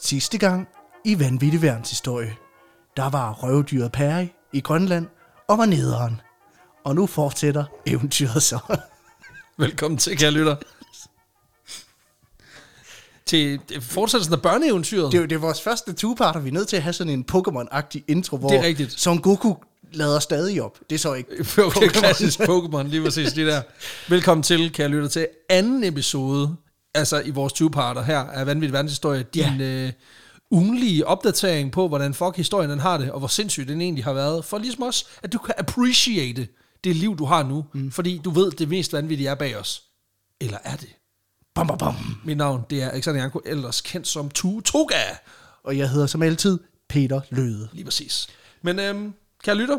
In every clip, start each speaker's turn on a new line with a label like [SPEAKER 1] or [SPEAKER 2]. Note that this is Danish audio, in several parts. [SPEAKER 1] Sidste gang i Vanvittig Værns historie, der var røvdyret Perry i Grønland og var nederen. Og nu fortsætter eventyret så.
[SPEAKER 2] Velkommen til, kære lytter. til øh, fortsættelsen af børneeventyret.
[SPEAKER 1] Det er, jo- det er vores første two-parter, vi er nødt til at have sådan en Pokémon-agtig intro, hvor
[SPEAKER 2] Det er rigtigt.
[SPEAKER 1] Son Goku lader stadig op. Det er så ikke
[SPEAKER 2] Okay, klassisk Pokémon, lige præcis det der. Velkommen til, kære lytter, til anden episode, altså i vores 20-parter her af Vanvittig Verdenshistorie. Din ja. øh, ugenlige opdatering på, hvordan fuck historien den har det, og hvor sindssygt den egentlig har været. For ligesom også, at du kan appreciate det liv, du har nu, mm. fordi du ved, det mest vanvittige er bag os. Eller er det?
[SPEAKER 1] bam, bam, bam.
[SPEAKER 2] Mit navn, det er Alexander Janko, ellers kendt som Tue Toga.
[SPEAKER 1] Og jeg hedder som altid Peter Løde.
[SPEAKER 2] Lige præcis. Men øhm, kære lytter,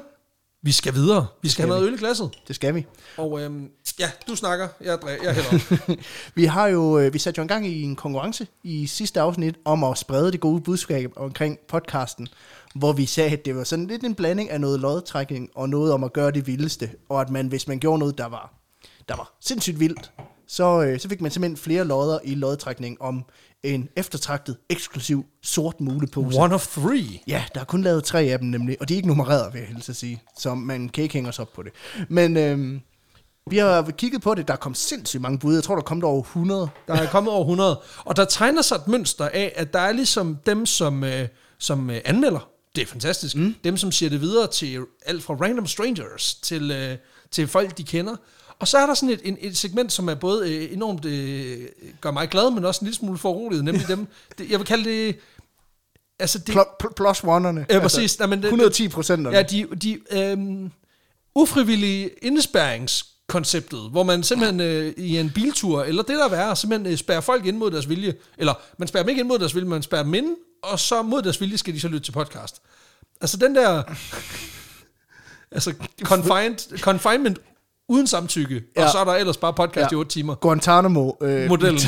[SPEAKER 2] vi skal videre. Vi skal have noget øl i glasset.
[SPEAKER 1] Det skal vi.
[SPEAKER 2] Og øhm, ja, du snakker, jeg, drik, jeg hælder op.
[SPEAKER 1] vi har jo, øh, vi satte jo en gang i en konkurrence i sidste afsnit om at sprede det gode budskab omkring podcasten, hvor vi sagde, at det var sådan lidt en blanding af noget lodtrækning og noget om at gøre det vildeste, og at man, hvis man gjorde noget, der var, der var sindssygt vildt, så, øh, så fik man simpelthen flere lodder i lodtrækning om en eftertragtet, eksklusiv sort mulepose.
[SPEAKER 2] One of three.
[SPEAKER 1] Ja, der er kun lavet tre af dem nemlig, og de er ikke nummereret, vil jeg helst at sige. Så man kan ikke hænge os op på det. Men øhm, vi har kigget på det, der kom sindssygt mange bud. Jeg tror, der kom der over 100.
[SPEAKER 2] Der er kommet over 100. Og der tegner sig et mønster af, at der er ligesom dem, som, øh, som øh, anmelder. Det er fantastisk. Mm. Dem, som siger det videre til alt fra random strangers til, øh, til folk, de kender. Og så er der sådan et, en, et segment, som er både øh, enormt øh, gør mig glad, men også en lille smule foruroliget, nemlig dem. Det, jeg vil kalde det... Altså det,
[SPEAKER 1] Pl- pl- plus one'erne. Altså,
[SPEAKER 2] Ja, præcis. Nej, men det-
[SPEAKER 1] 110 procenterne.
[SPEAKER 2] Ja, de, de øhm, ufrivillige indespærringskonceptet, hvor man simpelthen øh, i en biltur, eller det der er værre, simpelthen øh, spærrer folk ind mod deres vilje, eller man spærrer dem ikke ind mod deres vilje, man spærrer dem ind, og så mod deres vilje skal de så lytte til podcast. Altså den der, altså confined, confinement uden samtykke, ja.
[SPEAKER 1] Ja.
[SPEAKER 2] og så er der ellers bare podcast ja. i 8 timer.
[SPEAKER 1] Guantanamo. Øh,
[SPEAKER 2] Modellen.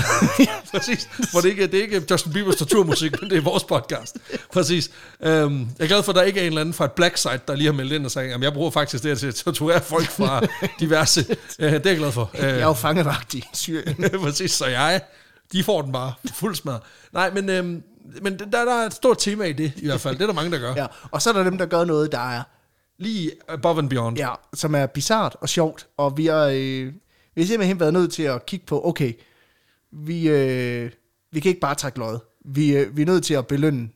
[SPEAKER 2] Præcis. Hvor det ikke, det er ikke Justin Bieber's torturmusik, men det er vores podcast. Præcis. Øhm, jeg er glad for, at der ikke er en eller anden fra et black site, der lige har meldt ind og sagt, at jeg bruger faktisk det her til at torturere folk fra diverse. Øh, det er jeg glad for.
[SPEAKER 1] Jeg er jo fangevagt i Syrien.
[SPEAKER 2] Øh, præcis, så jeg, de får den bare fuld smad. Nej, men, øhm, men der, der er et stort tema i det, i hvert fald. Det er der mange, der gør. Ja.
[SPEAKER 1] Ja. Og så er der dem, der gør noget, der er,
[SPEAKER 2] Lige above and beyond. Ja.
[SPEAKER 1] ja, som er bizart og sjovt. Og vi har, øh, vi har simpelthen været nødt til at kigge på, okay, vi, øh, vi kan ikke bare trække løjet. Vi, øh, vi er nødt til at belønne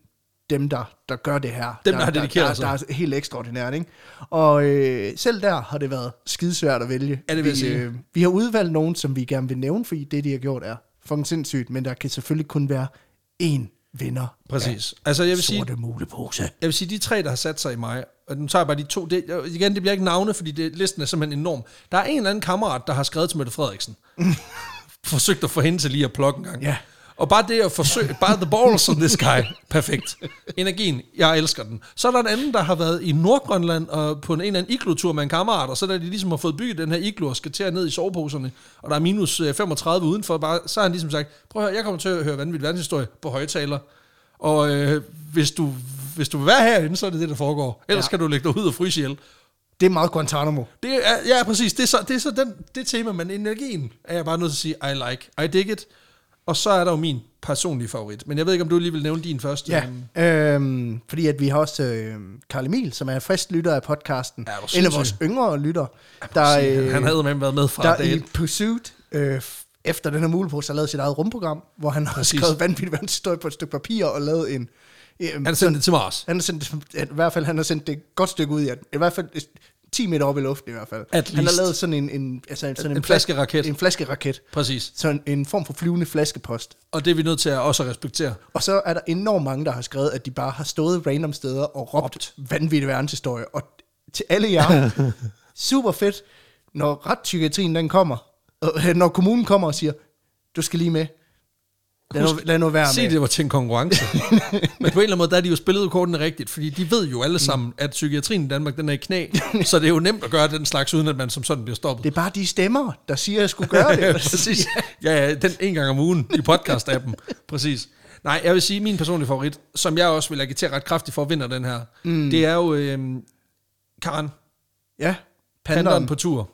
[SPEAKER 1] dem, der, der gør det her.
[SPEAKER 2] Dem, der har dedikeret
[SPEAKER 1] der,
[SPEAKER 2] sig.
[SPEAKER 1] der, der er helt ekstraordinært, ikke? Og øh, selv der har det været skidesvært at vælge.
[SPEAKER 2] Ja, det vil jeg
[SPEAKER 1] vi, øh,
[SPEAKER 2] sige.
[SPEAKER 1] vi har udvalgt nogen, som vi gerne vil nævne, fordi det, de har gjort, er fucking sindssygt. Men der kan selvfølgelig kun være én vinder
[SPEAKER 2] Præcis. Altså, jeg
[SPEAKER 1] af
[SPEAKER 2] vil sige,
[SPEAKER 1] sorte mulepose.
[SPEAKER 2] Jeg vil sige, de tre, der har sat sig i mig, og nu tager jeg bare de to, det, og igen, det bliver ikke navne, fordi det, listen er simpelthen enorm. Der er en eller anden kammerat, der har skrevet til Mette Frederiksen. Forsøgt at få hende til lige at plukke en gang.
[SPEAKER 1] Ja.
[SPEAKER 2] Og bare det at forsøge, bare the balls on this guy, perfekt. Energien, jeg elsker den. Så er der en anden, der har været i Nordgrønland og på en, en eller anden iglotur med en kammerat, og så da de ligesom har fået bygget den her iglo og skal til at ned i soveposerne, og der er minus øh, 35 udenfor, bare, så har han ligesom sagt, prøv at høre, jeg kommer til at høre vanvittig verdenshistorie på højtaler, og øh, hvis, du, hvis du vil være herinde, så er det det, der foregår. Ellers
[SPEAKER 1] Ja.
[SPEAKER 2] ja. kan du lægge dig ud og fryse ihjel.
[SPEAKER 1] Det er meget Guantanamo.
[SPEAKER 2] Det er, ja, præcis. Det er så, det, er så den, det tema, men energien er jeg bare nødt til at sige, I like, I dig it. Og så er der jo min personlige favorit. Men jeg ved ikke, om du lige vil nævne din første.
[SPEAKER 1] Ja,
[SPEAKER 2] Øhm,
[SPEAKER 1] øhm, fordi at vi har også øh, Karl Emil, som er en frisk lytter af podcasten.
[SPEAKER 2] Ja, hvor
[SPEAKER 1] en af
[SPEAKER 2] sindssygt.
[SPEAKER 1] vores yngre lytter, der,
[SPEAKER 2] sige,
[SPEAKER 1] øh,
[SPEAKER 2] han havde med været med fra
[SPEAKER 1] der
[SPEAKER 2] dag
[SPEAKER 1] i
[SPEAKER 2] et.
[SPEAKER 1] Pursuit, øh, f- efter den her mulepose, har lavet sit eget rumprogram, hvor han har
[SPEAKER 2] Præcis.
[SPEAKER 1] skrevet vanvittig vandstøj på et stykke papir og lavet en... Øh,
[SPEAKER 2] Han sendte det til Mars.
[SPEAKER 1] han har sendt, at i hvert fald, han har sendt det et godt stykke ud i, at, i hvert fald et- 10 meter op i luften i hvert fald.
[SPEAKER 2] At
[SPEAKER 1] han har
[SPEAKER 2] least.
[SPEAKER 1] lavet sådan en, en, altså sådan en,
[SPEAKER 2] en
[SPEAKER 1] flas-
[SPEAKER 2] flaskeraket.
[SPEAKER 1] En flaskeraket.
[SPEAKER 2] Præcis.
[SPEAKER 1] Så en, en form for flyvende flaskepost.
[SPEAKER 2] Og det er vi nødt til at også at respektere.
[SPEAKER 1] Og så er der enormt mange, der har skrevet, at de bare har stået random steder og råbt vanvittig verdenshistorie. Og til alle jer, super fedt, når retspsykiatrien den kommer, og, øh, når kommunen kommer og siger, du skal lige med. Lad nu,
[SPEAKER 2] Husk-
[SPEAKER 1] lad nu være
[SPEAKER 2] Se,
[SPEAKER 1] med.
[SPEAKER 2] det var til en konkurrence. Men på en eller anden måde, der er de jo spillet kortene rigtigt, fordi de ved jo alle sammen, at psykiatrien i Danmark, den er i knæ, så det er jo nemt at gøre den slags, uden at man som sådan bliver stoppet.
[SPEAKER 1] Det er bare de stemmer, der siger, at jeg skulle gøre det.
[SPEAKER 2] Præcis. Ja, ja, den en gang om ugen i podcast-appen. Præcis. Nej, jeg vil sige, min personlige favorit, som jeg også vil agitere ret kraftigt for, vinder den her, mm. det er jo øh, Karen,
[SPEAKER 1] Ja,
[SPEAKER 2] panderen
[SPEAKER 1] panderen.
[SPEAKER 2] på tur.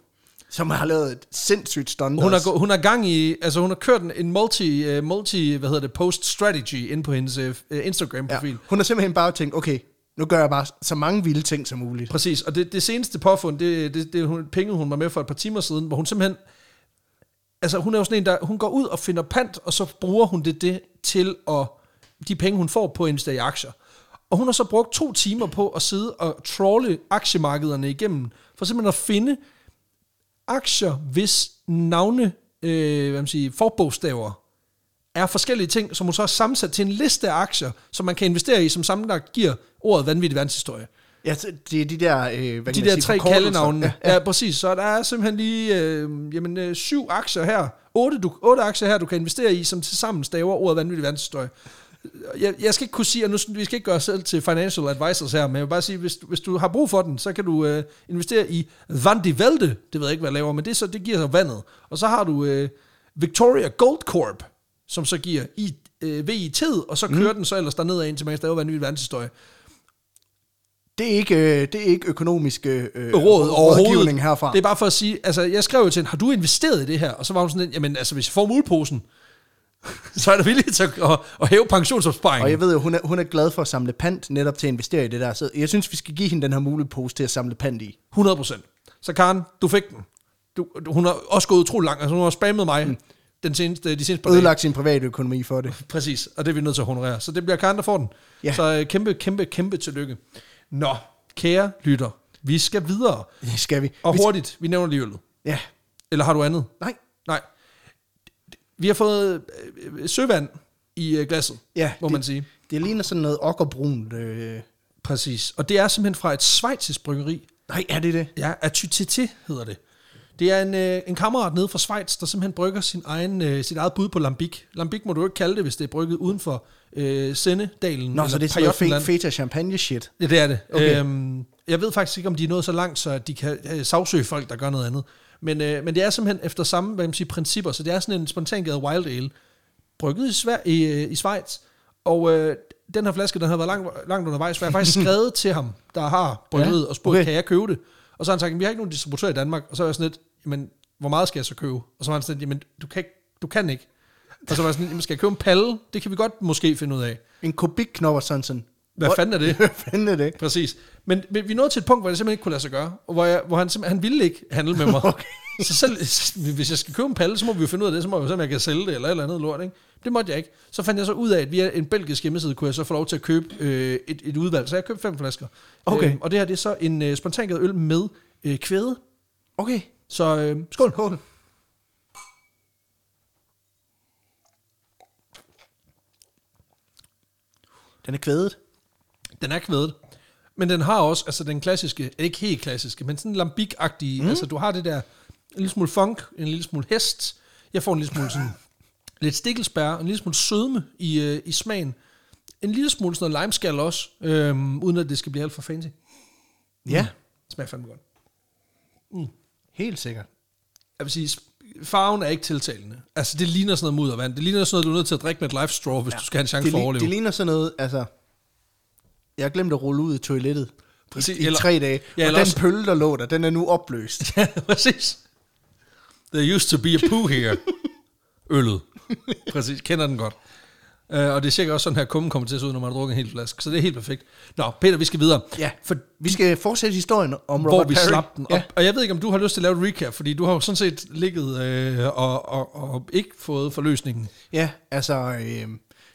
[SPEAKER 1] som har lavet et sindssygt stunt.
[SPEAKER 2] Hun har,
[SPEAKER 1] også.
[SPEAKER 2] gå- hun har gang i, altså hun har kørt en- en multi, øh, multi hvad hedder det, post strategy ind på hendes øh, øh, Instagram-profil.
[SPEAKER 1] ja. Hun har simpelthen bare tænkt, okay, nu gør jeg bare så mange vilde ting som muligt.
[SPEAKER 2] Præcis, og det, det seneste påfund, det, det, det er hun, penge, hun var med for et par timer siden, hvor hun simpelthen, altså hun er jo sådan en, der, hun går ud og finder pant, og så bruger hun det, det til at, de penge, hun får på at investere i aktier. Og hun har så brugt to timer på at sidde og trolle aktiemarkederne igennem, for simpelthen at finde aktier, hvis navne, øh, hvad man siger, forbogstaver, er forskellige ting, som hun så har sammensat til en liste af aktier, som man kan investere i, som sammenlagt giver ordet vanvittig verdenshistorie
[SPEAKER 1] Ja, så det er de der... Øh, hvad kan
[SPEAKER 2] de
[SPEAKER 1] man
[SPEAKER 2] der
[SPEAKER 1] sige,
[SPEAKER 2] tre
[SPEAKER 1] forkortelser.
[SPEAKER 2] kaldenavne. Ja, ja. ja, præcis. Så der er simpelthen lige øh, jamen, øh, syv aktier her. Otte, du, otte aktier her, du kan investere i, som tilsammen staver ordet vanvittig verdenshistorie. Jeg, jeg skal ikke kunne sige, og nu, vi skal ikke gøre os selv til financial advisors her, men jeg vil bare sige, hvis, du- hvis du har brug for den, så kan du øh, investere i Vandi Velde. Det ved jeg ikke, hvad jeg laver, men det, er så, det giver sig vandet. Og så har du øh, Victoria Gold Corp, som så giver i, øh, VIT, og så kører mm. den så ellers dernede ind til man kan stave vanvittig verdenshistorie.
[SPEAKER 1] Det er ikke, øh, det er ikke økonomisk øh, øh,
[SPEAKER 2] råd overhovedet.
[SPEAKER 1] rådgivning herfra.
[SPEAKER 2] Det er bare for at sige, altså jeg skrev jo til hende, har du investeret i det her? Og så var hun sådan, lidt, jamen altså hvis jeg får muleposen, så er der villig til at, at, at hæve
[SPEAKER 1] Og
[SPEAKER 2] pensionsopsparingen.
[SPEAKER 1] jeg ved jo, hun er, hun er glad for at samle pant netop til at investere i det der. Så jeg synes, vi skal give hende den her mulige pose til at samle pant i.
[SPEAKER 2] 100 procent. Så Karen, du fik den. Du, du, hun har også gået utrolig langt, altså hun har spammet mig mm. den seneste, de seneste par dage.
[SPEAKER 1] Ødelagt sin private økonomi for det.
[SPEAKER 2] Præcis, og det er vi nødt til at honorere. Så det bliver Karen, der får den.
[SPEAKER 1] Ja.
[SPEAKER 2] Så øh, kæmpe, kæmpe, kæmpe tillykke. Nå, kære lytter, vi skal videre.
[SPEAKER 1] Det skal vi.
[SPEAKER 2] Og
[SPEAKER 1] vi
[SPEAKER 2] hurtigt, vi nævner lige øllet.
[SPEAKER 1] ja.
[SPEAKER 2] Eller har du andet?
[SPEAKER 1] Nej.
[SPEAKER 2] Nej. Vi har fået øh, øh, søvand i øh, glasset,
[SPEAKER 1] Ja,
[SPEAKER 2] må
[SPEAKER 1] det-
[SPEAKER 2] man sige.
[SPEAKER 1] Det ligner sådan noget okkerbrunt. Øh.
[SPEAKER 2] Præcis. Og det er simpelthen fra et schweizisk bryggeri.
[SPEAKER 1] Nej, er det det?
[SPEAKER 2] Ja, Atytete hedder det. Det er en, øh, en kammerat nede fra Schweiz, der simpelthen brygger sin egen, øh, sit eget bud på Lambic. Lambic må du jo ikke kalde det, hvis det er brygget uden for øh, Sennedalen.
[SPEAKER 1] Nå,
[SPEAKER 2] eller
[SPEAKER 1] så det er sådan
[SPEAKER 2] Pajottenland.
[SPEAKER 1] noget fe- feta champagne shit.
[SPEAKER 2] Ja, det er det. Okay.
[SPEAKER 1] Okay.
[SPEAKER 2] Øhm, jeg ved faktisk ikke, om de er nået så langt, så de kan øh, sagsøge folk, der gør noget andet. Men, øh, men det er simpelthen efter samme hvad man siger, principper, så det er sådan en spontangade wild ale, brygget i, Sver- i, øh, i Schweiz. Og øh, den her flaske, den har været langt, langt undervejs, for jeg har faktisk skrevet til ham, der har brygget, ja,
[SPEAKER 1] Ja,
[SPEAKER 2] og spurgt, okay.
[SPEAKER 1] okay.
[SPEAKER 2] kan jeg købe det? Og så har han sagt, "Jamen, vi har ikke nogen distributør i Danmark. Og så er jeg sådan lidt, jamen, hvor meget skal jeg så købe? Og så var han sådan lidt, jamen, du kan ikke. Du kan ikke. Og så var jeg sådan, lidt, jamen, skal jeg købe en palle? Det kan vi godt måske finde ud af.
[SPEAKER 1] En kubikknopper sådan sådan.
[SPEAKER 2] Hvad
[SPEAKER 1] Hvor-
[SPEAKER 2] fanden er det?
[SPEAKER 1] Hvad fanden er det?
[SPEAKER 2] Præcis. Men vi vi nåede til et punkt, hvor det simpelthen ikke kunne lade sig gøre, og hvor, jeg, hvor han, simpelthen, han ville ikke handle med mig. okay. Så selv, hvis jeg skal købe en palle, så må vi jo finde ud af det, så må jeg jo se, om jeg kan sælge det eller et eller andet lort. Ikke? Det måtte jeg ikke. Så fandt jeg så ud af, at via en belgisk hjemmeside kunne jeg så få lov til at købe øh, et, et udvalg. Så jeg købte fem flasker. Øhm,
[SPEAKER 1] Okay.
[SPEAKER 2] og det her det er så en øh, spontangade øl med øh, kvæde.
[SPEAKER 1] Okay.
[SPEAKER 2] Så øh, skål.
[SPEAKER 1] Skål. Den er kvædet.
[SPEAKER 2] Den er kvædet. Men den har også, altså den klassiske, ikke helt klassiske, men sådan lambic-agtige, mm. altså du har det der, en lille smule funk, en lille smule hest, jeg får en lille smule sådan, lidt stikkelsbær, og en lille smule sødme i, øh, i smagen, en lille smule sådan noget limeskal også, øhm, uden at det skal blive alt for fancy. Mm.
[SPEAKER 1] Ja,
[SPEAKER 2] Smager fandme godt.
[SPEAKER 1] Mm. helt sikkert.
[SPEAKER 2] Jeg vil sige, sp- farven er ikke tiltalende. Altså det ligner sådan noget muddervand, det ligner sådan noget, du er nødt til at drikke med et life straw, hvis ja. du skal have en chance
[SPEAKER 1] det,
[SPEAKER 2] for at
[SPEAKER 1] li-
[SPEAKER 2] overleve.
[SPEAKER 1] Det ligner sådan noget, altså... Jeg har glemt at rulle ud i toilettet
[SPEAKER 2] Præcis,
[SPEAKER 1] i, i
[SPEAKER 2] eller-
[SPEAKER 1] tre dage.
[SPEAKER 2] Ja,
[SPEAKER 1] Ja, og
[SPEAKER 2] eller
[SPEAKER 1] den
[SPEAKER 2] også-
[SPEAKER 1] pølle, der lå der, den er nu opløst.
[SPEAKER 2] Ja, præcis. There used to be a poo here. Øllet. Præcis, kender den godt. Uh, og det er sikkert også sådan her, kummen kommer til at se ud, når man har drukket en hel flaske. Så det er helt perfekt. Nå, Peter, vi skal videre.
[SPEAKER 1] Ja,
[SPEAKER 2] For,
[SPEAKER 1] for vi skal fortsætte historien om
[SPEAKER 2] hvor
[SPEAKER 1] Robert
[SPEAKER 2] vi
[SPEAKER 1] Parry.
[SPEAKER 2] slap den op.
[SPEAKER 1] Ja.
[SPEAKER 2] Ja. Og jeg ved ikke, om du har lyst til at lave et recap, fordi du har jo sådan set ligget øh, og, og, og ikke fået forløsningen.
[SPEAKER 1] ja, altså... Øh,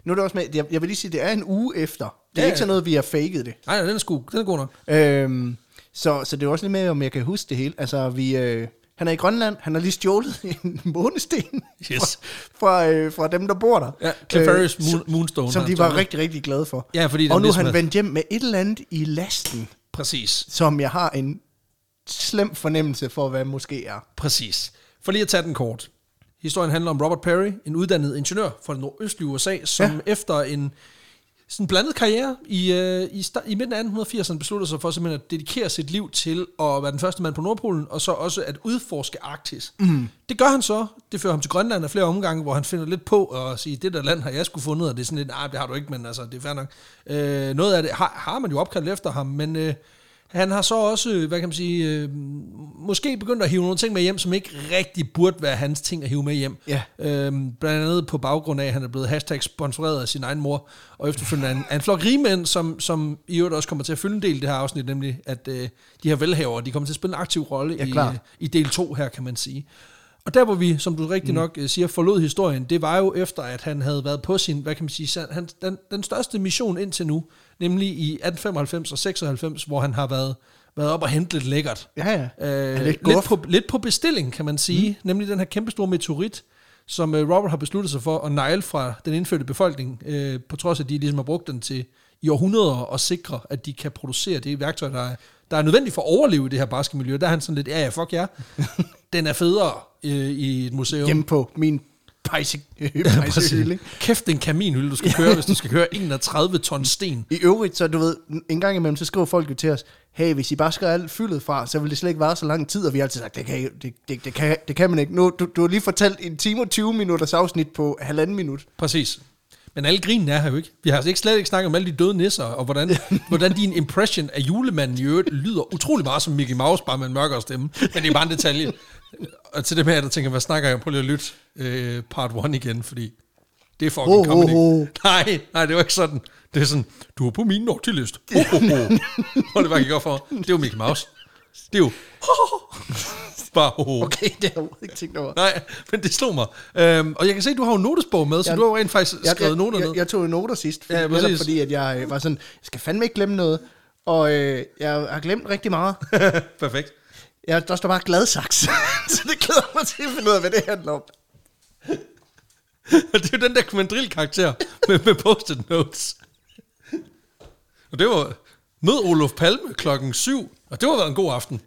[SPEAKER 1] nu er det også med, jeg, jeg vil lige sige, det er en uge efter. Det er
[SPEAKER 2] Ja,
[SPEAKER 1] ja,
[SPEAKER 2] ja.
[SPEAKER 1] ikke sådan noget, vi har faked det.
[SPEAKER 2] Nej, nej, den er, sgu, den er god nok.
[SPEAKER 1] Øhm, så, så det er også lidt med, om jeg kan huske det hele. Altså, vi, øh, han er i Grønland, han har lige stjålet en månesten
[SPEAKER 2] Yes.
[SPEAKER 1] fra, fra, øh, fra dem, der bor der. Øh,
[SPEAKER 2] Ja, Cliff Ferris
[SPEAKER 1] som-
[SPEAKER 2] Moon- Moonstone
[SPEAKER 1] Som
[SPEAKER 2] har
[SPEAKER 1] de
[SPEAKER 2] han
[SPEAKER 1] var
[SPEAKER 2] stjålet.
[SPEAKER 1] rigtig, rigtig glade for.
[SPEAKER 2] Ja, fordi den
[SPEAKER 1] og nu er
[SPEAKER 2] ligesom
[SPEAKER 1] han
[SPEAKER 2] havde-
[SPEAKER 1] vendt hjem med et eller andet i lasten,
[SPEAKER 2] Præcis.
[SPEAKER 1] som jeg har en slem fornemmelse for, hvad måske er.
[SPEAKER 2] Præcis. For lige at tage den kort. Historien handler om Robert Perry, en uddannet ingeniør fra det nordøstlige USA, som ja. efter en sådan blandet karriere i, øh, i, sta- i midten af 1880'erne besluttede sig for simpelthen at dedikere sit liv til at være den første mand på Nordpolen, og så også at udforske Arktis. Mm. Det gør han så. Det fører ham til Grønland af flere omgange, hvor han finder lidt på at sige, det der land har jeg skulle fundet, og det er sådan lidt, nej, det har du ikke, men altså, det er fair nok. Øh, noget af det har, har man jo opkaldt efter ham, men... Øh, han har så også, øh, hvad kan man sige, øh, måske begyndt at hive nogle ting med hjem, som ikke rigtig burde være hans ting at hive med hjem.
[SPEAKER 1] Ja.
[SPEAKER 2] Øhm, blandt andet på baggrund af, at han er blevet hashtag sponsoreret af sin egen mor, og efterfølgende af en, af en flok rigmænd, som, som i øvrigt også kommer til at fylde en del i det her afsnit, nemlig at øh, de her velhavere, de kommer til at spille en aktiv rolle
[SPEAKER 1] Ja,
[SPEAKER 2] i,
[SPEAKER 1] klart.
[SPEAKER 2] øh, i del 2 her, kan man sige. Og der hvor vi, som du rigtig nok øh, siger, forlod historien, det var jo efter, at han havde været på sin, hvad kan man sige, san- han, den, den største mission indtil nu, nemlig i 1895 og 96, hvor han har været, været op og hente lidt lækkert.
[SPEAKER 1] Ja, ja.
[SPEAKER 2] Øh,
[SPEAKER 1] lidt
[SPEAKER 2] lidt,
[SPEAKER 1] guf.
[SPEAKER 2] på, lidt på bestilling, kan man sige. Mm. Nemlig den her kæmpestore meteorit, som øh, Robert har besluttet sig for at negle fra den indfødte befolkning, øh, på trods af, at de ligesom har brugt den til i århundreder at sikre, at de kan producere det værktøj, der er, der er nødvendigt for at overleve i det her barske miljø. Der er han sådan lidt, ja ja, fuck jer. den er federe øh, i et museum.
[SPEAKER 1] Hjemme på min pejse, pejsehylde. ikke?
[SPEAKER 2] Kæft, det er en kaminhylde, du skal køre, hvis du skal køre 31 ton sten.
[SPEAKER 1] I øvrigt, så du ved, en gang imellem, så skriver folk jo til os, hey, hvis I bare skrev alt fyldet fra, så vil det slet ikke vare så lang tid, og vi har altid sagt, det kan, I- det, det, det kan, det kan man ikke. Nu, du, du har lige fortalt en time og 20 minutters afsnit på halvanden minut.
[SPEAKER 2] Præcis. Men alle grinen er her jo ikke. Vi har altså ikke slet ikke snakket om alle de døde nisser, og hvordan, hvordan din impression af julemanden i øvrigt lyder utrolig meget som Mickey Mouse, bare med en mørkere stemme. Men det er bare en detalje. Og til det med, at jeg tænker, hvad snakker jeg om? Prøv lige at lytte øh, part 1 igen, fordi det er fucking
[SPEAKER 1] Ho, ho,
[SPEAKER 2] comedy.
[SPEAKER 1] ho.
[SPEAKER 2] Nej, nej, det var ikke sådan. Det er sådan, du er på min nordtilist. Ho, ho, ho. Hvor det bare gik op for. Det er jo Mickey Mouse. Det er jo... ho, ho, ho. Bare ho, ho.
[SPEAKER 1] Okay, det har jeg overhovedet ikke tænkt over.
[SPEAKER 2] Nej, men det slog mig. Øhm, og jeg kan se, at du har jo en notesbog med, så
[SPEAKER 1] Jeg-
[SPEAKER 2] du har jo rent faktisk
[SPEAKER 1] Jeg,
[SPEAKER 2] skrevet
[SPEAKER 1] jeg,
[SPEAKER 2] noter ned.
[SPEAKER 1] jeg, jeg tog jo noter sidst, fordi,
[SPEAKER 2] Ja,
[SPEAKER 1] ja,
[SPEAKER 2] præcis.
[SPEAKER 1] netop fordi at jeg øh, var sådan, jeg skal fandme ikke glemme noget, og øh, jeg har glemt rigtig meget.
[SPEAKER 2] Perfekt.
[SPEAKER 1] Jeg, der står bare gladsaks, så det glæder mig til at finde ud af, hvad det handler om.
[SPEAKER 2] det er jo den der kvandril-karakter med, med post-it notes. Og det var... Mød Olof Palme klokken 7, og det var været en god aften.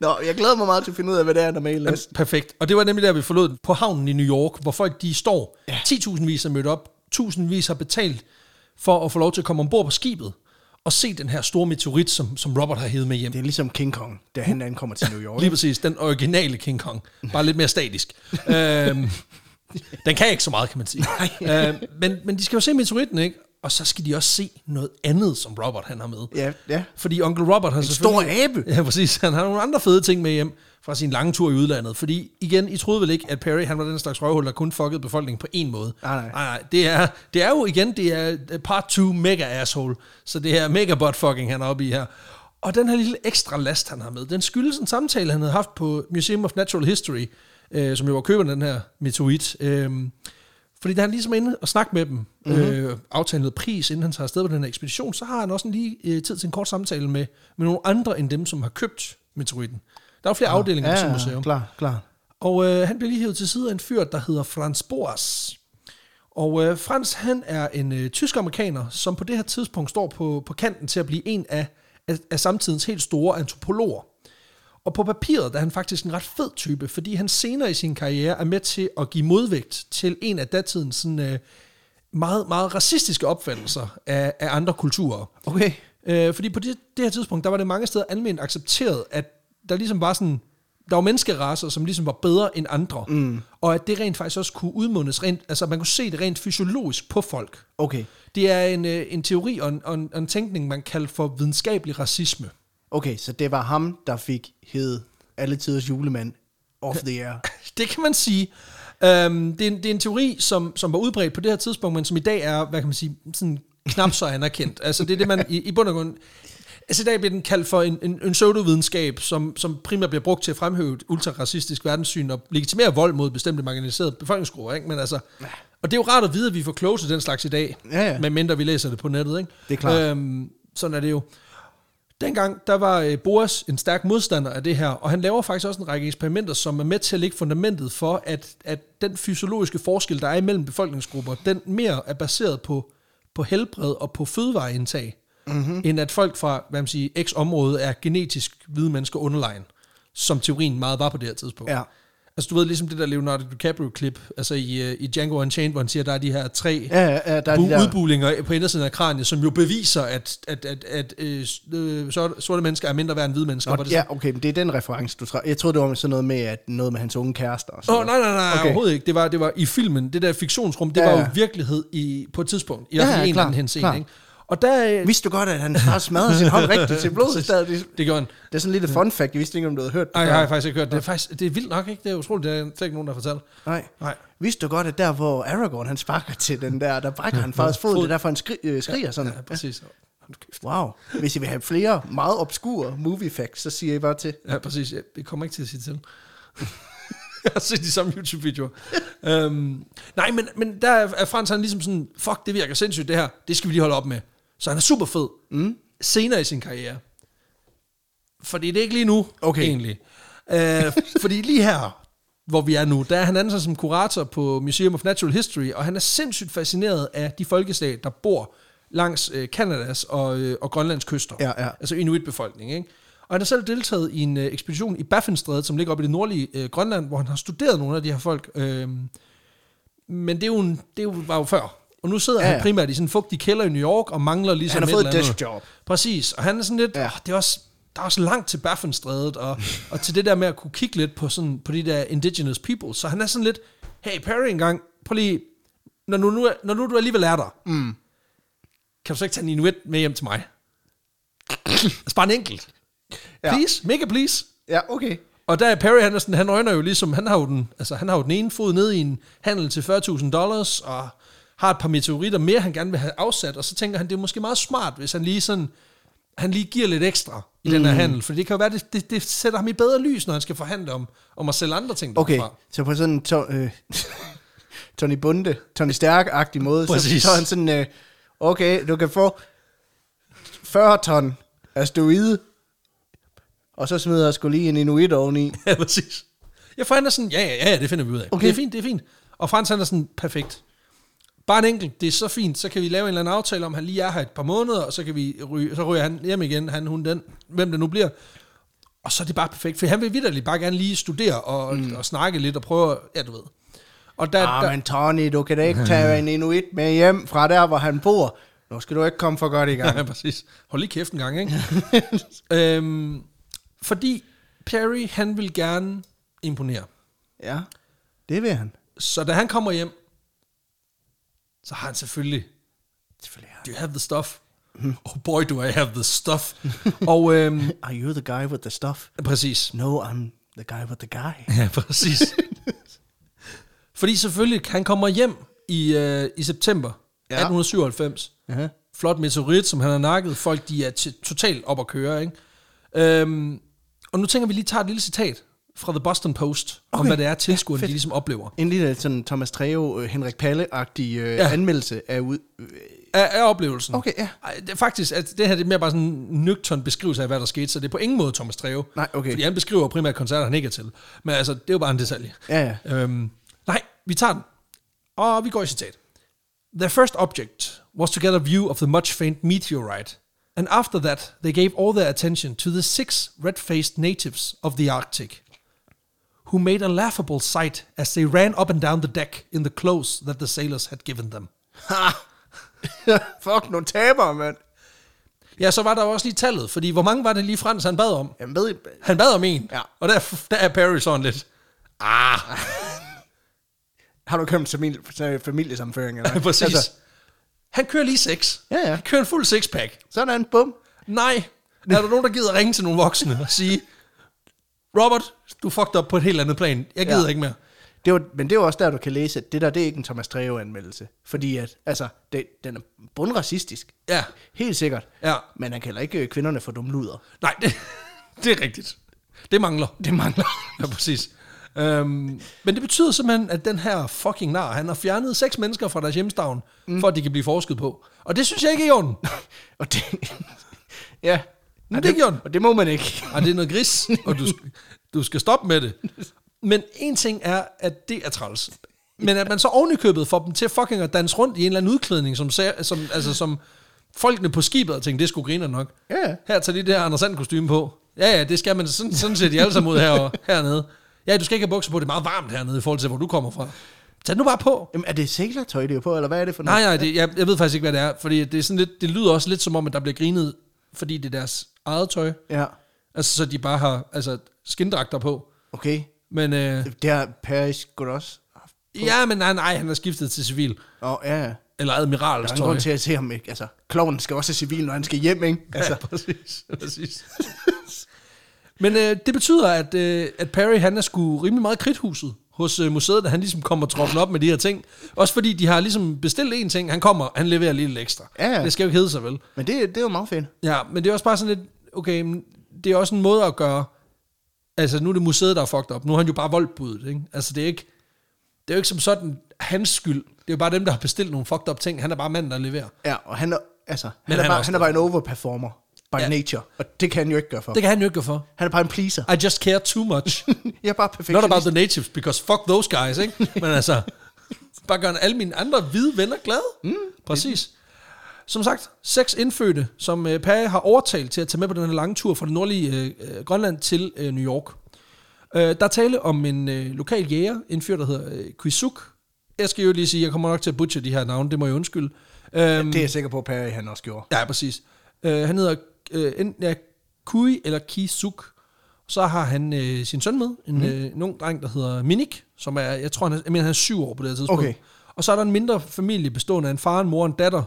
[SPEAKER 1] Nå, jeg glæder mig meget til at finde ud af, hvad det er, der mail er.
[SPEAKER 2] Perfekt. Og det var nemlig der, vi forlod den. på havnen i New York, hvor folk de står. Ja. 10.000 vis er mødt op. Tusindvis har betalt for at få lov til at komme ombord på skibet og se den her store meteorit, som, som Robert har hævet med hjem.
[SPEAKER 1] Det er ligesom King Kong, da han ankommer til New York.
[SPEAKER 2] Lige præcis, den originale King Kong. Bare lidt mere statisk. øhm, den kan ikke så meget, kan man sige. øhm, men, men de skal jo se meteoritten, ikke? Og så skal de også se noget andet, som Robert han har med.
[SPEAKER 1] Ja, ja.
[SPEAKER 2] Fordi onkel Robert har
[SPEAKER 1] Stor
[SPEAKER 2] selvfølgelig...
[SPEAKER 1] abe.
[SPEAKER 2] Ja, præcis. Han har nogle andre fede ting med hjem fra sin lange tur i udlandet. Fordi, igen, I troede vel ikke, at Perry han var den slags røvhul, der kun fuckede befolkningen på en måde.
[SPEAKER 1] Nej, nej.
[SPEAKER 2] nej, nej. Det, er, det er jo igen, det er øh, part 2 mega asshole. Så det her mega butt fucking, han er oppe i her. Og den her lille ekstra last, han har med, den skyldes en samtale, han havde haft på Museum of Natural History, øh, som jo var køberen af den her meteorit. Øh, fordi da han ligesom er inde og snakke med dem, mm-hmm. øh, aftale noget pris, inden han tager afsted på den her ekspedition, så har han også en lige øh, tid til en kort samtale med, med nogle andre end dem, som har købt meteoritten. Der er jo flere afdelinger på sådan et museum.
[SPEAKER 1] klar, klar.
[SPEAKER 2] Og øh, han bliver lige hævet til side af en fyr, der hedder Frans Boas. Og øh, Frans, han er en øh, tysk-amerikaner, som på det her tidspunkt står på, på kanten til at blive en af, af, af samtidens helt store antropologer. Og på papiret der er han faktisk en ret fed type, fordi han senere i sin karriere er med til at give modvægt til en af datidens sådan, øh, meget, meget racistiske opfattelser af, af andre kulturer.
[SPEAKER 1] Okay.
[SPEAKER 2] Øh, fordi på det, det her tidspunkt, der var det mange steder almindeligt accepteret, at der ligesom var sådan, der var menneskeraser, som ligesom var bedre end andre. Mm. Og at det rent faktisk også kunne udmundes rent, altså man kunne se det rent fysiologisk på folk.
[SPEAKER 1] Okay.
[SPEAKER 2] Det er en, øh, en teori og en, og, en, og en tænkning, man kalder for videnskabelig racisme.
[SPEAKER 1] Okay, så det var ham, der fik hed alle tiders julemand off the air.
[SPEAKER 2] Det kan man sige. Øhm, det, er en, det er en teori, som, som var udbredt på det her tidspunkt, men som i dag er, hvad kan man sige, sådan knap så anerkendt. Altså det er det, man i, i bund og grund... Altså i dag bliver den kaldt for en, en, en pseudovidenskab, som, som primært bliver brugt til at fremhæve et ultraracistisk verdenssyn og legitimere vold mod bestemte marginaliserede befolkningsgrupper. Ikke? Men altså, og det er jo rart at vide, at vi får kloge til den slags i dag,
[SPEAKER 1] Ja, ja.
[SPEAKER 2] medmindre vi læser det på nettet. Ikke?
[SPEAKER 1] Det er klart.
[SPEAKER 2] Øhm, sådan er det jo. Dengang, der var øh, Boas en stærk modstander af det her, og han laver faktisk også en række eksperimenter, som er med til at lægge fundamentet for, at, at den fysiologiske forskel, der er imellem befolkningsgrupper, den mere er baseret på, på helbred og på fødevareindtag,
[SPEAKER 1] Mhm.
[SPEAKER 2] mm-hmm. end at folk fra, hvad man siger, x område er genetisk hvide mennesker underlegen, som teorien meget var på det her tidspunkt.
[SPEAKER 1] Ja.
[SPEAKER 2] Altså du ved ligesom det der Leonardo DiCaprio-klip, altså i, øh, i Django Unchained, hvor han siger, at der er de her tre
[SPEAKER 1] Ja, ja, ja, der er de
[SPEAKER 2] bu-
[SPEAKER 1] der...
[SPEAKER 2] udbulinger på indersiden af kraniet, som jo beviser, at, at, at, at øh, s- øh, sorte sorte mennesker er mindre værd end hvide mennesker. Var
[SPEAKER 1] Nå,
[SPEAKER 2] det
[SPEAKER 1] ja, okay, men det er den reference, du tror. Jeg troede, det var med sådan noget med, at noget med hans unge kærester. Og sådan
[SPEAKER 2] Åh, oh, nej, nej, nej, okay.
[SPEAKER 1] Okay.
[SPEAKER 2] overhovedet ikke. Det var, det var i filmen, det der fiktionsrum, det
[SPEAKER 1] Ja,
[SPEAKER 2] var jo
[SPEAKER 1] ja.
[SPEAKER 2] virkelighed i, på et tidspunkt, i,
[SPEAKER 1] Ja,
[SPEAKER 2] ja, i
[SPEAKER 1] ja,
[SPEAKER 2] en eller
[SPEAKER 1] klar,
[SPEAKER 2] anden henseende.
[SPEAKER 1] klar.
[SPEAKER 2] Ikke? Og der... øh,
[SPEAKER 1] Vidste du godt, at han har smadret sin hånd rigtigt til blodet? Det,
[SPEAKER 2] Det gjorde han.
[SPEAKER 1] det er sådan lidt et fun fact, jeg vidste ikke, om du havde hørt det.
[SPEAKER 2] Ej,
[SPEAKER 1] før.
[SPEAKER 2] jeg har faktisk ikke hørt det. Det er, faktisk, det er vildt nok, ikke? Det er utroligt, det er der ikke nogen, der har fortalt.
[SPEAKER 1] Nej.
[SPEAKER 2] Nej.
[SPEAKER 1] Vidste du godt, at der, hvor Aragorn han sparker til den der, der brækker han faktisk fod, det er derfor, han skri- øh, skriger sådan.
[SPEAKER 2] Ja, præcis.
[SPEAKER 1] Wow. Hvis I vil have flere meget obskure movie facts, så siger I bare til.
[SPEAKER 2] Ja, præcis. Ja, det kommer jeg ikke til at sige til. jeg har set de samme YouTube-videoer. øhm, nej, men, men der er er Frans han ligesom sådan, fuck, det virker sindssygt det her. Det skal vi lige holde op med. Så han er super fed. Mm. Senere i sin karriere. Fordi det er ikke lige nu,
[SPEAKER 1] Okay.
[SPEAKER 2] egentlig. Øh, fordi lige her, hvor vi er nu, der er han ansat som kurator på Museum of Natural History, og han er sindssygt fascineret af de folkeslag, der bor langs øh, Kanadas og, øh, og Grønlands kyster
[SPEAKER 1] Ja, ja.
[SPEAKER 2] altså inuitbefolkningen, ikke? Og han har selv deltaget i en øh, ekspedition i Baffinstrædet, som ligger oppe i det nordlige øh, Grønland, hvor han har studeret nogle af de her folk. Øh, men det, er jo en, det er jo, var jo før. Og nu sidder
[SPEAKER 1] Ja,
[SPEAKER 2] ja, ja.
[SPEAKER 1] ja.
[SPEAKER 2] han primært i sådan en fugtig kælder i New York og mangler ligesom
[SPEAKER 1] Han har
[SPEAKER 2] et
[SPEAKER 1] fået
[SPEAKER 2] eller
[SPEAKER 1] et
[SPEAKER 2] andet.
[SPEAKER 1] desk job.
[SPEAKER 2] Præcis, og han er sådan lidt,
[SPEAKER 1] Ja.
[SPEAKER 2] ja. det er også, der er også langt til Baffinstrædet, og, og til det der med at kunne kigge lidt på, sådan, på de der indigenous people. Så han er sådan lidt, hey Perry engang, prøv lige, når nu, nu, er- når nu du alligevel er der, mm. kan du så ikke tage en inuit med hjem til mig? altså bare en enkelt.
[SPEAKER 1] Ja.
[SPEAKER 2] Please, mega please.
[SPEAKER 1] Ja, okay.
[SPEAKER 2] Og der er Perry, han, er sådan, han øjner jo ligesom, han har jo, den, altså, han har jo den ene fod ned i en handel til 40.000 dollars, og har et par meteoritter mere, han gerne vil have afsat, og så tænker han, det er måske meget smart, hvis han lige sådan, han lige giver lidt ekstra i mm. den her handel, for det kan jo være, det, det, det, sætter ham i bedre lys, når han skal forhandle om, om at sælge andre ting
[SPEAKER 1] Okay,
[SPEAKER 2] derfra.
[SPEAKER 1] så på sådan en to, øh, Tony Bunde, Tony Stærk-agtig måde, så,
[SPEAKER 2] Præcis.
[SPEAKER 1] så er han sådan, øh, okay, du kan få 40 ton asteroide, og så smider jeg sgu lige en inuit oveni.
[SPEAKER 2] Ja, præcis. Jeg for han er sådan, ja, ja, ja, det finder vi ud af.
[SPEAKER 1] Okay.
[SPEAKER 2] Okay. Det er fint, det er fint. Og Frans han er sådan, perfekt. Bare en enkelt, det er så fint, så kan vi lave en eller anden aftale om, han lige er her et par måneder, og så, kan vi ryge, så ryger han hjem igen, han, hun, den, hvem det nu bliver. Og så er det bare perfekt, for han vil vidderligt bare gerne lige studere og, mm. og snakke lidt og prøve, at- ja du ved. Og der,
[SPEAKER 1] Ah,
[SPEAKER 2] der,
[SPEAKER 1] men Tony, du kan da ikke tage en inuit med hjem fra der, hvor han bor. Nu skal du ikke komme for godt i gang.
[SPEAKER 2] Ja, præcis. Hold lige kæft en gang, ikke? øhm, fordi Perry, han vil gerne imponere.
[SPEAKER 1] Ja, det vil han.
[SPEAKER 2] Så da han kommer hjem, så har han selvfølgelig
[SPEAKER 1] Selvfølgelig.
[SPEAKER 2] Do you have the stuff? Oh boy, do I have the stuff. og øhm,
[SPEAKER 1] Are you the guy with the stuff?
[SPEAKER 2] præcis.
[SPEAKER 1] No, I'm the guy with the guy.
[SPEAKER 2] Ja, præcis. Fordi selvfølgelig, han kommer hjem i, øh, i september
[SPEAKER 1] Ja.
[SPEAKER 2] ja. 1897.
[SPEAKER 1] Ja.
[SPEAKER 2] Flot meteorit, som han har nakket. Folk, de er t- totalt op at køre, ikke? Øhm, og nu tænker vi lige tager et lille citat fra The Boston Post, okay. om
[SPEAKER 1] Okay.
[SPEAKER 2] hvad det er, tilskuerne
[SPEAKER 1] Ja,
[SPEAKER 2] ja,
[SPEAKER 1] fedt.
[SPEAKER 2] de ligesom oplever.
[SPEAKER 1] En lille sådan Thomas Treo, øh, Henrik Palle-agtig øh, ja.
[SPEAKER 2] Ja.
[SPEAKER 1] anmeldelse af ud... øh,
[SPEAKER 2] af, af oplevelsen.
[SPEAKER 1] Okay, ja.
[SPEAKER 2] Ej, det er faktisk, at det her det er mere bare sådan en nøgtern beskrivelse af, hvad der skete, så det er på ingen måde Thomas Treve.
[SPEAKER 1] Nej, okay.
[SPEAKER 2] Fordi han beskriver primært koncerter, han ikke er til. Men altså, det er jo bare en detalje.
[SPEAKER 1] Ja, ja.
[SPEAKER 2] Øhm, nej, vi tager den. Og vi går i citat. Their first object was to get a view of the much famed meteorite, and after that they gave all their attention to the six red-faced natives of the Arctic, who made a laughable sight as they ran up and down the deck in the clothes that the sailors had given them.
[SPEAKER 1] Fuck, nogle tabere, mand.
[SPEAKER 2] Ja, så var der jo også lige tallet, fordi hvor mange var det lige Frans, han bad om?
[SPEAKER 1] Jamen, ved I...
[SPEAKER 2] Han bad om en,
[SPEAKER 1] Ja.
[SPEAKER 2] og der, der er Perry sådan lidt.
[SPEAKER 1] Har du købt familie, til familiesamføring? Eller? hvad?
[SPEAKER 2] Præcis. Altså. Han kører lige seks.
[SPEAKER 1] Ja, ja.
[SPEAKER 2] Han kører en fuld sixpack.
[SPEAKER 1] sådan, bum.
[SPEAKER 2] Nej, er der nogen, der gider ringe til nogle voksne og sige, Robert, du er fucked op på et helt andet plan. Jeg gider
[SPEAKER 1] Ja.
[SPEAKER 2] ja. ikke mere.
[SPEAKER 1] Det var, men det er jo også der, du kan læse, at det der, det er ikke en Thomas Treo-anmeldelse. Fordi at, altså, det, den er bundracistisk.
[SPEAKER 2] Ja,
[SPEAKER 1] Helt sikkert.
[SPEAKER 2] ja.
[SPEAKER 1] Men han kalder ikke øh, kvinderne for dumluder.
[SPEAKER 2] Nej, det, det er rigtigt. Det mangler.
[SPEAKER 1] Det mangler.
[SPEAKER 2] Ja, præcis. Øhm, men det betyder simpelthen, at den her fucking nar, han har fjernet seks mennesker fra deres hjemstavn, mm. for at de kan blive forsket på. Og det synes jeg ikke er i orden.
[SPEAKER 1] Og det... ja.
[SPEAKER 2] Men det gjorde den.
[SPEAKER 1] Og det må man ikke.
[SPEAKER 2] Og det er noget gris, og du, sk- du skal stoppe med det. Men en ting er, at det er træls. Men at man så ovenikøbet får dem til fucking at danse rundt i en eller anden udklædning, som, ser- som, altså, som folkene på skibet og tænkte, det skulle griner nok.
[SPEAKER 1] Ja.
[SPEAKER 2] Her tager de det her Anders Sand kostume på. Ja, ja, det skal man. Sådan, sådan ser de alle sammen ud her, hernede. Ja, du skal ikke have bukser på, det er meget varmt hernede i forhold til, hvor du kommer fra. Tag det nu bare på.
[SPEAKER 1] Jamen, er det sælertøj, det er på, eller hvad er det for noget?
[SPEAKER 2] Nej, nej, det, jeg, jeg ved faktisk ikke, hvad det er. Fordi det, er sådan lidt, det lyder også lidt som om, at der bliver grinet, fordi det er deres eget tøj.
[SPEAKER 1] Ja,
[SPEAKER 2] Altså, så de bare har altså, skindragter på.
[SPEAKER 1] okay.
[SPEAKER 2] Men, øh,
[SPEAKER 1] Det har Paris godt også haft.
[SPEAKER 2] ja, men nej, nej, han har skiftet til civil.
[SPEAKER 1] Åh, oh, ja, ja.
[SPEAKER 2] Eller
[SPEAKER 1] Der er
[SPEAKER 2] admirals
[SPEAKER 1] en
[SPEAKER 2] tøj.
[SPEAKER 1] grund til at se ham, ikke? Altså, kloven skal også have civil, når han skal hjem, ikke? Altså,
[SPEAKER 2] Altså. Ja, præcis. præcis. Men øh, det betyder, at, øh, at Perry han er sgu rimelig meget kridthuset hos øh, museet, da han ligesom kommer troppen op med de her ting. Også fordi de har ligesom bestilt en ting, han kommer, han leverer lige lidt ekstra.
[SPEAKER 1] Ja, ja.
[SPEAKER 2] Det skal jo ikke hedde sig vel.
[SPEAKER 1] men det, det er jo meget fedt.
[SPEAKER 2] Ja, men det er også bare sådan lidt, okay, men det er også en måde at gøre, altså nu er det museet, der er fucked op, nu har han jo bare voldbudet, ikke? Altså det er ikke, det er jo ikke som sådan hans skyld, det er jo bare dem, der har bestilt nogle fucked up ting, han er bare manden, der leverer.
[SPEAKER 1] Ja, og han er, altså, han,
[SPEAKER 2] Men
[SPEAKER 1] er,
[SPEAKER 2] han er
[SPEAKER 1] bare,
[SPEAKER 2] også
[SPEAKER 1] han er bare en overperformer by
[SPEAKER 2] Ja.
[SPEAKER 1] ja. nature, og det kan han jo ikke gøre for.
[SPEAKER 2] Det
[SPEAKER 1] Det.
[SPEAKER 2] kan han jo ikke gøre for.
[SPEAKER 1] Han er bare en pleaser.
[SPEAKER 2] I just care too much.
[SPEAKER 1] Jeg er bare perfekt.
[SPEAKER 2] Not about the natives, because fuck those guys, ikke? Men altså, bare gør alle mine andre hvide venner glade. Mm, Præcis. Som sagt, seks indfødte, som øh, Page har overtalt til at tage med på den her lange tur fra det nordlige øh, øh, Grønland til øh, New York. Øh, der er tale om en øh, lokal jæger, en fyr, der hedder øh, Kwisuk. Jeg skal jo lige sige, jeg kommer nok til at butche de her navne, det må jeg undskylde. Øhm,
[SPEAKER 1] Det er jeg sikker på, at Perry han også gjorde.
[SPEAKER 2] Ja, præcis. Øh, han hedder øh, enten ja, Kui eller Kisuk. Så har han øh, sin søn med, en, mm. øh, en ung dreng, der hedder Minik, som er, jeg tror, han er, jeg mener, han er syv år på det her tidspunkt.
[SPEAKER 1] Okay.
[SPEAKER 2] Og så er der en mindre familie bestående af en far, en mor og en datter.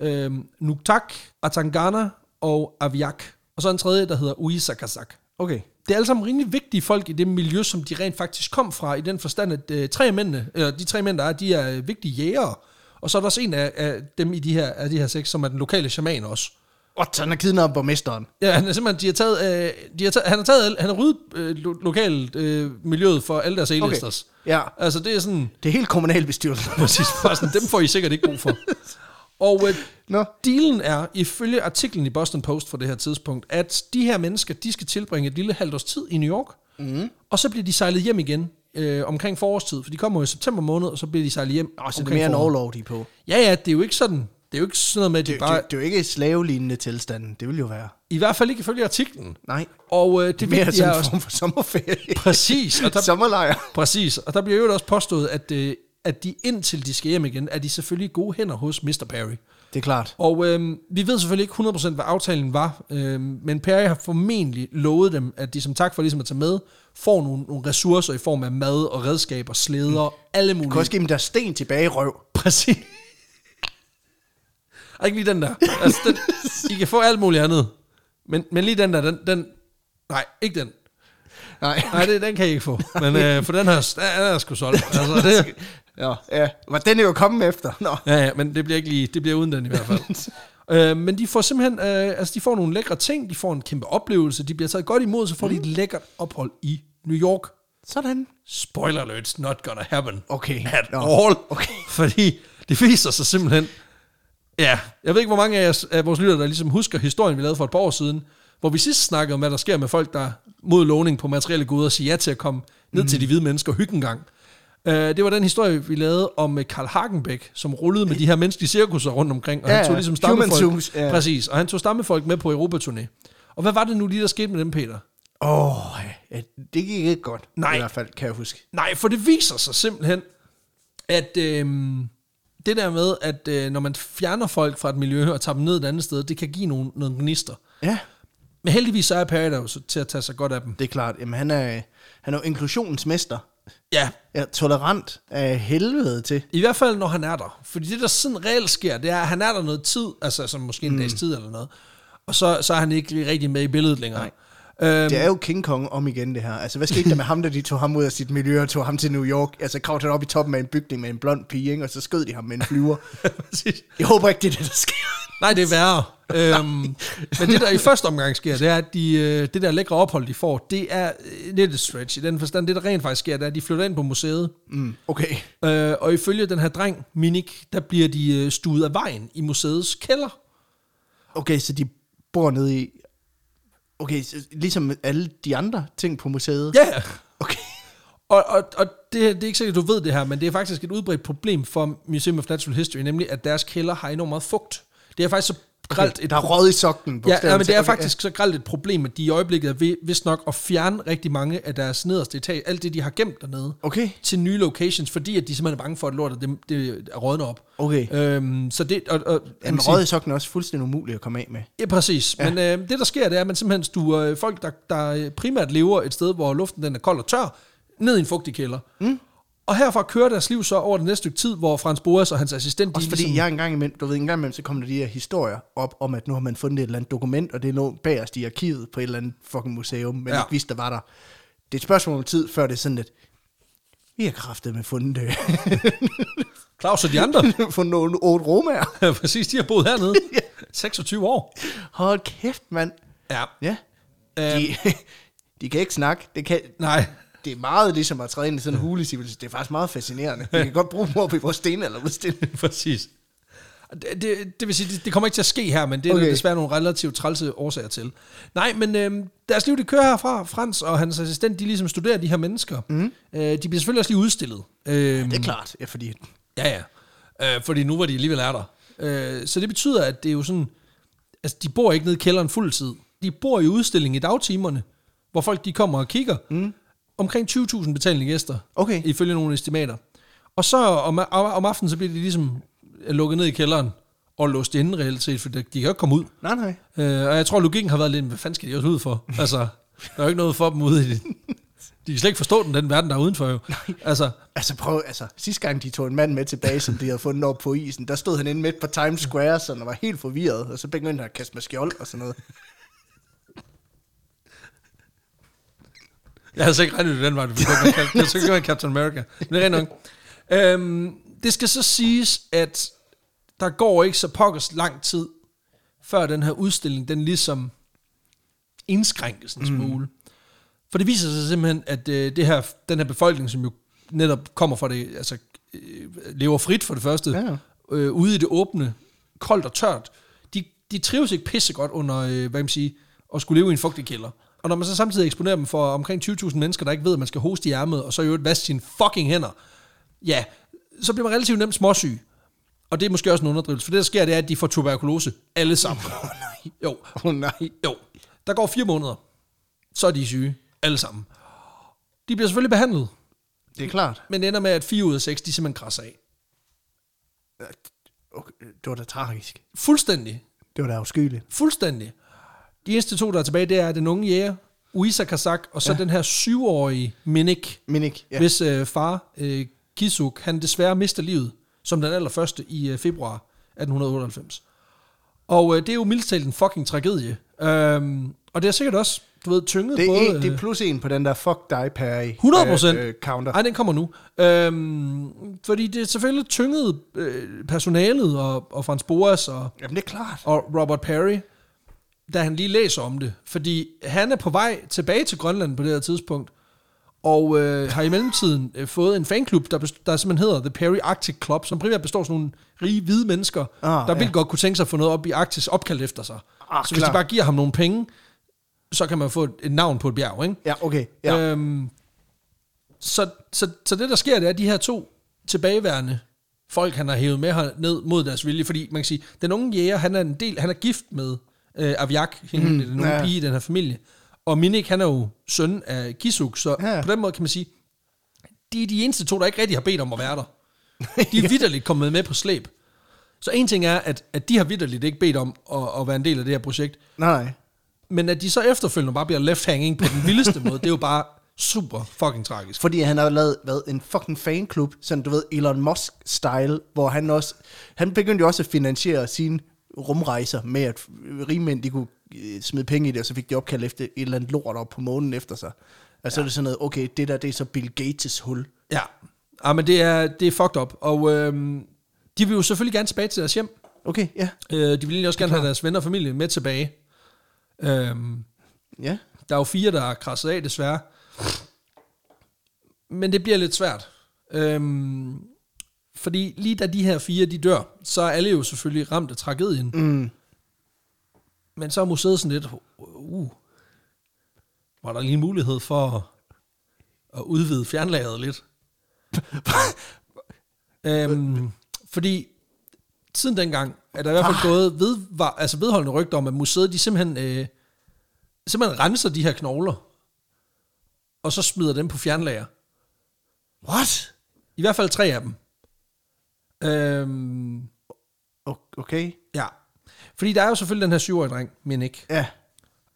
[SPEAKER 2] Øh, Nuktak, Atangana og Aviak. Og så en tredje, der hedder Uisakazak.
[SPEAKER 1] Okay.
[SPEAKER 2] Det er alle sammen rimelig vigtige folk i det miljø, som de rent faktisk kom fra, i den forstand, at øh, tre af mændene, eller de tre mænd, der er, de er øh, vigtige jægere. Og så er der også en af, af dem i de her, af de her seks, som er den lokale shaman også.
[SPEAKER 1] Og så han har kidnappet borgmesteren.
[SPEAKER 2] Ja, han er simpelthen, de har taget, øh, de har taget, han har taget, alle- han har ryddet øh, lo- lokalt øh, miljøet for alle deres A-listers.
[SPEAKER 1] Ja,
[SPEAKER 2] Altså det er sådan,
[SPEAKER 1] det er helt kommunalbestyrelsen.
[SPEAKER 2] præcis, bare sådan, dem får I sikkert ikke brug for. Og øh,
[SPEAKER 1] Nå,
[SPEAKER 2] dealen er, ifølge artiklen i Boston Post fra det her tidspunkt, at de her mennesker, de skal tilbringe et lille halvt års tid i New York,
[SPEAKER 1] Mhm.
[SPEAKER 2] mm. og så bliver de sejlet hjem igen øh, omkring forårstid, for de kommer jo i september måned, og så bliver de sejlet hjem
[SPEAKER 1] og så er det
[SPEAKER 2] omkring
[SPEAKER 1] mere en
[SPEAKER 2] foråret.
[SPEAKER 1] overlov, de er på.
[SPEAKER 2] Ja, ja, det er jo ikke sådan, det er jo ikke sådan noget med, at de
[SPEAKER 1] Det,
[SPEAKER 2] bare,
[SPEAKER 1] det, det er jo ikke slavelignende tilstanden, det vil jo være.
[SPEAKER 2] i hvert fald ikke ifølge artiklen.
[SPEAKER 1] Nej,
[SPEAKER 2] Og øh, det
[SPEAKER 1] mere
[SPEAKER 2] vigtige
[SPEAKER 1] sådan
[SPEAKER 2] er
[SPEAKER 1] en
[SPEAKER 2] også,
[SPEAKER 1] form for sommerferie.
[SPEAKER 2] præcis, og der
[SPEAKER 1] Sommerlejr.
[SPEAKER 2] Præcis, og der bliver jo også påstået, at, øh, at de indtil de skal hjem igen, er de selvfølgelig i gode hænder hos Mr. Perry.
[SPEAKER 1] Det er klart.
[SPEAKER 2] Og øh, vi ved selvfølgelig ikke 100% hvad aftalen var, øh, men Perry har formentlig lovet dem, at de som tak for ligesom at tage med, får nogle, nogle ressourcer i form af mad og redskaber, slæder, mm. alle
[SPEAKER 1] Du kan
[SPEAKER 2] mulige.
[SPEAKER 1] også give dem deres sten tilbage i røv.
[SPEAKER 2] Præcis. Ej, ikke lige den der. Altså, den, I kan få alt muligt andet. Men, men lige den der, den, den... Nej, ikke den.
[SPEAKER 1] Nej.
[SPEAKER 2] Nej, det, den kan I ikke få. Men øh, for den her, den er sgu solgt. Altså, det,
[SPEAKER 1] Ja, ja. Var den er jo kommet efter. Nå.
[SPEAKER 2] Ja, ja, men det bliver ikke lige, det bliver uden den i hvert fald. øh, men de får simpelthen, øh, altså de får nogle lækre ting, de får en kæmpe oplevelse, de bliver taget godt imod, så får mm. de et lækkert ophold i New York.
[SPEAKER 1] Sådan.
[SPEAKER 2] Spoiler alert, it's not gonna happen
[SPEAKER 1] Okay.
[SPEAKER 2] at
[SPEAKER 1] Nå.
[SPEAKER 2] all.
[SPEAKER 1] Okay.
[SPEAKER 2] Fordi det viser sig simpelthen, ja, jeg ved ikke, hvor mange af, jeres, af vores lytter, der ligesom husker historien, vi lavede for et par år siden, hvor vi sidst snakkede om, hvad der sker med folk, der mod lovning på materielle goder siger ja til at komme ned mm. til de hvide mennesker og hygge en gang. Uh, det var den historie, vi lavede om øh, Karl Hagenbæk, som rullede med de her menneskelige cirkusser rundt omkring, og ja,
[SPEAKER 1] Ja,
[SPEAKER 2] han tog
[SPEAKER 1] ja.
[SPEAKER 2] ligesom
[SPEAKER 1] Human
[SPEAKER 2] stammefolk,
[SPEAKER 1] zoos, ja.
[SPEAKER 2] præcis, og han tog stammefolk med på Europaturné. Og hvad var det nu lige, der skete med dem, Peter?
[SPEAKER 1] Åh, oh, ja, det gik ikke godt.
[SPEAKER 2] Nej.
[SPEAKER 1] I hvert fald, kan jeg huske.
[SPEAKER 2] Nej, for det viser sig simpelthen, at øh, det der med, at øh, når man fjerner folk fra et miljø og tager dem ned et andet sted, det kan give nogle, nogle gnister.
[SPEAKER 1] Ja,
[SPEAKER 2] Men heldigvis så er Perry der jo så til at tage sig godt af dem.
[SPEAKER 1] det er klart. Jamen, han er, han er jo inklusionsmester.
[SPEAKER 2] Ja,
[SPEAKER 1] Ja, tolerant af helvede til.
[SPEAKER 2] i hvert fald når han er der. Fordi det der sådan reelt sker, det er, at han er der noget tid, altså som måske en mm. dags tid eller noget. Og så, så er han ikke rigtig med i billedet længere. Øhm,
[SPEAKER 1] Det er jo King Kong om igen, det her. Altså, hvad skete der med ham, da de tog ham ud af sit miljø og tog ham til New York? Altså, kravlede han op i toppen af en bygning med en blond pige, ikke? og så skød de ham med en flyver.
[SPEAKER 2] præcis.
[SPEAKER 1] Jeg håber ikke, det er det, der sker.
[SPEAKER 2] Nej, det er værre. øhm, men det, der i første omgang sker, det er, at de, øh, det der lækre ophold, de får, det er øh, lidt et stretch i den forstand. Det, der rent faktisk sker, det er, at de flytter ind på museet,
[SPEAKER 1] Mm, okay.
[SPEAKER 2] øh, og ifølge den her dreng, Minik, der bliver de øh, stuet af vejen i museets kælder.
[SPEAKER 1] Okay, så de bor nede i... Okay, så ligesom alle de andre ting på museet?
[SPEAKER 2] Ja, yeah.
[SPEAKER 1] Okay.
[SPEAKER 2] og, og, og det, det er ikke sikkert, du ved det her, men det er faktisk et udbredt problem for Museum of Natural History, nemlig at deres kælder har enormt meget fugt. Det er faktisk så grelt
[SPEAKER 1] Der er røget i sokken.
[SPEAKER 2] Ja, ja, men det er
[SPEAKER 1] Okay,
[SPEAKER 2] faktisk så grelt et problem, at de i øjeblikket er ved, vist nok at fjerne rigtig mange af deres nederste etage, alt det, de har gemt dernede,
[SPEAKER 1] Okay.
[SPEAKER 2] til nye locations, fordi at de simpelthen er bange for, at lortet det, det rådner op.
[SPEAKER 1] Okay.
[SPEAKER 2] Øhm, så det, og, og, man
[SPEAKER 1] Jamen,
[SPEAKER 2] kan sige-
[SPEAKER 1] røget i sokken er også fuldstændig umuligt at komme af med.
[SPEAKER 2] Ja, præcis. Ja. Men øh, det, der sker, det er, at man simpelthen stuer øh, folk, der, der øh, primært lever et sted, hvor luften den er kold og tør, ned i en fugtig kælder. Mm. Og herfra kører deres liv så over det næste stykke tid, hvor Frans Boas og hans assistent... ligesom
[SPEAKER 1] Også fordi jeg engang imellem, du ved, engang imellem, så kommer der de her historier op om, at nu har man fundet et eller andet dokument, og det lå bagerst i arkivet på et eller andet fucking museum, men
[SPEAKER 2] Ja.
[SPEAKER 1] ja. ikke vidste, der var der. Det er et spørgsmål om tid, før det er sådan lidt, vi har kraftet med fundet, øh,
[SPEAKER 2] Claus og de andre,
[SPEAKER 1] fundet nogle otte romager.
[SPEAKER 2] præcis, de har boet hernede. 26 år.
[SPEAKER 1] Hold kæft, mand.
[SPEAKER 2] Ja.
[SPEAKER 1] Ja.
[SPEAKER 2] Øhm,
[SPEAKER 1] De, de kan ikke snakke. Det, kan,
[SPEAKER 2] nej.
[SPEAKER 1] det er meget ligesom at træde ind i sådan en hulecivilisation. Det er faktisk meget fascinerende. Vi kan godt bruge dem op i vores stenalderudstille.
[SPEAKER 2] Præcis. Det, det, det vil sige, det, det kommer ikke til at ske her, men det er okay.
[SPEAKER 1] Okay.
[SPEAKER 2] desværre nogle relativt trælse årsager til. Nej, men øh, deres liv, det kører herfra. Frans og hans assistent, de ligesom studerer de her mennesker. Mm. Øh, de bliver selvfølgelig også lige udstillet. Øh,
[SPEAKER 1] Det er klart, ja, fordi
[SPEAKER 2] Ja, ja. Øh, fordi nu var de alligevel er der. Øh, så det betyder, at det er jo sådan... Altså, de bor ikke nede i kælderen fuld tid. De bor i udstilling i dagtimerne, hvor folk de kommer og kigger. Mm. Omkring 20.000 betalende gæster,
[SPEAKER 1] Okay.
[SPEAKER 2] ifølge nogle estimater. Og så om, om, om aftenen, så bliver de ligesom lukket ned i kælderen og låst inde reelt set, for de de kan jo ikke komme ud.
[SPEAKER 1] Nej, nej.
[SPEAKER 2] Øh, og jeg tror, logikken har været lidt, hvad fanden skal de også ud for? Altså, der er jo ikke noget for dem ude i det. De kan slet ikke forstå den, den verden, der er udenfor jo. Altså,
[SPEAKER 1] Altså prøv, altså sidste gang de tog en mand med tilbage, som de havde fundet op på isen, der stod han inde midt på Times Square, så han var helt forvirret, og så begyndte han at kaste med skjold og sådan noget.
[SPEAKER 2] Jeg havde så ikke regnet med den vej, det ville være, jeg synes, det var Captain America. Men det er rent nok. Øhm, det skal så siges, at der går ikke så pokkers lang tid, før den her udstilling, den ligesom indskrænkes
[SPEAKER 1] Mm.
[SPEAKER 2] en smule. For det viser sig simpelthen, at øh, det her, den her befolkning, som jo netop kommer fra det, altså øh, lever frit for det første,
[SPEAKER 1] Ja.
[SPEAKER 2] øh, ude i det åbne, koldt og tørt, de, de trives ikke pissegodt under, øh, hvad kan man sige, at skulle leve i en fugtig kælder. Og når man så samtidig eksponerer dem for omkring 20.000 mennesker, der ikke ved, at man skal hoste i ærmet, og så i øvrigt vaske sine fucking hænder, ja, så bliver man relativt nemt småsyg. Og det er måske også en underdrivelse, for det der sker, det er, at de får tuberkulose alle sammen. nej. Jo,
[SPEAKER 1] Åh oh, nej.
[SPEAKER 2] jo. Der går fire måneder, så er de syge alle sammen. De bliver selvfølgelig behandlet,
[SPEAKER 1] Det er klart.
[SPEAKER 2] men det ender med, at fire ud af seks, de simpelthen krasser af.
[SPEAKER 1] Okay, det var da tragisk.
[SPEAKER 2] Fuldstændig.
[SPEAKER 1] Det var da afskyeligt.
[SPEAKER 2] Fuldstændig. De eneste to, der er tilbage, det er den unge jæger, Uisa Kazak, og så ja. den her syvårige Minik,
[SPEAKER 1] Men ikke,
[SPEAKER 2] ja.
[SPEAKER 1] ja.
[SPEAKER 2] hvis øh, far, øh, Kisuk, han desværre mister livet, som den allerførste i øh, februar 1898. Og øh, det er jo mildest talt en fucking tragedie. Øhm, og det er sikkert også, du ved, tynget
[SPEAKER 1] Det er,
[SPEAKER 2] både...
[SPEAKER 1] en, det er plus en på den der fuck dig pære
[SPEAKER 2] 100%.
[SPEAKER 1] counter.
[SPEAKER 2] Ej, den kommer nu. Øhm, fordi det er selvfølgelig tyngede øh, personalet og, og Frans Boas og,
[SPEAKER 1] Jamen det er klart.
[SPEAKER 2] og Robert Perry, da han lige læser om det. Fordi han er på vej tilbage til Grønland på det her tidspunkt, og øh, har i mellemtiden øh, fået en fanklub, der, best- der simpelthen hedder The Perry Arctic Club, som primært består af sådan nogle rige hvide mennesker,
[SPEAKER 1] Ah,
[SPEAKER 2] der
[SPEAKER 1] ja.
[SPEAKER 2] vildt godt kunne tænke sig at få noget op i Arktis opkaldt efter sig.
[SPEAKER 1] Ah,
[SPEAKER 2] så hvis de
[SPEAKER 1] klar.
[SPEAKER 2] bare giver ham nogle penge, så kan man få et, et navn på et bjerg, ikke?
[SPEAKER 1] Ja, okay. Ja.
[SPEAKER 2] Ja. Øhm, så, så, så det, der sker, det er, at de her to tilbageværende folk, han har hævet med her ned mod deres vilje, fordi man kan sige, den unge jæger, han er en del, han er gift med øh, Aviak, hende, mm, den unge ja.
[SPEAKER 1] ja.
[SPEAKER 2] pige i den her familie, og Minik, han er jo søn af Kisuk, så ja.
[SPEAKER 1] Ja.
[SPEAKER 2] på den måde kan man sige, de er de eneste to, der ikke rigtig har bedt om at være der. De er vidderligt kommet med på slæb. Så en ting er, at, at de har vidderligt ikke bedt om at, at være en del af det her projekt,
[SPEAKER 1] nej, nej.
[SPEAKER 2] men at de så efterfølgende bare bliver left hanging på den vildeste måde, det er jo bare super fucking tragisk.
[SPEAKER 1] Fordi han har lavet hvad, en fucking fanklub, sådan du ved, Elon Musk-style, hvor han også, han begyndte jo også at finansiere sine rumrejser med, at rigmænd, de kunne øh, smide penge i det, og så fik de opkaldt efter et eller andet lort op på månen efter sig. Og så ja. er det sådan noget, okay, det der, det er så Bill Gates' hul.
[SPEAKER 2] Ja, ja men det er, det er fucked up. Og øhm, de vil jo selvfølgelig gerne tilbage til deres hjem.
[SPEAKER 1] Okay, ja,
[SPEAKER 2] Øh, de vil egentlig også gerne have deres venner og familie med tilbage. Øhm,
[SPEAKER 1] ja.
[SPEAKER 2] der er jo fire, der er krasset af, desværre. Men det bliver lidt svært. Øhm, fordi lige da de her fire, de dør, så er alle jo selvfølgelig ramt af tragedien.
[SPEAKER 1] Mm.
[SPEAKER 2] Men så er museet sådan lidt, uh, var der lige en mulighed for at, at udvide fjernlageret lidt? øhm, fordi siden dengang er der i hvert fald gået ved, var, altså vedholdende rygter om, at museet de simpelthen, øh, simpelthen renser de her knogler, og så smider dem på fjernlager.
[SPEAKER 1] What?
[SPEAKER 2] I hvert fald tre af dem. Øhm,
[SPEAKER 1] O- Okay,
[SPEAKER 2] ja. Fordi der er jo selvfølgelig den her syvårige dreng, men ikke.
[SPEAKER 1] ja.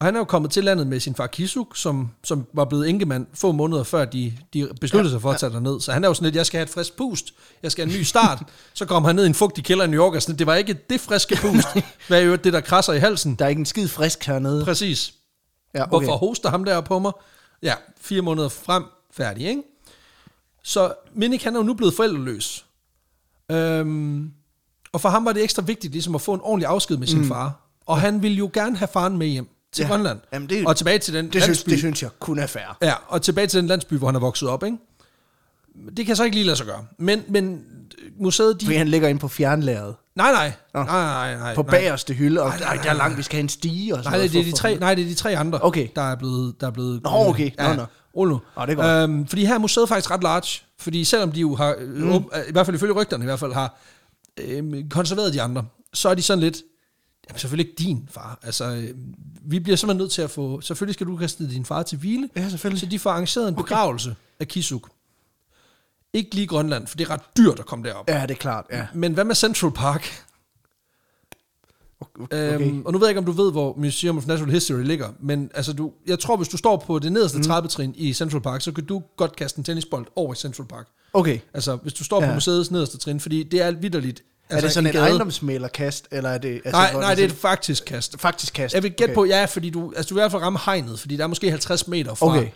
[SPEAKER 2] Og han er jo kommet til landet med sin far Kisuk, som, som var blevet enkemand få måneder før de, de besluttede sig for at tage derned. Så han er jo sådan lidt, jeg skal have et frisk pust, jeg skal have en ny start. så kom han ned i en fugtig kælder i New York, og sådan, det var ikke det friske pust, hvad er jo det, der krasser i halsen.
[SPEAKER 1] Der er ikke en skid frisk hernede.
[SPEAKER 2] Præcis.
[SPEAKER 1] Ja,
[SPEAKER 2] Okay. Hvorfor hoster ham der på mig? Ja, fire måneder frem, færdig, ikke? Så Minik, han er jo nu blevet forældreløs. Øhm, og for ham var det ekstra vigtigt ligesom at få en ordentlig afsked med sin mm. far. Og han ville jo gerne have faren med hjem til
[SPEAKER 1] Ja.
[SPEAKER 2] ja. Grønland.
[SPEAKER 1] Jamen, det er jo-
[SPEAKER 2] og tilbage til den
[SPEAKER 1] Det synes,
[SPEAKER 2] landsby.
[SPEAKER 1] det synes jeg kun er fair.
[SPEAKER 2] Ja, og tilbage til den landsby, hvor han er vokset op, ikke? Det kan så ikke lige lade sig gøre. Men, men øh, museet, de...
[SPEAKER 1] Fordi han ligger inde på fjernlæret.
[SPEAKER 2] Nej, nej.
[SPEAKER 1] Nå.
[SPEAKER 2] Nej, nej, nej.
[SPEAKER 1] På
[SPEAKER 2] nej.
[SPEAKER 1] bagerste hylde, og
[SPEAKER 2] Ej, nej,
[SPEAKER 1] nej, der er langt, vi skal have en stige og sådan
[SPEAKER 2] Nej,
[SPEAKER 1] noget.
[SPEAKER 2] det er
[SPEAKER 1] for-
[SPEAKER 2] de
[SPEAKER 1] for-
[SPEAKER 2] tre, nej, det er de tre andre,
[SPEAKER 1] Okay.
[SPEAKER 2] der er blevet... Der er blevet
[SPEAKER 1] Nå, okay. Nå, nå.
[SPEAKER 2] Rul nu.
[SPEAKER 1] Nå, det er
[SPEAKER 2] øhm, fordi her er museet faktisk ret large, fordi selvom de jo har, mm. åb, i hvert fald ifølge rygterne i hvert fald, har øhm, konserveret de andre, så er de sådan lidt, jamen selvfølgelig ikke din far, altså øh, vi bliver simpelthen nødt til at få, selvfølgelig skal du kaste din far til hvile,
[SPEAKER 1] Ja, selvfølgelig.
[SPEAKER 2] så de får arrangeret en begravelse okay. af Kisuk. Ikke lige Grønland, for det er ret dyrt at komme derop.
[SPEAKER 1] Ja, det er klart, ja.
[SPEAKER 2] Men hvad med Central Park?
[SPEAKER 1] Okay.
[SPEAKER 2] Øhm, Og nu ved jeg ikke, om du ved, hvor Museum of Natural History ligger, men altså, du, jeg tror, hvis du står på det nederste
[SPEAKER 1] Mhm.
[SPEAKER 2] mm. trappetrin i Central Park, så kan du godt kaste en tennisbold over i Central Park.
[SPEAKER 1] Okay.
[SPEAKER 2] Altså, hvis du står ja.
[SPEAKER 1] Ja.
[SPEAKER 2] på museets nederste trin, fordi det er vidderligt.
[SPEAKER 1] Er
[SPEAKER 2] Altså,
[SPEAKER 1] det sådan en,
[SPEAKER 2] gade-
[SPEAKER 1] ejendomsmælerkast, eller er det... Altså,
[SPEAKER 2] Nej,
[SPEAKER 1] hvor
[SPEAKER 2] nej, det er et
[SPEAKER 1] sådan-
[SPEAKER 2] faktisk kast.
[SPEAKER 1] faktisk kast.
[SPEAKER 2] Jeg vil gætte okay. på, ja, fordi du, altså, du vil i hvert fald ramme hegnet, fordi der er måske 50 meter fra.
[SPEAKER 1] Okay.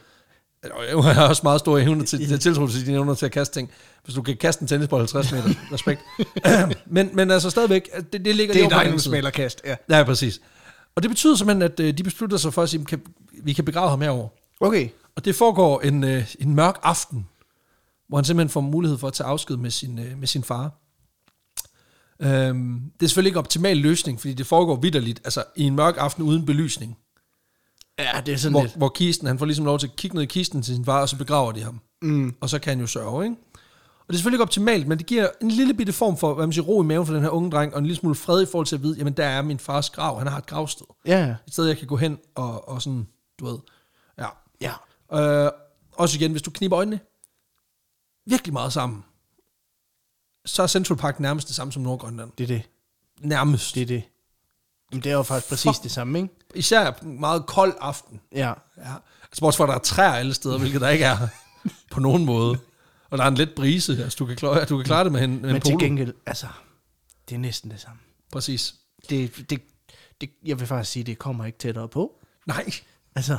[SPEAKER 2] Og Jeg har også meget store evner til, til tiltro til dine evner til at kaste ting. Hvis du kan kaste en tennisbold 50 meter, respekt. men, men altså stadigvæk, det, det ligger
[SPEAKER 1] Det er et
[SPEAKER 2] lige over på den anden side.
[SPEAKER 1] ejendomsmælerkast, ja.
[SPEAKER 2] Ja, præcis. Og det betyder simpelthen, at øh, de beslutter sig for at sige, kan, vi kan begrave ham herover.
[SPEAKER 1] Okay.
[SPEAKER 2] Og det foregår en, øh, en mørk aften, hvor han simpelthen får mulighed for at tage afsked med sin, øh, med sin far. Øhm, det er selvfølgelig ikke en optimal løsning, fordi det foregår vidderligt, altså i en mørk aften uden belysning,
[SPEAKER 1] Ja, det er sådan
[SPEAKER 2] hvor,
[SPEAKER 1] lidt...
[SPEAKER 2] hvor kisten, han får ligesom lov til at kigge ned i kisten til sin far, og så begraver de ham. Mm. Og så kan han jo sørge, ikke? Og det er selvfølgelig ikke optimalt, men det giver en lille bitte form for hvad man siger, ro i maven for den her unge dreng, og en lille smule fred i forhold til at vide, jamen der er min fars grav, han har et gravsted
[SPEAKER 1] Ja, ja.
[SPEAKER 2] et sted, jeg kan gå hen og, og sådan, du ved. Ja.
[SPEAKER 1] ja.
[SPEAKER 2] Øh, også igen, hvis du kniber øjnene virkelig meget sammen, så er Central Park nærmest det samme som Nordgrønland.
[SPEAKER 1] Det er det.
[SPEAKER 2] Nærmest.
[SPEAKER 1] Det er det. Jamen, det er jo faktisk præcis det samme, ikke?
[SPEAKER 2] Især en meget kold aften.
[SPEAKER 1] Ja.
[SPEAKER 2] Ja. Altså, bortset fra, at der er træer alle steder, hvilket der ikke er på nogen måde. Og der er en let brise, altså du kan klare, du kan klare det med en, med
[SPEAKER 1] Men
[SPEAKER 2] en
[SPEAKER 1] til
[SPEAKER 2] polo.
[SPEAKER 1] gengæld, altså, det er næsten det samme.
[SPEAKER 2] Præcis.
[SPEAKER 1] Det, det, det, jeg vil faktisk sige, det kommer ikke tættere på.
[SPEAKER 2] Nej,
[SPEAKER 1] Altså,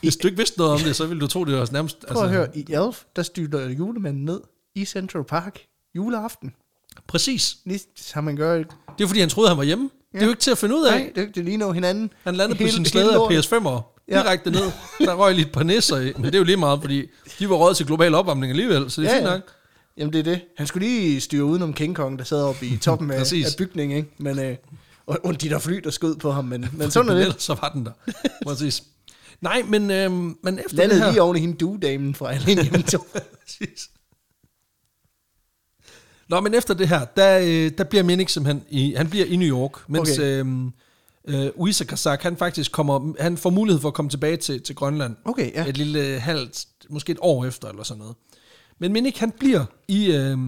[SPEAKER 2] hvis du ikke vidste noget om det, så ville du tro, det var nærmest... altså,
[SPEAKER 1] prøv at høre, i Elf, der styrter julemanden ned i Central Park juleaften.
[SPEAKER 2] Præcis.
[SPEAKER 1] Lige som man gør.
[SPEAKER 2] Det er fordi, han troede, han var hjemme. Ja. Det er jo ikke til at finde ud af.
[SPEAKER 1] Nej, det, det ligner jo hinanden.
[SPEAKER 2] Han landede på
[SPEAKER 1] Hele-
[SPEAKER 2] sin
[SPEAKER 1] hele
[SPEAKER 2] slæde af
[SPEAKER 1] lortet.
[SPEAKER 2] PS5'er,
[SPEAKER 1] Ja.
[SPEAKER 2] direkte ned. Der røg lige et par nisser i, men det er jo lige meget, fordi de var råd til global opvarmning alligevel, så det er
[SPEAKER 1] Ja,
[SPEAKER 2] ja, fint
[SPEAKER 1] ja.
[SPEAKER 2] nok.
[SPEAKER 1] Jamen, det er det. Han skulle lige styre udenom King Kong, der sad oppe i toppen af,
[SPEAKER 2] Præcis.
[SPEAKER 1] af bygningen, ikke? Men, øh, og, og de der fly, der skød på ham, men, men sådan er det.
[SPEAKER 2] Ellers så var den der. Præcis. Nej, men, øhm, men efter det
[SPEAKER 1] Landede
[SPEAKER 2] her...
[SPEAKER 1] lige oven i hende duedamen fra alene hjemme to.
[SPEAKER 2] Præcis. Nå, men efter det her, der, øh, der bliver Minik simpelthen i, han bliver i New York, mens
[SPEAKER 1] Okay.
[SPEAKER 2] okay. øhm, øh, Uisa Kazak, han faktisk kommer, han får mulighed for at komme tilbage til, til Grønland.
[SPEAKER 1] Okay, ja.
[SPEAKER 2] Et lille øh, halvt, måske et år efter eller sådan noget. Men Minik, han bliver i, øh,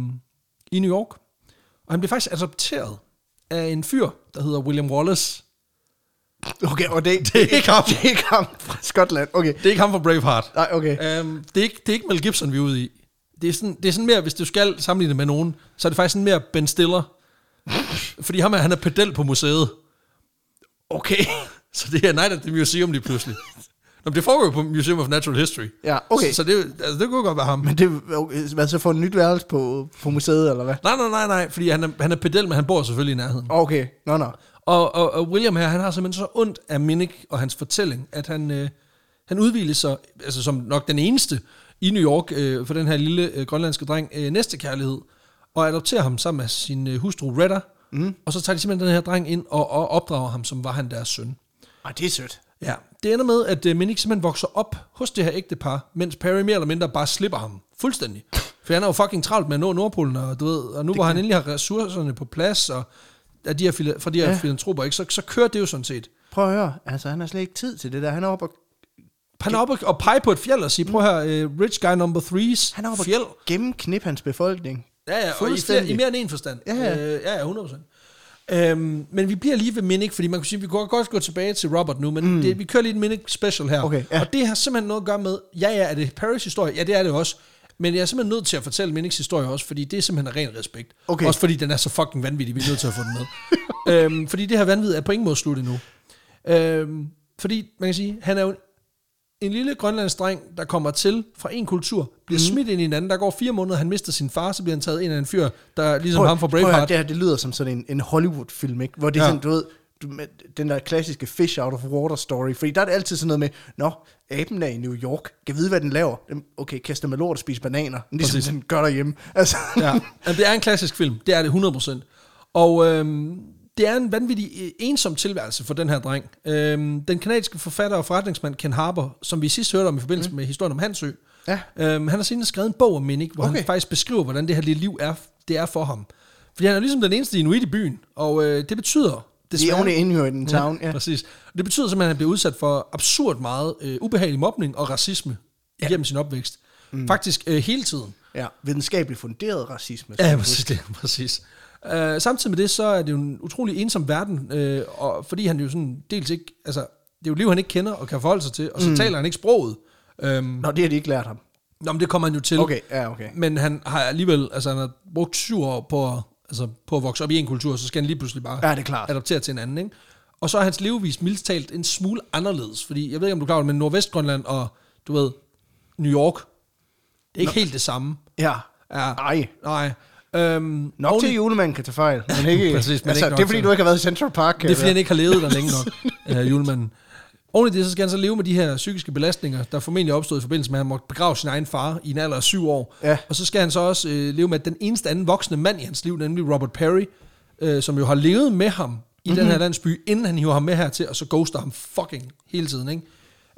[SPEAKER 2] i New York, og han bliver faktisk adopteret af en fyr, der hedder William Wallace.
[SPEAKER 1] Okay, og det,
[SPEAKER 2] Det er ikke ham.
[SPEAKER 1] Det er ikke ham fra Skotland. Okay.
[SPEAKER 2] Det er ikke ham fra Braveheart.
[SPEAKER 1] Nej, okay.
[SPEAKER 2] Um, det, er ikke, det er ikke Mel Gibson, vi er ude i. Det er, sådan, det er sådan mere, hvis du skal sammenligne det med nogen, så er det faktisk sådan mere Ben Stiller. Fordi ham er, han er pedel på museet.
[SPEAKER 1] Okay.
[SPEAKER 2] Så det er Night at the Museum lige pludselig. Nå, men det foregår jo på Museum of Natural History.
[SPEAKER 1] Ja, okay.
[SPEAKER 2] Så, så det, er jo- altså, det kunne godt være ham.
[SPEAKER 1] Men det, okay, hvad så får en nyt værelse på, på museet, eller hvad?
[SPEAKER 2] Nej, nej, nej, nej, fordi han er, han er pedel, men han bor selvfølgelig i nærheden.
[SPEAKER 1] Okay, nå, nå.
[SPEAKER 2] Og, og, og William her, han har simpelthen så ondt af Minnick og hans fortælling, at han, øh, han udvilede sig, altså som nok den eneste i New York, øh, for den her lille øh, grønlandske dreng, øh, næste kærlighed, og adopterer ham sammen med sin øh, hustru Retta, mm. og så tager de simpelthen den her dreng ind og, og opdrager ham, som var han deres søn.
[SPEAKER 1] Ej, det er sødt.
[SPEAKER 2] Ja, det ender med, at øh, Minnick simpelthen vokser op hos det her ægtepar, mens Perry mere eller mindre bare slipper ham fuldstændig. For han er jo fucking travlt med at nå Nordpolen, og, du ved, og nu hvor han endelig har ressourcerne på plads, og af de her, fila- fra de her
[SPEAKER 1] Ja.
[SPEAKER 2] ja. filantroper, ikke, så, så kører det jo sådan set.
[SPEAKER 1] Prøv at høre, altså han har slet ikke tid til det der. Han er oppe og,
[SPEAKER 2] Han er oppe og, og pege på et fjeld og sige, prøv her, øh, rich guy number threes,
[SPEAKER 1] han er oppe
[SPEAKER 2] fjeld.
[SPEAKER 1] og gennemknip hans befolkning.
[SPEAKER 2] Ligesom Ja, ja, og i, flere,
[SPEAKER 1] Fuldstændig.
[SPEAKER 2] i mere end en forstand.
[SPEAKER 1] Ja, ja.
[SPEAKER 2] øh, ja, ja 100%. Øhm, men vi bliver lige ved Minnick, fordi man kunne sige, vi kunne godt gå tilbage til Robert nu, men mm. det, vi kører lige en Minnick special her.
[SPEAKER 1] Okay, ja.
[SPEAKER 2] Og det har simpelthen noget at gøre med, ja, ja, er det Paris historie? Ja, det er det også. Men jeg er simpelthen nødt til at fortælle Minnicks historie også, fordi det er simpelthen ren respekt.
[SPEAKER 1] Okay.
[SPEAKER 2] Også fordi den er så fucking vanvittig, vi er nødt til at få den med. øhm, fordi det her vanvid er på ingen måde slut endnu. Øhm, fordi man kan sige, han er jo en, en lille grønlandsdreng, der kommer til fra en kultur, bliver
[SPEAKER 1] Mhm.
[SPEAKER 2] mm. smidt ind i en anden, der går fire måneder, han mister sin far, så bliver han taget ind af en fyr, der ligesom ham fra
[SPEAKER 1] prøv at høre,
[SPEAKER 2] Braveheart.
[SPEAKER 1] det her, det lyder som sådan en, en Hollywood-film, ikke? Hvor det er
[SPEAKER 2] Ja.
[SPEAKER 1] sådan, du ved, du, med den der klassiske fish out of water story. Fordi der er det altid sådan noget med, nå, aben er i New York, kan vide, hvad den laver. Den, okay, kaster med lort og spise bananer, ligesom
[SPEAKER 2] Præcis.
[SPEAKER 1] Præcis. den gør derhjemme. Altså,
[SPEAKER 2] Ja. Jamen, det er en klassisk film. Det er det 100%. Og øhm, det er en vanvittig øh, ensom tilværelse for den her dreng. Øhm, den kanadiske forfatter og forretningsmand Ken Harper, som vi sidst hørte om i forbindelse
[SPEAKER 1] Mhm.
[SPEAKER 2] med historien om Hansø,
[SPEAKER 1] Ja.
[SPEAKER 2] øhm, han har senere skrevet en bog om Minik, hvor okay.
[SPEAKER 1] Okay.
[SPEAKER 2] han faktisk beskriver, hvordan det her lille liv er, det er for ham. Fordi han er ligesom den eneste inuit i byen, og øh, det betyder...
[SPEAKER 1] the
[SPEAKER 2] desværre-
[SPEAKER 1] only in here in town. Ja.
[SPEAKER 2] Præcis. Det betyder simpelthen, at han bliver udsat for absurd meget øh, ubehagelig mobning og racisme ja. igennem sin opvækst. Mm. Faktisk øh, hele tiden.
[SPEAKER 1] ja. Videnskabeligt funderet racisme.
[SPEAKER 2] Ja, præcis. Det, præcis. Uh, samtidig med det, så er det jo en utrolig ensom verden, uh, og fordi han jo sådan dels ikke, altså, det er jo et liv, han ikke kender og kan forholde sig til, og så mm. taler han ikke sproget. Um,
[SPEAKER 1] Nå, det har de ikke lært ham.
[SPEAKER 2] nå, men det kommer han jo til.
[SPEAKER 1] Okay, ja, okay.
[SPEAKER 2] Men han har alligevel, altså han har brugt syv år på, at- altså, på at vokse op i en kultur, så skal han lige pludselig bare
[SPEAKER 1] Ja, det er klart.
[SPEAKER 2] adoptere til en anden, ikke? Og så er hans levevis mildst talt en smule anderledes, fordi jeg ved ikke, om du er klar over det, men Nordvestgrønland og, du ved, New York, det er ikke Nå. helt det samme.
[SPEAKER 1] Ja.
[SPEAKER 2] Ja.
[SPEAKER 1] Ej.
[SPEAKER 2] Nej. Øhm,
[SPEAKER 1] Ah. Nok
[SPEAKER 2] oven i-
[SPEAKER 1] til julemanden kan tage fejl, men ikke...
[SPEAKER 2] Præcis, men
[SPEAKER 1] altså,
[SPEAKER 2] ikke nok
[SPEAKER 1] det er fordi,
[SPEAKER 2] til-
[SPEAKER 1] du ikke har været i Central Park. kan
[SPEAKER 2] Det er
[SPEAKER 1] jeg
[SPEAKER 2] fordi, han ikke har levet der længe nok, øh, julemanden. Oven i det, så skal han så leve med de her psykiske belastninger, der formentlig opstod i forbindelse med, at han måtte begrave sin egen far i en alder af syv år.
[SPEAKER 1] Ja.
[SPEAKER 2] Og så skal han så også øh, leve med, at den eneste anden voksne mand i hans liv, nemlig Robert Perry, øh, som jo har levet med ham i
[SPEAKER 1] Mhm.
[SPEAKER 2] mm-hmm. den her landsby, inden han hiver ham med hertil, og så ghoster ham fucking hele tiden, ikke?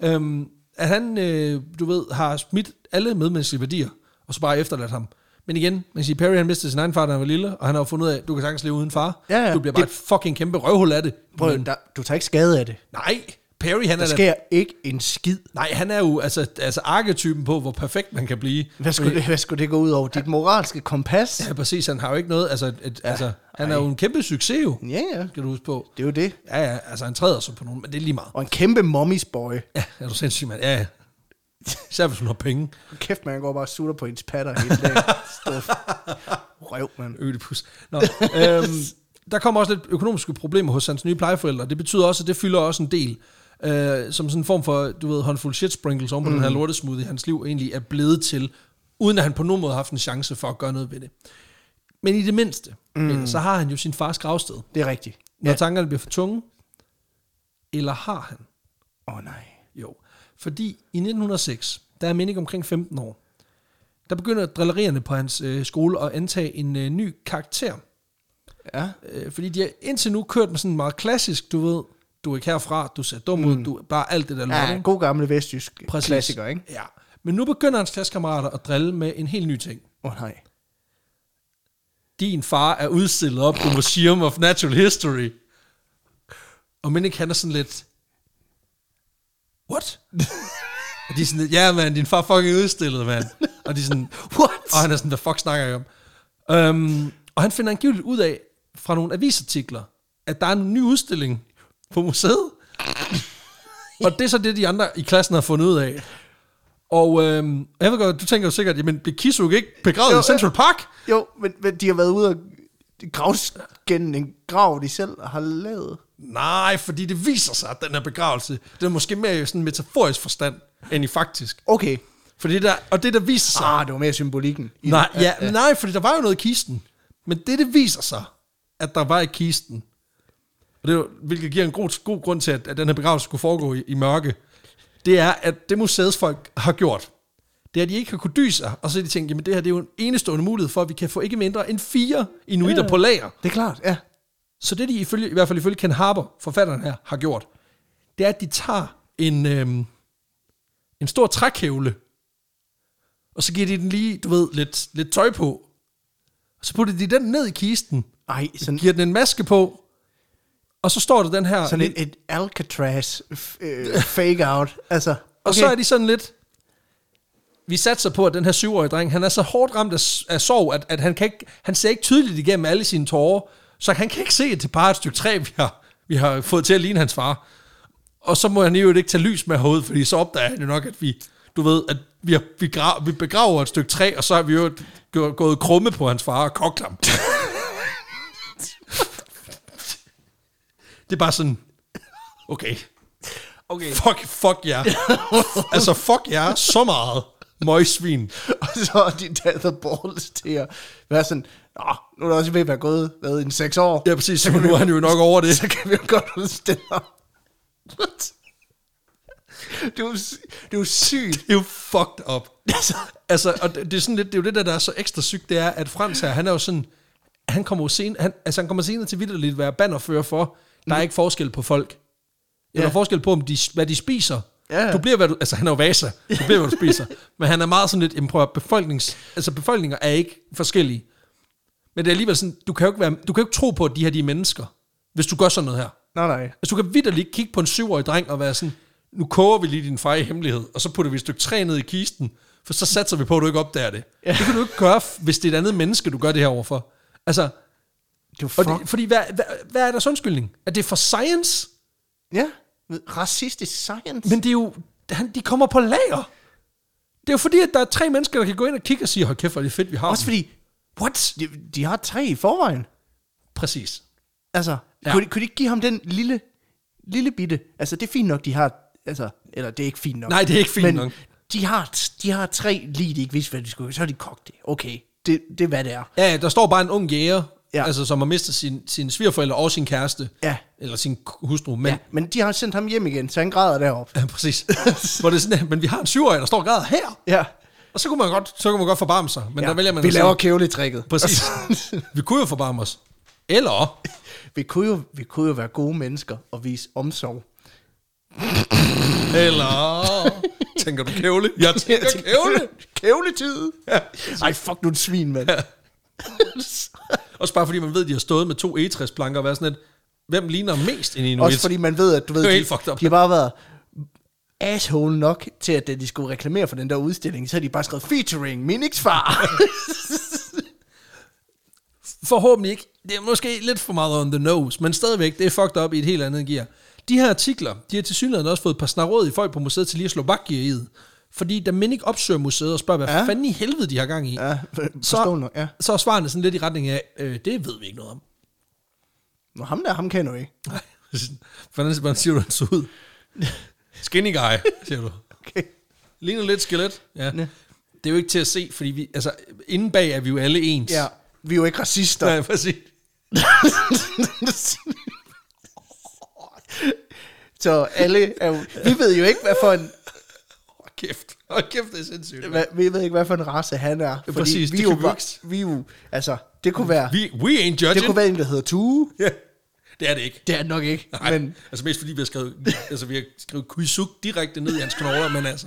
[SPEAKER 2] Øhm, at han, øh, du ved, har smidt alle medmenneskelige værdier, og så bare efterladt ham. Men igen, man kan sige, Perry han mistede sin egen far, da han var lille, og han har jo fundet ud af, at du kan sagtens leve uden far.
[SPEAKER 1] Ja, ja.
[SPEAKER 2] Du bliver bare
[SPEAKER 1] Det-
[SPEAKER 2] et fucking kæmpe røvhul af det.
[SPEAKER 1] Prøv,
[SPEAKER 2] Men-
[SPEAKER 1] der, du tager ikke skade af det.
[SPEAKER 2] Nej, Perry han er
[SPEAKER 1] Der
[SPEAKER 2] da,
[SPEAKER 1] sker ikke en skid.
[SPEAKER 2] Nej, han er jo altså, altså arketypen på, hvor perfekt man kan blive. Øh,
[SPEAKER 1] Hvad skulle, det, hvad skulle det gå ud over? Dit moralske kompas?
[SPEAKER 2] Ja, præcis, han har jo ikke noget, altså, et, ja, altså han er jo en kæmpe succes jo,
[SPEAKER 1] Ja, ja.
[SPEAKER 2] skal du huske på.
[SPEAKER 1] Det er jo det.
[SPEAKER 2] Ja, ja, altså han træder sig på nogen, men det er lige meget.
[SPEAKER 1] Og en kæmpe mommies boy.
[SPEAKER 2] Ja, er du sindssyg, mand? Ja, ja. Især hvis hun har penge.
[SPEAKER 1] Kæft, man går bare og sutter på hendes patter hele dagen. Stof. Røv, mand.
[SPEAKER 2] Ødipus. Nå, øhm, der kommer også lidt økonomiske problemer hos hans nye plejeforældre. Det betyder også, at det fylder også en del. Øh, som sådan en form for, du ved, håndfuld shit sprinkles oven på mm. den her lortesmoothie, hans liv egentlig er blevet til, uden at han på nogen måde har haft en chance for at gøre noget ved det. Men i det mindste, mm. så har han jo sin fars gravsted.
[SPEAKER 1] Det er rigtigt.
[SPEAKER 2] Når ja. tankerne bliver for tunge, eller har han?
[SPEAKER 1] Åh, oh, nej.
[SPEAKER 2] Jo, fordi i 1906, der er Minik omkring 15 år, der begynder drillerierne på hans øh, skole at antage en øh, ny karakter.
[SPEAKER 1] Ja.
[SPEAKER 2] Øh, fordi de har indtil nu kørt med sådan meget klassisk, du ved, du er ikke herfra, du ser dum ud, du bare alt det der lort.
[SPEAKER 1] Mm. Ja,
[SPEAKER 2] ikke?
[SPEAKER 1] god gamle vestjysk
[SPEAKER 2] Præcis.
[SPEAKER 1] klassiker, ikke?
[SPEAKER 2] Ja. Men nu begynder hans klassekammerater at drille med en helt ny ting.
[SPEAKER 1] Åh, oh, nej.
[SPEAKER 2] Din far er udstillet op på Museum of Natural History. Og Minik han er sådan lidt... What? og de er sådan lidt, ja mand, din far er fucking udstillet, mand. Og de er sådan,
[SPEAKER 1] What?
[SPEAKER 2] Og han er sådan, hvad fuck snakker jeg om? Øhm, og han finder angiveligt ud af, fra nogle avisartikler, at der er en ny udstilling på museet. og det er så det, de andre i klassen har fundet ud af. Og øhm, jeg ved godt, du tænker jo sikkert, jamen blev Kisuk ikke begravet
[SPEAKER 1] Jo,
[SPEAKER 2] i Central Park?
[SPEAKER 1] Jo, men, men de har været ude og gravs gennem en grav, de selv har lavet.
[SPEAKER 2] Nej, fordi det viser sig, at den her begravelse, den er måske mere i sådan en metaforisk forstand, end i faktisk.
[SPEAKER 1] Okay.
[SPEAKER 2] Fordi der, og det, der viser sig...
[SPEAKER 1] Ah, det var mere symbolikken. i det.
[SPEAKER 2] Nej, ja, ja. nej, fordi der var jo noget i kisten. Men det, det viser sig, at der var i kisten. Og det, er jo- hvilket giver en god, god grund til, at, at den her begravelse skulle foregå i, i mørke. Det er, at det museets folk har gjort, det er, at de ikke har kunnet dyse sig, og så har de tænkt, jamen det her det er jo en enestående mulighed for, at vi kan få ikke mindre end fire inuitter ja. på lager.
[SPEAKER 1] Det er klart, ja.
[SPEAKER 2] Så det, de ifølge, i hvert fald ifølge Ken Harper, forfatteren her, har gjort, det er, at de tager en, øhm, en stor trækævle, og så giver de den lige, du ved, lidt, lidt tøj på. Og så putter de den ned i kisten,
[SPEAKER 1] Ej, sådan,
[SPEAKER 2] giver den en maske på, og så står der den her...
[SPEAKER 1] sådan et, et Alcatraz øh, fake-out. Altså, okay.
[SPEAKER 2] Og så er de sådan lidt... Vi satser på, at den her syvårige dreng, han er så hårdt ramt af, af sorg, at, at han, kan ikke, han ser ikke tydeligt igennem alle sine tårer. Så han kan ikke se et par et stykke træ, vi har, vi har fået til at ligne hans far. Og så må han jo ikke tage lys med hovedet, fordi så opdager han jo nok, at vi, du ved, at vi, har, vi, grav, vi begraver et stykke træ, og så har vi jo gået- gået krumme på hans far og kogt ham. det er bare sådan, okay,
[SPEAKER 3] Okay.
[SPEAKER 2] fuck, fuck jer. altså, fuck jer så meget, møgsvin.
[SPEAKER 1] Og så har de taget The Balls til at være sådan, Nå, nu er der også ved at være gået, hvad, en seks år.
[SPEAKER 2] Ja, præcis, så nu er han jo nok over det.
[SPEAKER 1] Så kan vi jo godt udstille ham. Det er jo, sy- det er jo sygt.
[SPEAKER 2] Det er jo fucked up. Altså, altså og det, det, er sådan lidt, det er jo det, der, der er så ekstra sygt, det er, at Frans her, han er jo sådan, han kommer jo sen, han, altså han kommer senere til vidderligt at være bannerfører for, der er ikke forskel på folk. Ja. Der
[SPEAKER 1] Mm. Ja.
[SPEAKER 2] er forskel på, om de, hvad de spiser.
[SPEAKER 1] Ja.
[SPEAKER 2] Du bliver, hvad du, altså han er jo vasa, du bliver, hvad du spiser. Men han er meget sådan lidt, "Jamen, prøv at høre, befolknings, altså befolkninger er ikke forskellige. Men det er alligevel sådan, du kan jo ikke, være, du kan jo ikke tro på, at de her de er mennesker, hvis du gør sådan noget her.
[SPEAKER 1] Nej, nej.
[SPEAKER 2] Altså, du kan vidderligt kigge på en syvårig dreng og være sådan, nu koger vi lige din far i hemmelighed, og så putter vi et stykke træ ned i kisten, for så satser vi på, at du ikke opdager det. Ja. Det kan du ikke gøre, hvis det er et andet menneske, du gør det her overfor. Altså,
[SPEAKER 1] Det er jo
[SPEAKER 2] og
[SPEAKER 1] fuck.
[SPEAKER 2] det, fordi hvad, hvad, hvad er deres undskyldning? Er det for science?
[SPEAKER 1] Ja, racistisk science.
[SPEAKER 2] Men det er jo, han, de kommer på lager. Det er jo fordi, at der er tre mennesker, der kan gå ind og kigge og sige, hold kæft, hvor er det fedt, vi har
[SPEAKER 1] Også
[SPEAKER 2] dem.
[SPEAKER 1] fordi,
[SPEAKER 2] What?
[SPEAKER 1] de, de har tre i forvejen.
[SPEAKER 2] Præcis.
[SPEAKER 1] Altså,
[SPEAKER 2] Ja.
[SPEAKER 1] ja. kunne, de, kunne de ikke give ham den lille, lille bitte? Altså, det er fint nok, de har... Altså, eller det er ikke fint nok.
[SPEAKER 2] Nej, det er ikke fint
[SPEAKER 1] men
[SPEAKER 2] nok.
[SPEAKER 1] De har, de har tre lige, de ikke vidste, hvad de skulle. Så har de kogt det. Okay, det, det er, hvad det er.
[SPEAKER 2] Ja, ja, der står bare en ung jæger, ja.
[SPEAKER 1] Ja.
[SPEAKER 2] altså, som har mistet sin, sine svigerforældre og sin kæreste,
[SPEAKER 1] Ja.
[SPEAKER 2] eller sin hustru, men
[SPEAKER 1] Ja, men de har sendt ham hjem igen, så han græder derop.
[SPEAKER 2] Ja, præcis. Hvor det er sådan, men vi har en syvårig, der står og græder her.
[SPEAKER 1] Ja,
[SPEAKER 2] Og så kunne man godt, så kunne man godt forbarme sig. Men ja,
[SPEAKER 1] ja.
[SPEAKER 2] der vælger man
[SPEAKER 1] vi
[SPEAKER 2] at sige,
[SPEAKER 1] laver kævletrækket.
[SPEAKER 2] Præcis. vi kunne jo forbarme os. Eller,
[SPEAKER 1] Vi kunne, jo, vi kunne jo være gode mennesker og vise omsorg.
[SPEAKER 2] eller, tænker du kævle? Jeg tænker kævle.
[SPEAKER 1] Kævletid!
[SPEAKER 2] Ja.
[SPEAKER 1] Ej, fuck nu er det svin, mand. Ja.
[SPEAKER 2] Også bare fordi man ved, at de har stået med to egetræsplanker og været sådan lidt, hvem ligner mest en inuit?
[SPEAKER 1] Også fordi man ved, at du ved,
[SPEAKER 2] Det er jo
[SPEAKER 1] de,
[SPEAKER 2] helt fucked up.
[SPEAKER 1] de har bare været asshole nok til, at da de skulle reklamere for den der udstilling, så har de bare skrevet featuring min eksfar.
[SPEAKER 2] Forhåbentlig ikke. Det er måske lidt for meget on the nose, men stadigvæk, det er fucked up i et helt andet gear. De her artikler, de har til synligheden også fået et par snarråd i folk på museet til lige at slå bakke i. Fordi da Minik opsøger museet og spørger, hvad ja.
[SPEAKER 1] Ja.
[SPEAKER 2] fanden i helvede de har gang i,
[SPEAKER 1] ja,
[SPEAKER 2] så,
[SPEAKER 1] forstå nok, ja.
[SPEAKER 2] så er svarene sådan lidt i retning af, øh, det ved vi ikke noget om.
[SPEAKER 1] Nå, ham der, ham kender jeg ikke.
[SPEAKER 2] Nej. Hvordan, hvordan siger du, han så ud? Skinny guy, siger du.
[SPEAKER 1] Okay.
[SPEAKER 2] Ligner lidt skelet. Ja.
[SPEAKER 1] Ja.
[SPEAKER 2] Det er jo ikke til at se, fordi vi, altså, inden bag er vi jo alle ens.
[SPEAKER 1] Ja, vi er jo ikke racister.
[SPEAKER 2] Nej, præcis.
[SPEAKER 1] så alle er jo, vi ved jo ikke, hvad for en,
[SPEAKER 2] Hold kæft. Hold kæft, det er sindssygt.
[SPEAKER 1] hvad, vi ved ikke, hvad for en race han er. Fordi
[SPEAKER 2] præcis,
[SPEAKER 1] vi
[SPEAKER 2] det
[SPEAKER 1] er jo,
[SPEAKER 2] kan vi jo
[SPEAKER 1] bare- vi er jo, altså, det kunne være,
[SPEAKER 2] Vi, we ain't judging.
[SPEAKER 1] det kunne være en, der hedder Tue.
[SPEAKER 2] Ja, det er det ikke.
[SPEAKER 1] Det er det nok ikke,
[SPEAKER 2] Nej,
[SPEAKER 1] men
[SPEAKER 2] men... altså mest fordi vi har skrevet, altså, vi har skrevet kuisuk direkte ned i hans knogler, men altså...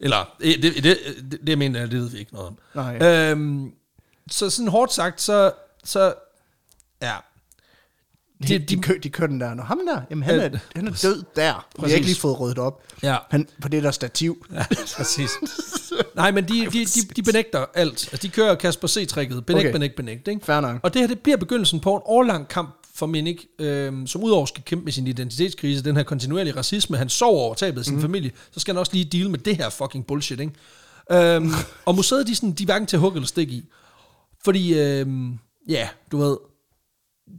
[SPEAKER 2] Eller, eh, det, det, det, det jeg mener jeg, det ved vi ikke noget om.
[SPEAKER 1] Nej.
[SPEAKER 2] Øhm, så sådan hårdt sagt, så... så ja.
[SPEAKER 1] de, de, kø, de kører den der. Nå, ham der, jamen, han,
[SPEAKER 2] Ja,
[SPEAKER 1] er, han er død der. Vi har
[SPEAKER 2] præcis.
[SPEAKER 1] ikke lige fået ryddet op.
[SPEAKER 2] Ja.
[SPEAKER 1] Han, på det der stativ.
[SPEAKER 2] Ja, præcis. Nej, men de, de, de, de benægter alt. Altså, de kører Kasper C-trækket. Benægt, okay.
[SPEAKER 1] Okay.
[SPEAKER 2] benægt, benægt. Ikke?
[SPEAKER 1] Fair nok.
[SPEAKER 2] Og det her, det bliver begyndelsen på en årlang kamp for Minik, øhm, som udover skal kæmpe med sin identitetskrise, den her kontinuerlige racisme, han sover over tabet af
[SPEAKER 1] Mhm.
[SPEAKER 2] sin mm. familie, så skal han også lige deal med det her fucking bullshit, ikke? Øhm, og museet, de, er sådan, de er hverken til hug eller stik i. Fordi, øhm, ja, du ved,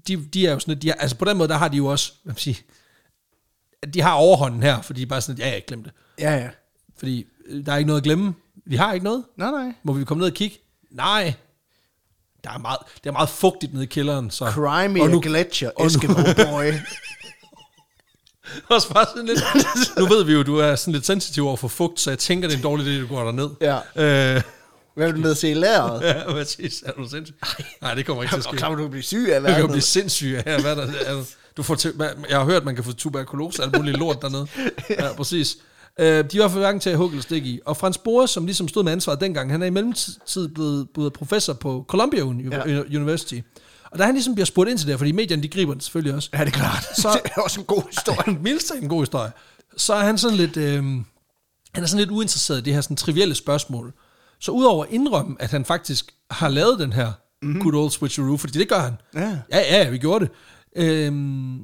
[SPEAKER 2] de, de er jo sådan lidt, de er, altså på den måde, der har de jo også, hvad man sige, de har overhånden her, fordi de er bare sådan lidt, ja, jeg glemte det.
[SPEAKER 1] Ja, ja.
[SPEAKER 2] Fordi øh, der er ikke noget at glemme. Vi har ikke noget.
[SPEAKER 1] Nej, nej.
[SPEAKER 2] Må vi komme ned og kigge? Nej. Der er meget, det er meget fugtigt nede i kælderen. Så.
[SPEAKER 1] Crimey
[SPEAKER 2] og nu,
[SPEAKER 1] Gletscher,
[SPEAKER 2] nu-
[SPEAKER 1] Eskimo Boy.
[SPEAKER 2] også bare sådan lidt, nu ved vi jo, du er sådan lidt sensitiv over for fugt, så jeg tænker, det er en dårlig idé, at du går derned.
[SPEAKER 1] Ja.
[SPEAKER 2] Øh,
[SPEAKER 1] Hvad vil du ned og se i læret?
[SPEAKER 2] ja, præcis. Er du sindssyg? Nej, det kommer ikke til at
[SPEAKER 1] Og
[SPEAKER 2] ske.
[SPEAKER 1] kan du blive syg af
[SPEAKER 2] Du kan jo blive
[SPEAKER 1] hvad?
[SPEAKER 2] sindssyg af, her. hvad der, altså, du får til, hvad- jeg har hørt, man kan få tuberkulose og alt muligt lort dernede. Ja, præcis. Øh, de var for hverken til at hugge eller stikke i. Og Frans Boas, som ligesom stod med ansvaret dengang, han er i mellemtid blevet, blevet professor på Columbia Uni-
[SPEAKER 1] Ja.
[SPEAKER 2] University. Og da han ligesom bliver spurgt ind til det, her, fordi medierne de griber den selvfølgelig også,
[SPEAKER 1] Ja, det er klart. Så...
[SPEAKER 2] Så-
[SPEAKER 1] det er også en god historie.
[SPEAKER 2] mildst talt en god historie, så er han sådan lidt, øh, han er sådan lidt uinteresseret i det her sådan trivielle spørgsmål. Så udover at indrømme, at han faktisk har lavet den her Mm-hmm. Good old switcheroo, fordi det gør han.
[SPEAKER 1] Ja.
[SPEAKER 2] Ja, ja, vi gjorde det. Øhm,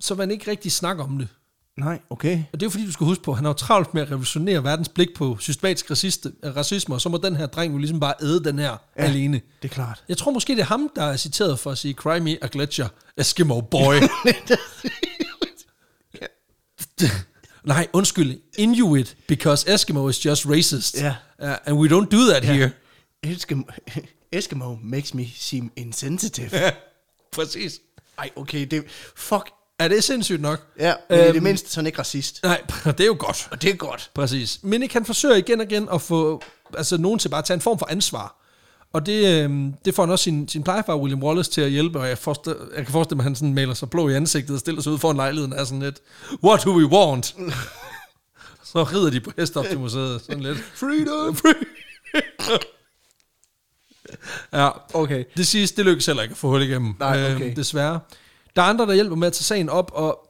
[SPEAKER 2] så man ikke rigtig snakker om det.
[SPEAKER 1] Nej, okay.
[SPEAKER 2] Og det er jo fordi, du skal huske på, at han har jo travlt med at revolutionere verdens blik på systematisk raciste, racisme, og så må den her dreng jo ligesom bare æde den her ja. alene.
[SPEAKER 1] Det er klart.
[SPEAKER 2] Jeg tror måske, det er ham, der er citeret for at sige, Cry me a glitcher, Eskimo boy. Nej, undskyld, Inuit, because Eskimo is just racist.
[SPEAKER 1] Ja.
[SPEAKER 2] Uh, and we don't do that here.
[SPEAKER 1] Eskimo, Eskimo makes me seem insensitive.
[SPEAKER 2] Præcis.
[SPEAKER 1] Ej, okay, det fuck.
[SPEAKER 2] Er det sindssygt nok?
[SPEAKER 1] Ja, men øhm, i det mindste, så er han ikke racist.
[SPEAKER 2] Nej, det er jo godt.
[SPEAKER 1] Og det er godt.
[SPEAKER 2] Præcis. Men ikke han forsøger igen og igen at få altså, nogen til bare at tage en form for ansvar. Og det, øhm, det får han også sin, sin plejefar, William Wallace, til at hjælpe, og jeg, forstår, jeg kan forestille mig, at han sådan maler sig blå i ansigtet og stiller sig ud foran lejligheden og er sådan lidt, what do we want? Så rider de på hest op til museet, sådan lidt.
[SPEAKER 1] Freedom!
[SPEAKER 2] Ja,
[SPEAKER 1] Okay.
[SPEAKER 2] det sidste, det lykkes heller ikke at få hul igennem,
[SPEAKER 1] Nej, okay.
[SPEAKER 2] øhm, desværre. Der er andre, der hjælper med at tage sagen op, og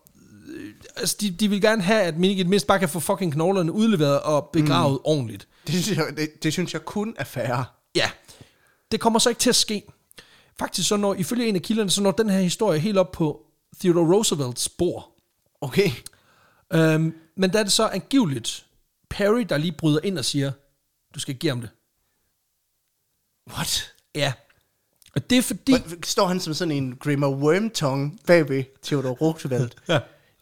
[SPEAKER 2] øh, altså, de, de vil gerne have, at Minik i det mindste bare kan få fucking knoglerne udleveret og begravet mm. ordentligt.
[SPEAKER 1] Det synes, jeg, det, det synes jeg kun er færre.
[SPEAKER 2] Ja, det kommer så ikke til at ske. Faktisk så når, ifølge en af kilderne, så når den her historie helt op på Theodore Roosevelts spor.
[SPEAKER 1] Okay.
[SPEAKER 2] Øhm, men der er det så angiveligt Perry, der lige bryder ind og siger, du skal give ham det.
[SPEAKER 1] What?
[SPEAKER 2] Ja. Og det er fordi...
[SPEAKER 1] Hva- Står han som sådan en Grimmer Wormtongue bagved Theodore Roosevelt?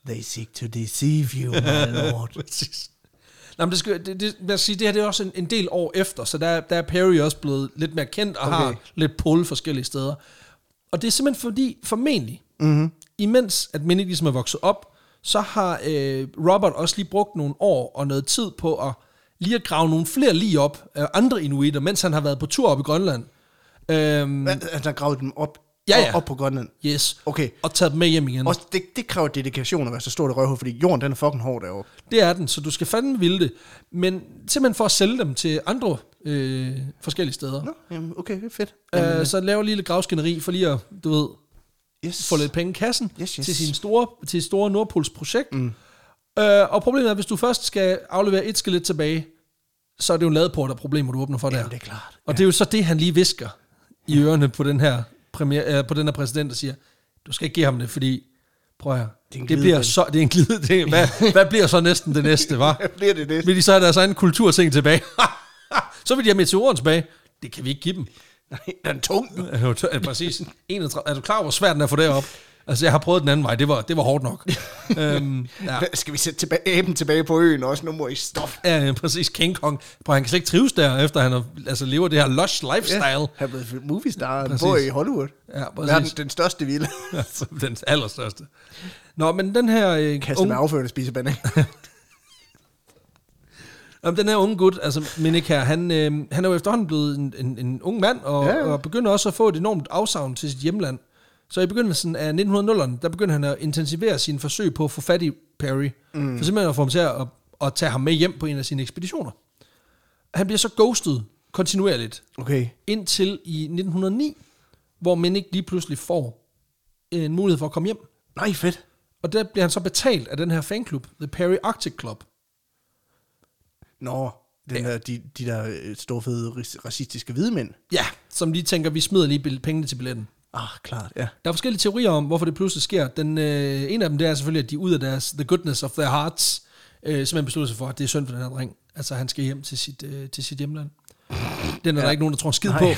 [SPEAKER 1] They seek to deceive you, my lord.
[SPEAKER 2] Præcis. Nå, men det, skal, det, det, lad os sige, det her det er også en, en del år efter, så der, der er Perry også blevet lidt mere kendt og okay.
[SPEAKER 1] Okay.
[SPEAKER 2] har lidt pull forskellige steder. Og det er simpelthen fordi, formentlig, mm-hmm. imens at Minnie ligesom er vokset op, så har øh, Robert også lige brugt nogle år og noget tid på at lige at grave nogle flere lige op af andre inuitter, mens han har været på tur op i Grønland. Øhm,
[SPEAKER 1] Hva- Altså, han gravede dem op,
[SPEAKER 2] Ja,
[SPEAKER 1] op-
[SPEAKER 2] ja.
[SPEAKER 1] op på Grønland.
[SPEAKER 2] yes.
[SPEAKER 1] Okay.
[SPEAKER 2] Og taget dem med hjem igen.
[SPEAKER 1] Også, det, det kræver dedikation at være så stort et røvhul, fordi jorden den er fucking hård derovre.
[SPEAKER 2] Det er den, så du skal fandme ville det. Men simpelthen for at sælge dem til andre øh, forskellige steder.
[SPEAKER 1] Nå, jamen, okay, fedt.
[SPEAKER 2] Øh, så laver lige lidt gravskænderi for lige at, du ved,
[SPEAKER 1] Yes.
[SPEAKER 2] få lidt penge i kassen
[SPEAKER 1] Yes, yes.
[SPEAKER 2] til sin store, til store Nordpols projekt. Mm. Øh, og problemet er, at hvis du først skal aflevere et skelet tilbage, så er det jo en ladeport af problemer, du åbner for der.
[SPEAKER 1] Jamen, det er klart.
[SPEAKER 2] Og det er jo så det, han lige visker i ørerne på den her, premier, øh, på den her præsident, og siger, du skal ikke give ham det, fordi, prøv her,
[SPEAKER 1] Det er en
[SPEAKER 2] det, bliver
[SPEAKER 1] glidebane.
[SPEAKER 2] så, det er en glide, det, hvad, hvad bliver så næsten det næste, var?
[SPEAKER 1] Hvad bliver det det?
[SPEAKER 2] Vil de så have deres egen kulturting tilbage? så vil de have meteoren tilbage. Det kan vi ikke give dem.
[SPEAKER 1] Nej, den er tung.
[SPEAKER 2] Er du tør- er- Præcis. 31. Er du klar, over, hvor svært den er for derop? Altså, jeg har prøvet den anden vej. Det var, det var hårdt nok. øhm, ja.
[SPEAKER 1] Hvad, Skal vi sætte tilbage, æben tilbage på øen også? Nu må I stoppe.
[SPEAKER 2] Ja, ja, præcis. King Kong. Prøv, han kan slet ikke trives der, efter han har, altså, lever det her lush lifestyle.
[SPEAKER 1] Han er blevet movie star. Han
[SPEAKER 2] Præcis.
[SPEAKER 1] bor i Hollywood.
[SPEAKER 2] Ja,
[SPEAKER 1] Verden,
[SPEAKER 2] præcis.
[SPEAKER 1] den største ville.
[SPEAKER 2] Ja, den allerstørste. Nå, men den her, øh,
[SPEAKER 1] Kaste med
[SPEAKER 2] unge,
[SPEAKER 1] afførende spisebande.
[SPEAKER 2] jamen, den her unge gut, altså Minik her, han, øh, han er jo efterhånden blevet en, en, en ung mand, og,
[SPEAKER 1] Ja,
[SPEAKER 2] ja.
[SPEAKER 1] ja.
[SPEAKER 2] og begynder også at få et enormt afsavn til sit hjemland. Så i begyndelsen af 1900'erne, der begyndte han at intensivere sine forsøg på at få fat i Perry, mm. for simpelthen at få ham til at, at, at tage ham med hjem på en af sine ekspeditioner. Han bliver så ghostet kontinuerligt,
[SPEAKER 1] Okay.
[SPEAKER 2] indtil i 1909, hvor Minik lige pludselig får en mulighed for at komme hjem.
[SPEAKER 1] Nej, fedt.
[SPEAKER 2] Og der bliver han så betalt af den her fanklub, The Perry Arctic Club.
[SPEAKER 1] Nå, den der, de, de der øh, store fede ris- racistiske hvide mænd.
[SPEAKER 2] Ja, som lige tænker, vi smider lige bill- pengene til billetten.
[SPEAKER 1] Ah, klart, ja.
[SPEAKER 2] Der er forskellige teorier om, hvorfor det pludselig sker. Den, øh, en af dem, det er selvfølgelig, at de ud af deres the goodness of their hearts, øh, simpelthen beslutter sig for, at det er synd for den her dreng. Altså, han skal hjem til sit, øh, til sit hjemland. Den er ja. der ikke nogen, der tror en skid på.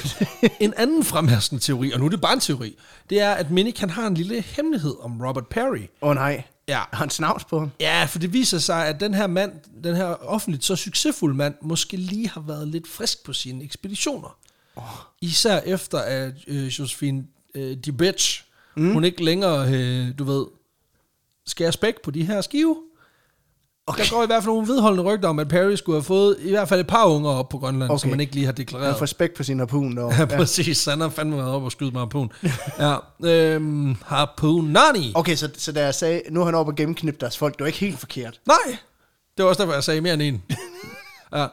[SPEAKER 2] En anden fremherskende teori, og nu er det bare en teori, det er, at Minik, han har en lille hemmelighed om Robert Perry.
[SPEAKER 1] Åh oh, nej,
[SPEAKER 2] Ja.
[SPEAKER 1] har han snavs på ham?
[SPEAKER 2] Ja, for det viser sig, at den her mand, den her offentligt så succesfulde mand, måske lige har været lidt frisk på sine ekspeditioner. Oh. Især efter, at øh, Josephine øh, de bitch, mm. hun ikke længere, øh, du ved, skærer spæk på de her skive. Okay. Der går i hvert fald nogle vedholdende rygter om, at Perry skulle have fået i hvert fald et par unger op på Grønland, okay.
[SPEAKER 1] Okay.
[SPEAKER 2] som man ikke lige har
[SPEAKER 1] Han
[SPEAKER 2] deklareret.
[SPEAKER 1] har respekt på sin harpun. Og,
[SPEAKER 2] Ja, præcis. Han har fandme været oppe og skyde med harpun. ja, øhm, harpunani.
[SPEAKER 1] Okay, så, så da jeg sagde, nu er han oppe og gennemknippe deres folk, det var ikke helt forkert.
[SPEAKER 2] Nej! Det var også derfor, jeg sagde mere end en. ja.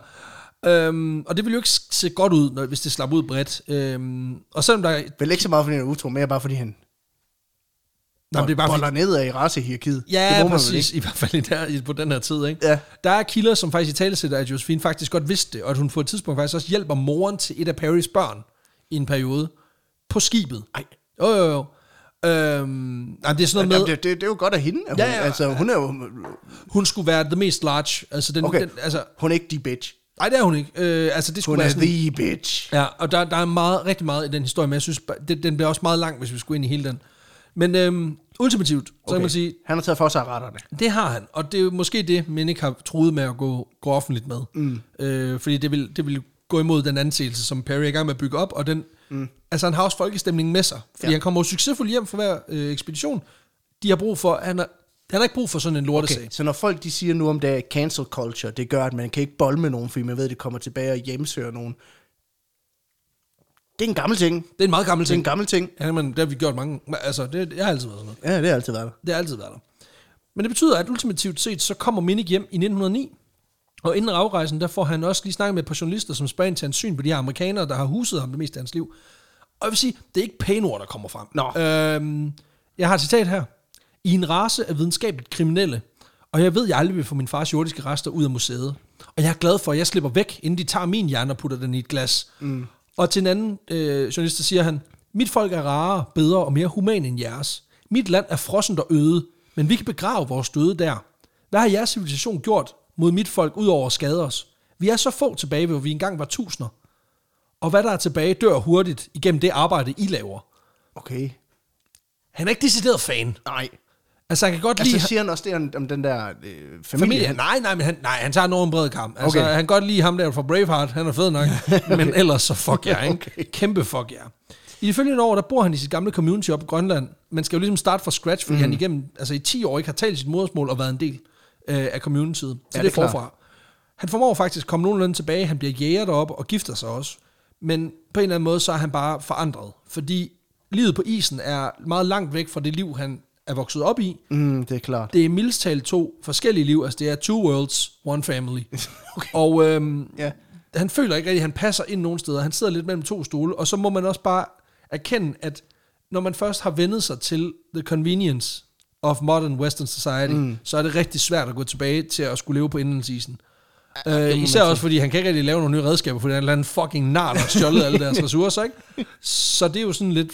[SPEAKER 2] øhm, og det ville jo ikke se godt ud, når, hvis det slap ud bredt. Øhm, og selvom der...
[SPEAKER 1] Vel ikke så meget, fordi han er utro, mere bare fordi han
[SPEAKER 2] Nå, men det er bare fordi,
[SPEAKER 1] boller nedad i racehierarkiet.
[SPEAKER 2] ja,
[SPEAKER 1] det må man vel
[SPEAKER 2] præcis. I hvert fald i der, i- på den her tid, ikke?
[SPEAKER 1] Ja.
[SPEAKER 2] Der er kilder, som faktisk i tale sætter, at Josephine faktisk godt vidste det, og at hun på et tidspunkt faktisk også hjælper moren til et af Perrys børn i en periode. på skibet.
[SPEAKER 1] Ej.
[SPEAKER 2] Jo, jo, jo. Øhm, nej, det er sådan noget
[SPEAKER 1] Jamen,
[SPEAKER 2] med,
[SPEAKER 1] det, det, det er jo godt af hende. At hun,
[SPEAKER 2] Ja,
[SPEAKER 1] ja,
[SPEAKER 2] ja.
[SPEAKER 1] ja, altså, hun er jo...
[SPEAKER 2] hun skulle være the mest large. Altså, den, okay.
[SPEAKER 1] Okay.
[SPEAKER 2] den, altså,
[SPEAKER 1] Hun er ikke de bitch.
[SPEAKER 2] nej, det er hun ikke. Øh, altså, det skulle
[SPEAKER 1] Hun
[SPEAKER 2] være
[SPEAKER 1] er
[SPEAKER 2] sådan,
[SPEAKER 1] the bitch.
[SPEAKER 2] Ja, og der, der er meget, rigtig meget i den historie, men jeg synes, ba- det, den bliver også meget lang, hvis vi skulle ind i hele den. Men øhm, ultimativt, så okay. kan man sige,
[SPEAKER 1] Han har taget for sig af retterne.
[SPEAKER 2] det har han, og det er jo måske det, man ikke har troet med at gå, gå offentligt med. Mm. Øh, fordi det vil, det vil gå imod den anseelse, som Perry er i gang med at bygge op, og den, mm. altså han har også folkestemningen med sig, fordi ja.
[SPEAKER 1] Ja.
[SPEAKER 2] han kommer jo succesfuldt hjem fra hver øh, ekspedition. De har brug for, han har, han har ikke brug for sådan en lortesag.
[SPEAKER 1] Okay, så når folk de siger nu om det er cancel culture, det gør, at man kan ikke bolde med nogen, fordi man ved, at det kommer tilbage og hjemsøger nogen. Det er en gammel ting.
[SPEAKER 2] Det er en meget gammel
[SPEAKER 1] Det er en
[SPEAKER 2] ting.
[SPEAKER 1] gammel ting.
[SPEAKER 2] Ja, men det har vi gjort mange, altså det, det har altid været sådan noget.
[SPEAKER 1] Ja, det har altid været der.
[SPEAKER 2] Det har altid været der. Men det betyder, at ultimativt set, så kommer Minik hjem i 1909, og inden afrejsen, der får han også lige snakket med et par journalister, som spørger ind til hans syn på de her amerikanere, der har huset ham det meste af hans liv. Og jeg vil sige, det er ikke pæne ord, der kommer frem.
[SPEAKER 1] Nå.
[SPEAKER 2] Øhm, jeg har et citat her. I en race af videnskabeligt kriminelle, og jeg ved, jeg aldrig vil få min fars jordiske rester ud af museet. Og jeg er glad for, at jeg slipper væk, inden de tager min hjerne og putter den i et glas. Mm. Og til en anden øh, journalist, der siger han, mit folk er rarere, bedre og mere human end jeres. Mit land er frossent og øde, men vi kan begrave vores døde der. Hvad har jeres civilisation gjort mod mit folk, udover at skade os? Vi er så få tilbage, hvor vi engang var tusinder. Og hvad der er tilbage, dør hurtigt igennem det arbejde, I laver.
[SPEAKER 1] Okay.
[SPEAKER 2] Han er ikke decideret fan.
[SPEAKER 1] Nej.
[SPEAKER 2] Altså, han kan godt lide...
[SPEAKER 1] Altså, siger han også det om, om den der øh, familie?
[SPEAKER 2] Familie. Nej, nej, men han, nej, han tager en over en bred kamp. Altså, okay.
[SPEAKER 1] Okay.
[SPEAKER 2] han kan godt lide ham der fra Braveheart, han er fed nok, okay. men ellers så fuck jer, ikke? Okay. Kæmpe fuck jer. I de følgende år, der bor han i sit gamle community op i Grønland, men skal jo ligesom starte fra scratch, fordi mm. han igennem, altså i 10 år ikke har talt sit modersmål og været en del øh, af communityet. Så ja,
[SPEAKER 1] Ja,
[SPEAKER 2] det er
[SPEAKER 1] det er klart.
[SPEAKER 2] forfra. Han formår faktisk at komme nogenlunde tilbage, han bliver jæger deroppe og gifter sig også. Men på en eller anden måde, så er han bare forandret, fordi livet på isen er meget langt væk fra det liv, han er vokset op i,
[SPEAKER 1] Mm, det er klart.
[SPEAKER 2] det er mildest talt to forskellige liv. Altså, det er two worlds, one family. okay. Og øhm,
[SPEAKER 1] Ja.
[SPEAKER 2] han føler ikke rigtig, at han passer ind nogen steder. Han sidder lidt mellem to stole, og så må man også bare erkende, at når man først har vendet sig til the convenience of modern western society, mm. så er det rigtig svært at gå tilbage til at skulle leve på indlandsisen. Øh, især også fordi han kan ikke rigtig lave nogle nye redskaber, fordi han er en eller anden fucking nar, der har stjålet alle deres ressourcer, ikke? Så det er jo sådan lidt...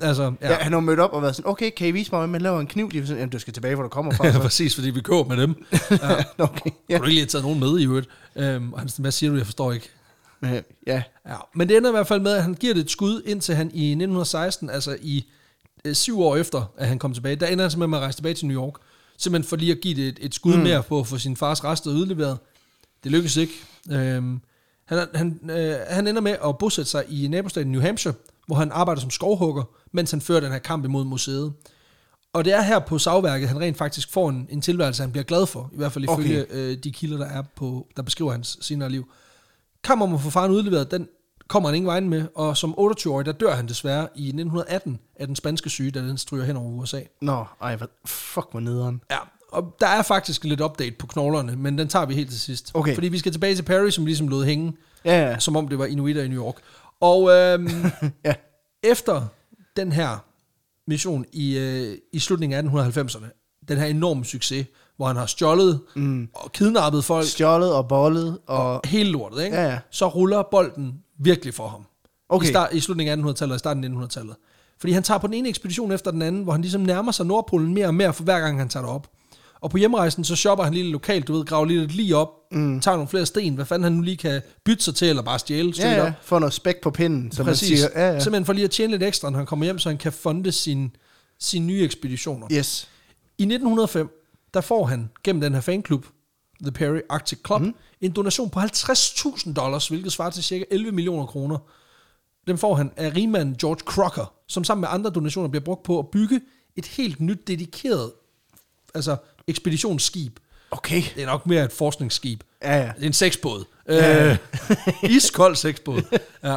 [SPEAKER 2] Altså, ja.
[SPEAKER 1] Ja, han har mødt op og været sådan, okay, kan I vise mig, hvordan man laver en kniv? De er sådan, jamen, du skal tilbage, hvor du kommer fra.
[SPEAKER 2] ja,
[SPEAKER 1] Så.
[SPEAKER 2] præcis, fordi vi køber med dem. Ja.
[SPEAKER 1] Nå, okay.
[SPEAKER 2] Ja.
[SPEAKER 1] Ja.
[SPEAKER 2] Kunne du ikke lige have taget nogen med i øvrigt? Øhm, og han sådan, hvad siger du, jeg forstår ikke.
[SPEAKER 1] Øh, ja.
[SPEAKER 2] Ja. Men det ender i hvert fald med, at han giver det et skud, indtil han i 1916, altså i øh, syv år efter, at han kom tilbage, der ender han simpelthen med at rejse tilbage til New York. Simpelthen for lige at give det et, et skud mm. mere på at få sin fars rester udleveret. Det lykkes ikke. Øhm, han, han, øh, han ender med at bosætte sig i nabostaten New Hampshire, hvor han arbejder som skovhugger, mens han fører den her kamp imod museet. Og det er her på savværket, han rent faktisk får en, en tilværelse, han bliver glad for, i hvert fald ifølge okay. øh, de kilder, der er på, der beskriver hans senere liv. Kamp om at få faren udleveret, den kommer han ingen vejen med, og som 28-årig, der dør han desværre i 1918 af den spanske syge, da den stryger hen over USA.
[SPEAKER 1] Nå, ej, hvad, fuck, hvor nederen.
[SPEAKER 2] Ja, og der er faktisk lidt update på knoglerne, men den tager vi helt til sidst.
[SPEAKER 1] Okay.
[SPEAKER 2] Fordi vi skal tilbage til Perry, som ligesom lod hænge,
[SPEAKER 1] Ja, ja.
[SPEAKER 2] som om det var Inuiter i New York. Og øhm,
[SPEAKER 1] ja.
[SPEAKER 2] efter den her mission i, øh, i slutningen af 1890'erne, den her enorme succes, hvor han har stjålet mm. og kidnappet folk,
[SPEAKER 1] Stjålet og bollet og...
[SPEAKER 2] hele lortet, ikke?
[SPEAKER 1] Ja, ja.
[SPEAKER 2] så ruller bolden virkelig for ham.
[SPEAKER 1] Okay.
[SPEAKER 2] I, start, I slutningen af 1800-tallet og i starten af 1900-tallet. Fordi han tager på den ene ekspedition efter den anden, hvor han ligesom nærmer sig Nordpolen mere og mere, for hver gang han tager derop. Og på hjemrejsen, så shopper han lige lokalt, du ved, graver lige lidt lige op, mm. tager nogle flere sten, hvad fanden han nu lige kan bytte sig til, eller bare stjæle
[SPEAKER 1] Ja,
[SPEAKER 2] stykker.
[SPEAKER 1] ja. Får noget spæk på pinden, som
[SPEAKER 2] Præcis.
[SPEAKER 1] man siger. Ja, ja.
[SPEAKER 2] Simpelthen for lige at tjene lidt ekstra, når han kommer hjem, så han kan funde sine sin nye ekspeditioner.
[SPEAKER 1] Yes.
[SPEAKER 2] I 1905, der får han gennem den her fanklub, The Perry Arctic Club, mm. en donation på 50.000 dollars, hvilket svarer til ca. 11 millioner kroner. Den får han af rigmanden George Crocker, som sammen med andre donationer bliver brugt på at bygge et helt nyt dedikeret altså ekspeditionsskib.
[SPEAKER 1] Okay.
[SPEAKER 2] Det er nok mere et forskningsskib.
[SPEAKER 1] Ja, ja.
[SPEAKER 2] Det er en sexbåd. Ja. Øh, iskold sexbåd. Ja.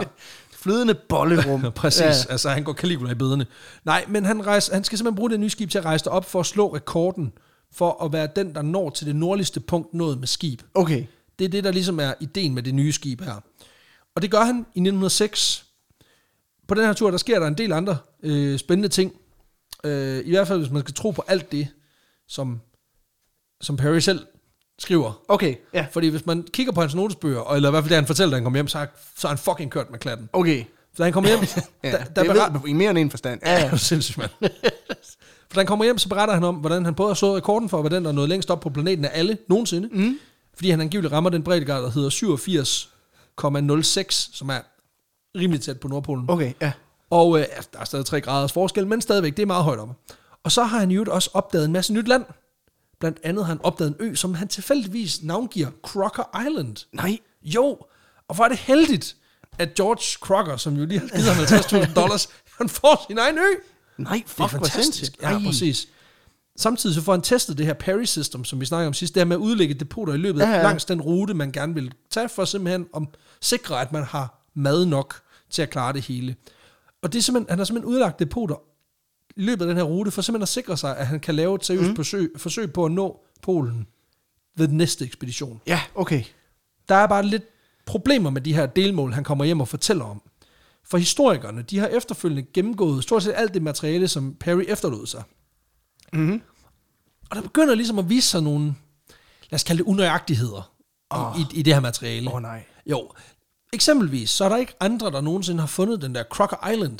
[SPEAKER 1] Flydende bollerum.
[SPEAKER 2] Ja, Præcis, ja. altså han går Caligula i bedene. Nej, men han, rejser, han skal simpelthen bruge det nye skib til at rejse op for at slå rekorden for at være den, der når til det nordligste punkt nået med skib.
[SPEAKER 1] Okay.
[SPEAKER 2] Det er det, der ligesom er ideen med det nye skib her. Og det gør han i 1906. På den her tur, der sker der en del andre øh, spændende ting. Øh, I hvert fald, hvis man skal tro på alt det, som, som Perry selv skriver.
[SPEAKER 1] Okay, ja.
[SPEAKER 2] Fordi hvis man kigger på hans notesbøger, og- eller i hvert fald det, han fortæller, da han kom hjem, så har, så har han fucking kørt med klatten.
[SPEAKER 1] Okay.
[SPEAKER 2] For da han kommer hjem,
[SPEAKER 1] Ja,
[SPEAKER 2] da,
[SPEAKER 1] der,
[SPEAKER 2] der
[SPEAKER 1] det
[SPEAKER 2] beretter-
[SPEAKER 1] ved man i mere end en forstand.
[SPEAKER 2] Ja, ja. sindssygt, mand. For da han kommer hjem, så beretter han om, hvordan han både har slået rekorden for, hvordan der er nået længst op på planeten af alle nogensinde. Mm. Fordi han angiveligt rammer den breddegrad, der hedder 87,06, som er rimelig tæt på Nordpolen. Okay.
[SPEAKER 1] Okay, ja.
[SPEAKER 2] Og øh, altså, der er stadig 3 graders forskel, men stadigvæk, det er meget højt oppe. Og så har han jo også opdaget en masse nyt land. Blandt andet har han opdaget en ø, som han tilfældigvis navngiver Crocker Island.
[SPEAKER 1] Nej.
[SPEAKER 2] Jo, og hvor er det heldigt, at George Crocker, som jo lige har givet ham 50.000 dollars, han får sin egen ø.
[SPEAKER 1] Nej, fuck,
[SPEAKER 2] Det
[SPEAKER 1] hvor
[SPEAKER 2] er fantastisk.
[SPEAKER 1] sindssygt.
[SPEAKER 2] Ja,
[SPEAKER 1] Ej.
[SPEAKER 2] præcis. Samtidig så får han testet det her Perry System, som vi snakker om sidst, det her med at udlægge depoter i løbet af
[SPEAKER 1] Ja, ja.
[SPEAKER 2] langs den rute, man gerne vil tage, for simpelthen at sikre, at man har mad nok til at klare det hele. Og det er simpelthen, han har simpelthen udlagt depoter i løbet af den her rute, for simpelthen at sikre sig, at han kan lave et seriøst mm. forsøg, forsøg på at nå Polen ved den næste ekspedition.
[SPEAKER 1] Ja, okay.
[SPEAKER 2] Der er bare lidt problemer med de her delmål, han kommer hjem og fortæller om. For historikerne, de har efterfølgende gennemgået stort set alt det materiale, som Perry efterlod sig.
[SPEAKER 1] Mm-hmm.
[SPEAKER 2] Og der begynder ligesom at vise sig nogle, lad os kalde det unøjagtigheder, oh. i, i det her
[SPEAKER 1] Ah.
[SPEAKER 2] materiale.
[SPEAKER 1] Åh oh, nej.
[SPEAKER 2] Jo, eksempelvis, så er der ikke andre, der nogensinde har fundet den der Crocker Island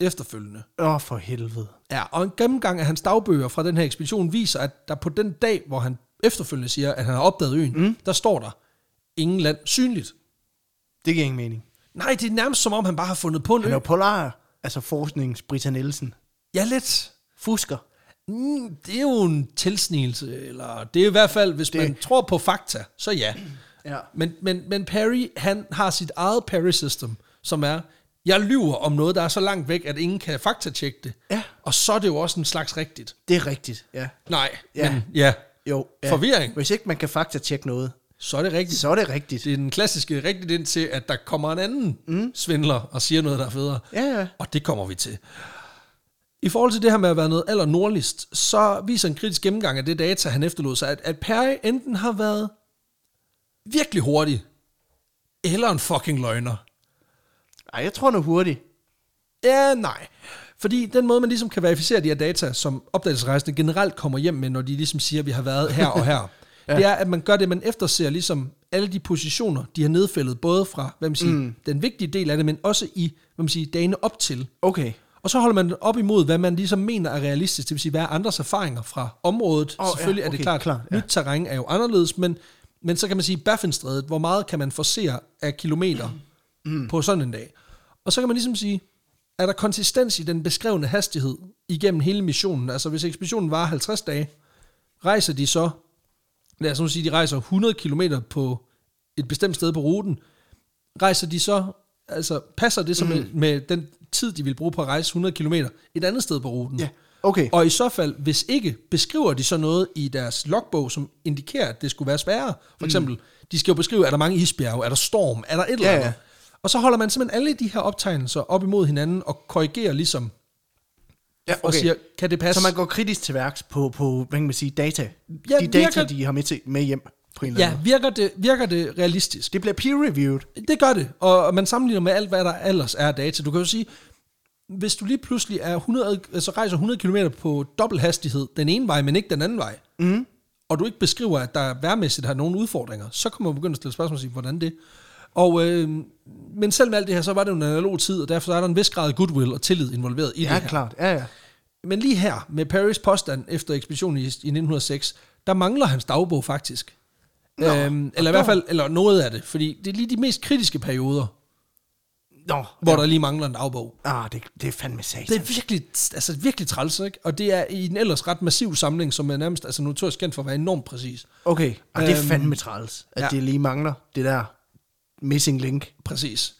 [SPEAKER 2] efterfølgende.
[SPEAKER 1] Åh, oh, for helvede.
[SPEAKER 2] Ja, og en gennemgang af hans dagbøger fra den her ekspedition viser, at der på den dag, hvor han efterfølgende siger, at han har opdaget øen, mm. der står der, ingen land synligt.
[SPEAKER 1] Det giver ingen mening.
[SPEAKER 2] Nej, det er nærmest som om, han bare har fundet på en
[SPEAKER 1] Han er
[SPEAKER 2] ø.
[SPEAKER 1] jo polar, altså forsknings Britta Nielsen.
[SPEAKER 2] Ja, lidt.
[SPEAKER 1] Fusker.
[SPEAKER 2] Mm, det er jo en tilsnigelse, eller det er i hvert fald, hvis det. man tror på fakta, så ja.
[SPEAKER 1] Ja.
[SPEAKER 2] Men, men, men Perry, han har sit eget Perry-system, som er, jeg lyver om noget, der er så langt væk, at ingen kan faktatjekke det.
[SPEAKER 1] Ja.
[SPEAKER 2] Og så er det jo også en slags rigtigt.
[SPEAKER 1] Det er rigtigt, ja.
[SPEAKER 2] Nej,
[SPEAKER 1] Ja.
[SPEAKER 2] men ja,
[SPEAKER 1] Jo. Ja.
[SPEAKER 2] Forvirring.
[SPEAKER 1] Hvis ikke man kan faktatjekke noget,
[SPEAKER 2] så er det rigtigt.
[SPEAKER 1] så er det rigtigt.
[SPEAKER 2] Det er den klassiske rigtigt indtil, at der kommer en anden mm. svindler og siger noget, der er federe.
[SPEAKER 1] Ja, ja.
[SPEAKER 2] Og det kommer vi til. I forhold til det her med at være noget aller nordligst, så viser en kritisk gennemgang af det data, han efterlod sig, at, at Perry enten har været virkelig hurtig, eller en fucking løgner.
[SPEAKER 1] Ej, jeg tror nu hurtigt.
[SPEAKER 2] Ja, nej. Fordi den måde, man ligesom kan verificere de her data, som opdagelsesrejsende generelt kommer hjem med, når de ligesom siger, at vi har været her og her, ja. det er, at man gør det, man efterser ligesom alle de positioner, de har nedfældet, både fra hvad man siger, mm. den vigtige del af det, men også i hvad man siger, dagene op til.
[SPEAKER 1] Okay.
[SPEAKER 2] Og så holder man det op imod, hvad man ligesom mener er realistisk, det vil sige, hvad er andres erfaringer fra området.
[SPEAKER 1] Åh,
[SPEAKER 2] Oh,
[SPEAKER 1] ja,
[SPEAKER 2] Selvfølgelig ja, okay, er
[SPEAKER 1] okay,
[SPEAKER 2] det klart,
[SPEAKER 1] klart,
[SPEAKER 2] ja.
[SPEAKER 1] ja.
[SPEAKER 2] nyt terræn er jo anderledes, men, men så kan man sige, Baffinstrædet, hvor meget kan man forsere af kilometer mm. på sådan en dag? Og så kan man ligesom sige, er der konsistens i den beskrevne hastighed igennem hele missionen? Altså hvis ekspeditionen varer 50 dage, rejser de så, lad os nu sige, de rejser 100 km på et bestemt sted på ruten, rejser de så, altså passer det så mm. med, med den tid, de vil bruge på at rejse 100 km et andet sted på ruten?
[SPEAKER 1] Ja. Okay.
[SPEAKER 2] Og i så fald, hvis ikke, beskriver de så noget i deres logbog, som indikerer, at det skulle være sværere. For eksempel, mm. de skal jo beskrive, er der mange isbjerge, er der storm, er der et eller
[SPEAKER 1] Ja,
[SPEAKER 2] andet.
[SPEAKER 1] ja.
[SPEAKER 2] Og så holder man simpelthen alle de her optegnelser op imod hinanden og korrigerer ligesom,
[SPEAKER 1] Ja,
[SPEAKER 2] og siger, kan det passe?
[SPEAKER 1] Så man går kritisk til værks på, på hvad kan man sige, data.
[SPEAKER 2] Altså-
[SPEAKER 1] de
[SPEAKER 2] Ja,
[SPEAKER 1] data,
[SPEAKER 2] virker-
[SPEAKER 1] de har med, til, med hjem på en eller anden
[SPEAKER 2] ja,
[SPEAKER 1] måde.
[SPEAKER 2] virker det, virker det realistisk?
[SPEAKER 1] Det bliver peer-reviewed.
[SPEAKER 2] Det gør det, og og man sammenligner med alt, hvad der ellers er af data. Du kan jo sige, hvis du lige pludselig er 100, altså rejser 100 km på dobbelt hastighed den ene vej, men ikke den anden vej, mm. og du ikke beskriver, at der værmæssigt har nogle udfordringer, så kommer man begynde at stille spørgsmål og sige, hvordan det? Og, øh, men selv med alt det her, så var det jo en analog tid, og derfor er der en vis grad af goodwill og tillid involveret i
[SPEAKER 1] Ja,
[SPEAKER 2] det her.
[SPEAKER 1] klart. Ja, ja.
[SPEAKER 2] Men lige her, med Paris påstand efter ekspeditionen i, i 1906, der mangler hans dagbog faktisk. Nå, øhm, eller i hvert fald eller noget af det, fordi det er lige de mest kritiske perioder,
[SPEAKER 1] Nå,
[SPEAKER 2] hvor ja. der lige mangler en dagbog.
[SPEAKER 1] ah, det, det er fandme satan.
[SPEAKER 2] Det er virkelig, altså virkelig træls, ikke? Og det er i en ellers ret massiv samling, som er nærmest altså notorisk kendt for at være enormt præcis.
[SPEAKER 1] Okay, og det er
[SPEAKER 2] Øhm,
[SPEAKER 1] fandme træls, at
[SPEAKER 2] ja.
[SPEAKER 1] ja. det lige mangler det der missing link.
[SPEAKER 2] Præcis.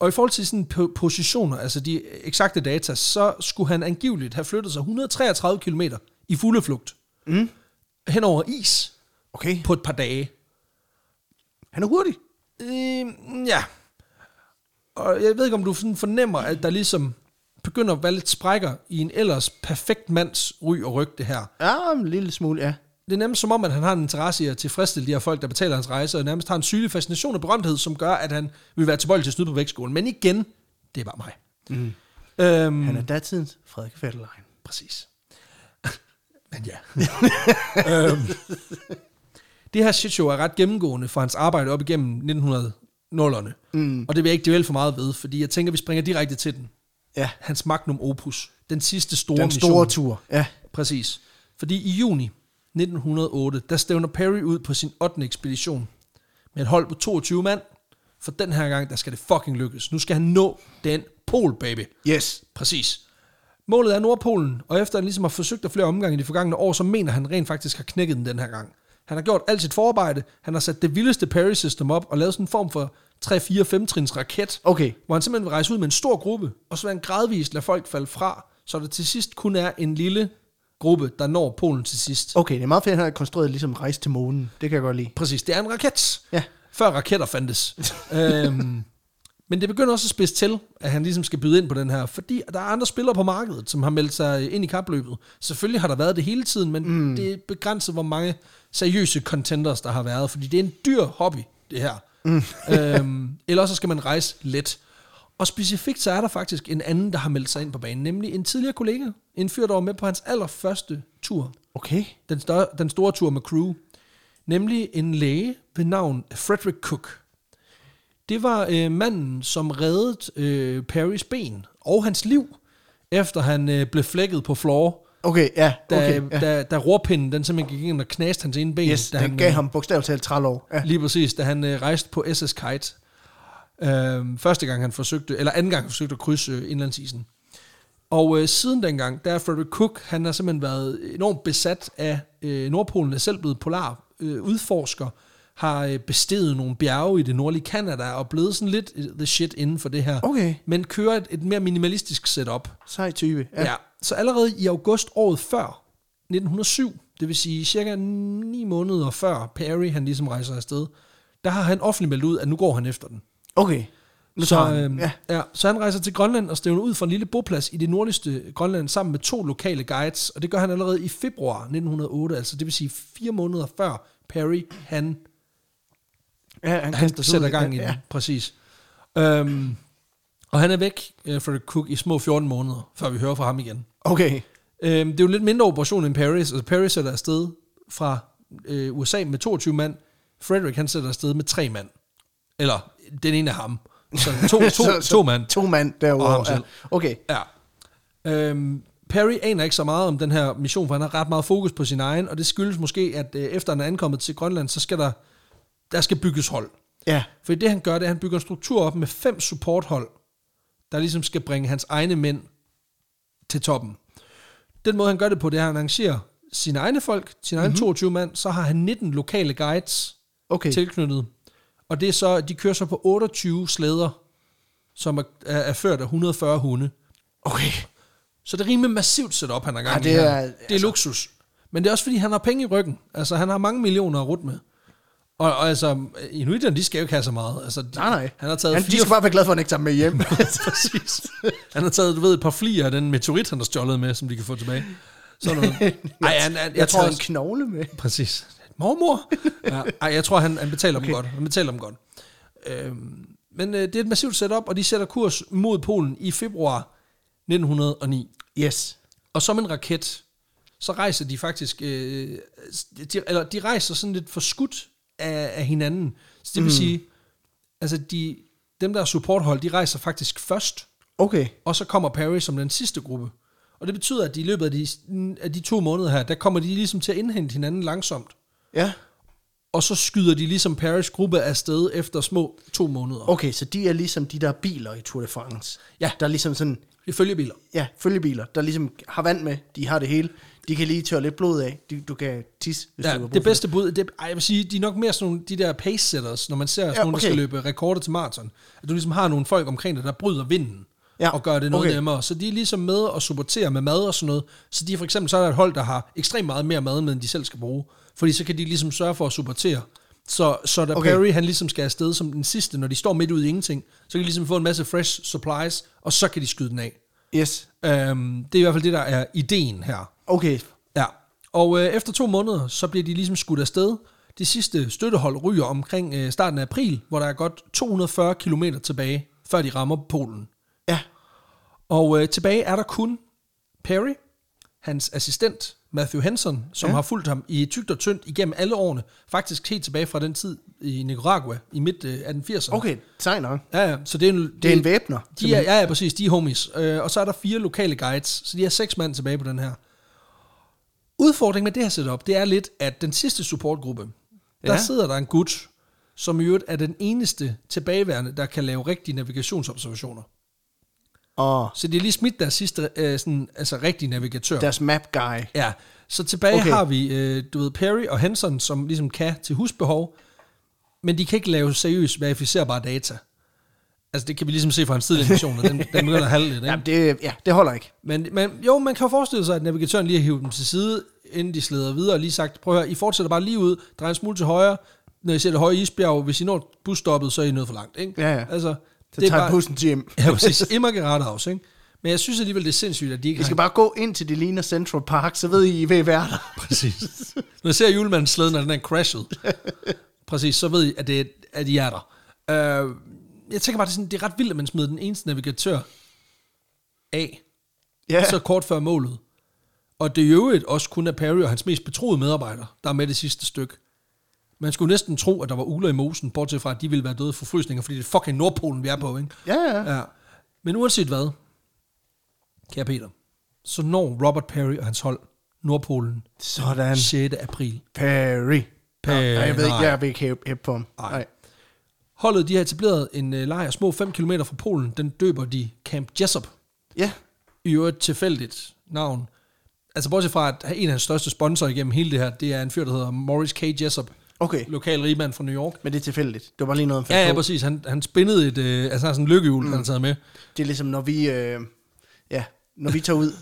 [SPEAKER 2] Og i forhold til sådan po- positioner, altså de eksakte data, så skulle han angiveligt have flyttet sig 133 km i fulde flugt.
[SPEAKER 1] Mm.
[SPEAKER 2] Hen over is
[SPEAKER 1] Okay,
[SPEAKER 2] på et par dage.
[SPEAKER 1] han er hurtig.
[SPEAKER 2] Øh, ja. Og jeg ved ikke, om du sådan fornemmer, at der ligesom begynder at være lidt sprækker i en ellers perfekt mands ry og ryg, det her.
[SPEAKER 1] Ja, en lille smule, ja.
[SPEAKER 2] Det er nærmest som om, at han har en interesse i at tilfredsstille de her folk, der betaler hans rejse, og nærmest har en sygelig fascination og berømthed, som gør, at han vil være tilbøjelig til at snyde på vægtskolen. Men igen, det er bare mig. Mm. Øhm,
[SPEAKER 1] Han er datidens Frederik Fetterlein.
[SPEAKER 2] Præcis. Men ja. øhm, det her shitshow er ret gennemgående for hans arbejde op igennem 1900, nullerne. Mm. Og det vil jeg ikke dvæle for meget ved, fordi jeg tænker, vi springer direkte til den.
[SPEAKER 1] Ja,
[SPEAKER 2] Hans magnum opus. Den sidste store
[SPEAKER 1] den
[SPEAKER 2] mission.
[SPEAKER 1] store tur. Ja.
[SPEAKER 2] Præcis. Fordi i juni 1908, der stævner Perry ud på sin 8. ekspedition med et hold på 22 mand. For den her gang, der skal det fucking lykkes. Nu skal han nå den pol, baby.
[SPEAKER 1] Yes.
[SPEAKER 2] Præcis. Målet er Nordpolen, og efter han ligesom har forsøgt at flere omgange i de forgangne år, så mener han rent faktisk har knækket den den her gang. Han har gjort alt sit forarbejde, han har sat det vildeste Perry-system op og lavet sådan en form for 3-4-5-trins raket,
[SPEAKER 1] Okay.
[SPEAKER 2] hvor han simpelthen vil rejse ud med en stor gruppe, og så vil han gradvist lade folk falde fra, så der til sidst kun er en lille gruppe, der når Polen til sidst.
[SPEAKER 1] Okay, det er meget fedt, at han har konstrueret ligesom rejse til månen. Det kan jeg godt lide.
[SPEAKER 2] Præcis, det er en raket.
[SPEAKER 1] Ja.
[SPEAKER 2] Før raketter fandtes. øhm, men det begynder også at spidse til, at han ligesom skal byde ind på den her, fordi der er andre spillere på markedet, som har meldt sig ind i kapløbet. Selvfølgelig har der været det hele tiden, men mm. det er begrænset, hvor mange seriøse contenders, der har været, fordi det er en dyr hobby, det her. Mm. øhm, eller også så skal man rejse let. Og specifikt så er der faktisk en anden, der har meldt sig ind på banen, nemlig en tidligere kollega, en fyr, der var med på hans allerførste tur
[SPEAKER 1] Okay.
[SPEAKER 2] den, større, den store tur med crew, nemlig en læge ved navn Frederick Cook. Det var øh, manden, som reddede øh, Perrys ben og hans liv, efter han øh, blev flækket på floor,
[SPEAKER 1] Okay, ja.
[SPEAKER 2] da,
[SPEAKER 1] Okay, ja.
[SPEAKER 2] okay, da, da rorpinden den simpelthen gik ind og knaste hans ene ben.
[SPEAKER 1] Yes,
[SPEAKER 2] da
[SPEAKER 1] den gav ham bogstaveligt talt 30 år. Ja.
[SPEAKER 2] Lige præcis, da han øh, rejste på SS Kite. Øh, første gang han forsøgte, eller anden gang han forsøgte at krydse øh, indlandsisen. Og øh, siden dengang, der er Frederick Cook, han har simpelthen været enormt besat af øh, Nordpolen, er selv blevet polar øh, udforsker, har øh, besteget nogle bjerge i det nordlige Kanada og blevet sådan lidt øh, the shit inden for det her.
[SPEAKER 1] Okay.
[SPEAKER 2] Men kører et, et mere minimalistisk setup.
[SPEAKER 1] Sej type. Ja.
[SPEAKER 2] Ja. ja. Så allerede i august året før, 1907, det vil sige cirka 9 måneder før Perry han ligesom rejser afsted, der har han offentligt meldt ud, at nu går han efter den.
[SPEAKER 1] Okay. Nu
[SPEAKER 2] Så,
[SPEAKER 1] tager han.
[SPEAKER 2] øhm,
[SPEAKER 1] Ja.
[SPEAKER 2] ja, så han rejser til Grønland og stævner ud fra en lille boplads i det nordligste Grønland sammen med to lokale guides, og det gør han allerede i februar 1908, altså det vil sige fire måneder før Perry han
[SPEAKER 1] ja, han,
[SPEAKER 2] han
[SPEAKER 1] kaster sig ud
[SPEAKER 2] sætter
[SPEAKER 1] det.
[SPEAKER 2] gang i den,
[SPEAKER 1] ja.
[SPEAKER 2] præcis. Øhm, og han er væk, øh, Frederick Cook, i små 14 måneder, før vi hører fra ham igen.
[SPEAKER 1] Okay.
[SPEAKER 2] Øhm, det er jo en lidt mindre operation end Paris. Altså, Paris sætter afsted fra øh, USA med 22 mand. Frederick, han sætter afsted med tre mand. Eller, den ene er ham. Så to, to,
[SPEAKER 1] Så- så
[SPEAKER 2] to mand.
[SPEAKER 1] To mand
[SPEAKER 2] Og ham
[SPEAKER 1] derovre.
[SPEAKER 2] selv.
[SPEAKER 1] Ja. Okay.
[SPEAKER 2] Ja. Øhm, Perry aner ikke så meget om den her mission, for han har ret meget fokus på sin egen, og det skyldes måske, at øh, efter han er ankommet til Grønland, så skal der, der skal bygges hold.
[SPEAKER 1] Ja.
[SPEAKER 2] For det han gør, det er, at han bygger en struktur op med fem supporthold, der ligesom skal bringe hans egne mænd til toppen. Den måde, han gør det på, det er, at han arrangerer sine egne folk, sine egne mm-hmm. 22 mand, så har han 19 lokale guides
[SPEAKER 1] Okay.
[SPEAKER 2] okay. tilknyttet. Og det er så, de kører så på 28 slæder, som er, er, er ført af 140 hunde.
[SPEAKER 1] Okay.
[SPEAKER 2] Så det er rimelig massivt setup, han har gang
[SPEAKER 1] Ja,
[SPEAKER 2] i
[SPEAKER 1] det
[SPEAKER 2] her.
[SPEAKER 1] er- altså-
[SPEAKER 2] det er luksus. Men det er også, fordi han har penge i ryggen. Altså, han har mange millioner at rute med. Og, og altså, inuiterne, de skal jo ikke have så meget. Altså, de,
[SPEAKER 1] Nej, nej.
[SPEAKER 2] Han har taget
[SPEAKER 1] han, de
[SPEAKER 2] fire...
[SPEAKER 1] skal bare være glade for, at han ikke tager dem med hjem.
[SPEAKER 2] Præcis. Han har taget, du ved, et par flier af den meteorit, han har stjålet med, som de kan få tilbage. Sådan noget. Ej, han, han, jeg,
[SPEAKER 1] jeg
[SPEAKER 2] tror,
[SPEAKER 1] tager
[SPEAKER 2] han,
[SPEAKER 1] en knogle med.
[SPEAKER 2] Præcis. Mormor? Ja, ej, jeg tror, han, han betaler okay. dem godt. Han betaler dem godt. Øhm, men øh, det er et massivt setup, og de sætter kurs mod Polen i februar 1909.
[SPEAKER 1] Yes.
[SPEAKER 2] Og som en raket, så rejser de faktisk, øh, de, eller de rejser sådan lidt forskudt af, af hinanden. Så det vil mm. sige, altså de, dem der er supporthold, de rejser faktisk først,
[SPEAKER 1] Okay.
[SPEAKER 2] og så kommer Perry som den sidste gruppe. Og det betyder, at de i løbet af de, af de to måneder her, der kommer de ligesom til at indhente hinanden langsomt.
[SPEAKER 1] Ja.
[SPEAKER 2] Og så skyder de ligesom Paris gruppe afsted efter små to måneder. Okay.
[SPEAKER 1] Okay, så de er ligesom de der biler i Tour de France.
[SPEAKER 2] Ja.
[SPEAKER 1] Der er ligesom sådan,
[SPEAKER 2] I følgebiler.
[SPEAKER 1] ja, følgebiler, der ligesom har vand med, de har det hele. De kan lige tørre lidt blod af. Du, du kan tisse, hvis
[SPEAKER 2] Ja,
[SPEAKER 1] du har brug
[SPEAKER 2] det
[SPEAKER 1] for
[SPEAKER 2] bedste bud, det, ej, jeg vil sige, de er nok mere sådan nogle, de der pace-setters, når man ser
[SPEAKER 1] Ja,
[SPEAKER 2] sådan ja, okay. nogle,
[SPEAKER 1] okay.
[SPEAKER 2] der skal løbe rekorder til maraton. At du ligesom har nogle folk omkring dig, der bryder vinden
[SPEAKER 1] Ja,
[SPEAKER 2] ja, og gør det noget
[SPEAKER 1] okay.
[SPEAKER 2] okay. nemmere. Så de er ligesom med og supporterer med mad og sådan noget. Så de er for eksempel, så er der et hold, der har ekstremt meget mere mad, end de selv skal bruge. Fordi så kan de ligesom sørge for at supportere. Så, så da
[SPEAKER 1] Okay.
[SPEAKER 2] okay. Perry han ligesom skal afsted som den sidste, når de står midt ude i ingenting, så kan de ligesom få en masse fresh supplies, og så kan de skyde den af.
[SPEAKER 1] Yes.
[SPEAKER 2] Øhm, det er i hvert fald det, der er ideen her.
[SPEAKER 1] Okay.
[SPEAKER 2] Ja. Og øh, efter to måneder, så bliver de ligesom skudt afsted. De sidste støttehold ryger omkring øh, starten af april, hvor der er godt 240 km tilbage, før de rammer Polen.
[SPEAKER 1] Ja.
[SPEAKER 2] Og øh, tilbage er der kun Perry, hans assistent Matthew Henson, som
[SPEAKER 1] Ja.
[SPEAKER 2] ja. har fulgt ham i tygt og tyndt igennem alle årene. Faktisk helt tilbage fra den tid i Nicaragua i midt øh, 1880'erne.
[SPEAKER 1] Okay, sej nok.
[SPEAKER 2] Ja, ja, så det er en,
[SPEAKER 1] Det er en væbner.
[SPEAKER 2] de er, ja, ja, præcis, de er homies. Øh, og så er der fire lokale guides, så de er seks mand tilbage på den her. Udfordringen med det her setup, det er lidt, at den sidste supportgruppe, der
[SPEAKER 1] Ja.
[SPEAKER 2] sidder der en gut, som i øvrigt er den eneste tilbageværende, der kan lave rigtige navigationsobservationer.
[SPEAKER 1] Og
[SPEAKER 2] Så de har lige smidt deres sidste, øh, sådan, altså rigtige navigatør.
[SPEAKER 1] deres map guy.
[SPEAKER 2] Ja, så tilbage
[SPEAKER 1] Okay.
[SPEAKER 2] okay. har vi, øh, du ved, Perry og Henson, som ligesom kan til husbehov, men de kan ikke lave seriøst verificerbare data. Altså, det kan vi ligesom se fra hans tidligere missioner, den, den begynder at halde lidt, ikke?
[SPEAKER 1] Jamen, det, ja, det holder ikke.
[SPEAKER 2] Men, men jo, man kan jo forestille sig, at navigatøren lige har hivet dem til side, inden de slæder videre, og lige sagt, prøv at høre, I fortsætter bare lige ud, drej en smule til højre, når I ser det høje isbjerg, hvis I når busstoppet, så er I nået for langt, ikke?
[SPEAKER 1] Ja, ja.
[SPEAKER 2] Altså,
[SPEAKER 1] Så det tager bare... bussen til hjem.
[SPEAKER 2] Ja, præcis. Immer gerade også, ikke? Men jeg synes alligevel, det er sindssygt, at de ikke
[SPEAKER 1] I skal bare gå ind til det ligner Central Park, så ved I, I vil være der.
[SPEAKER 2] Præcis. Når jeg ser julemandens slæde, når den er crashet, præcis, så ved I, at, det, er- at I er der. Uh, jeg tænker bare, det er, sådan, det er ret vildt, at man smider den eneste navigatør af,
[SPEAKER 1] Ja,
[SPEAKER 2] så kort før målet. Og det er i øvrigt også kun er Perry og hans mest betroede medarbejder, der er med det sidste stykke. Man skulle næsten tro, at der var uler i mosen, bortset fra, at de ville være døde af forfrysninger, fordi det er fucking Nordpolen, vi er på, ikke?
[SPEAKER 1] ja, ja.
[SPEAKER 2] Ja. Men uanset hvad, kære Peter, så når Robert Perry og hans hold Nordpolen
[SPEAKER 1] Sådan.
[SPEAKER 2] 6. april.
[SPEAKER 1] Perry.
[SPEAKER 2] Perry.
[SPEAKER 1] Nej, jeg ved ikke,
[SPEAKER 2] Nej.
[SPEAKER 1] jeg vil ikke hæppe hæppe på ham.
[SPEAKER 2] Nej. Holdet de har etableret en øh, lejr små 5 km fra Polen. Den døber de Camp Jessup.
[SPEAKER 1] Ja,
[SPEAKER 2] I øvrigt tilfældigt navn. Altså bortset fra, at en af hans største sponsorer igennem hele det her, det er en fyr, der hedder Morris K. Jessup.
[SPEAKER 1] okay.
[SPEAKER 2] Lokal rigmand fra New York.
[SPEAKER 1] Men det er tilfældigt. Det var bare lige noget, han fandt
[SPEAKER 2] Ja, ja,
[SPEAKER 1] på.
[SPEAKER 2] præcis. Han, han spændede et, øh, altså han har sådan en lykkehjul, mm. han har taget med.
[SPEAKER 1] Det er ligesom, når vi, øh, ja, når vi tager ud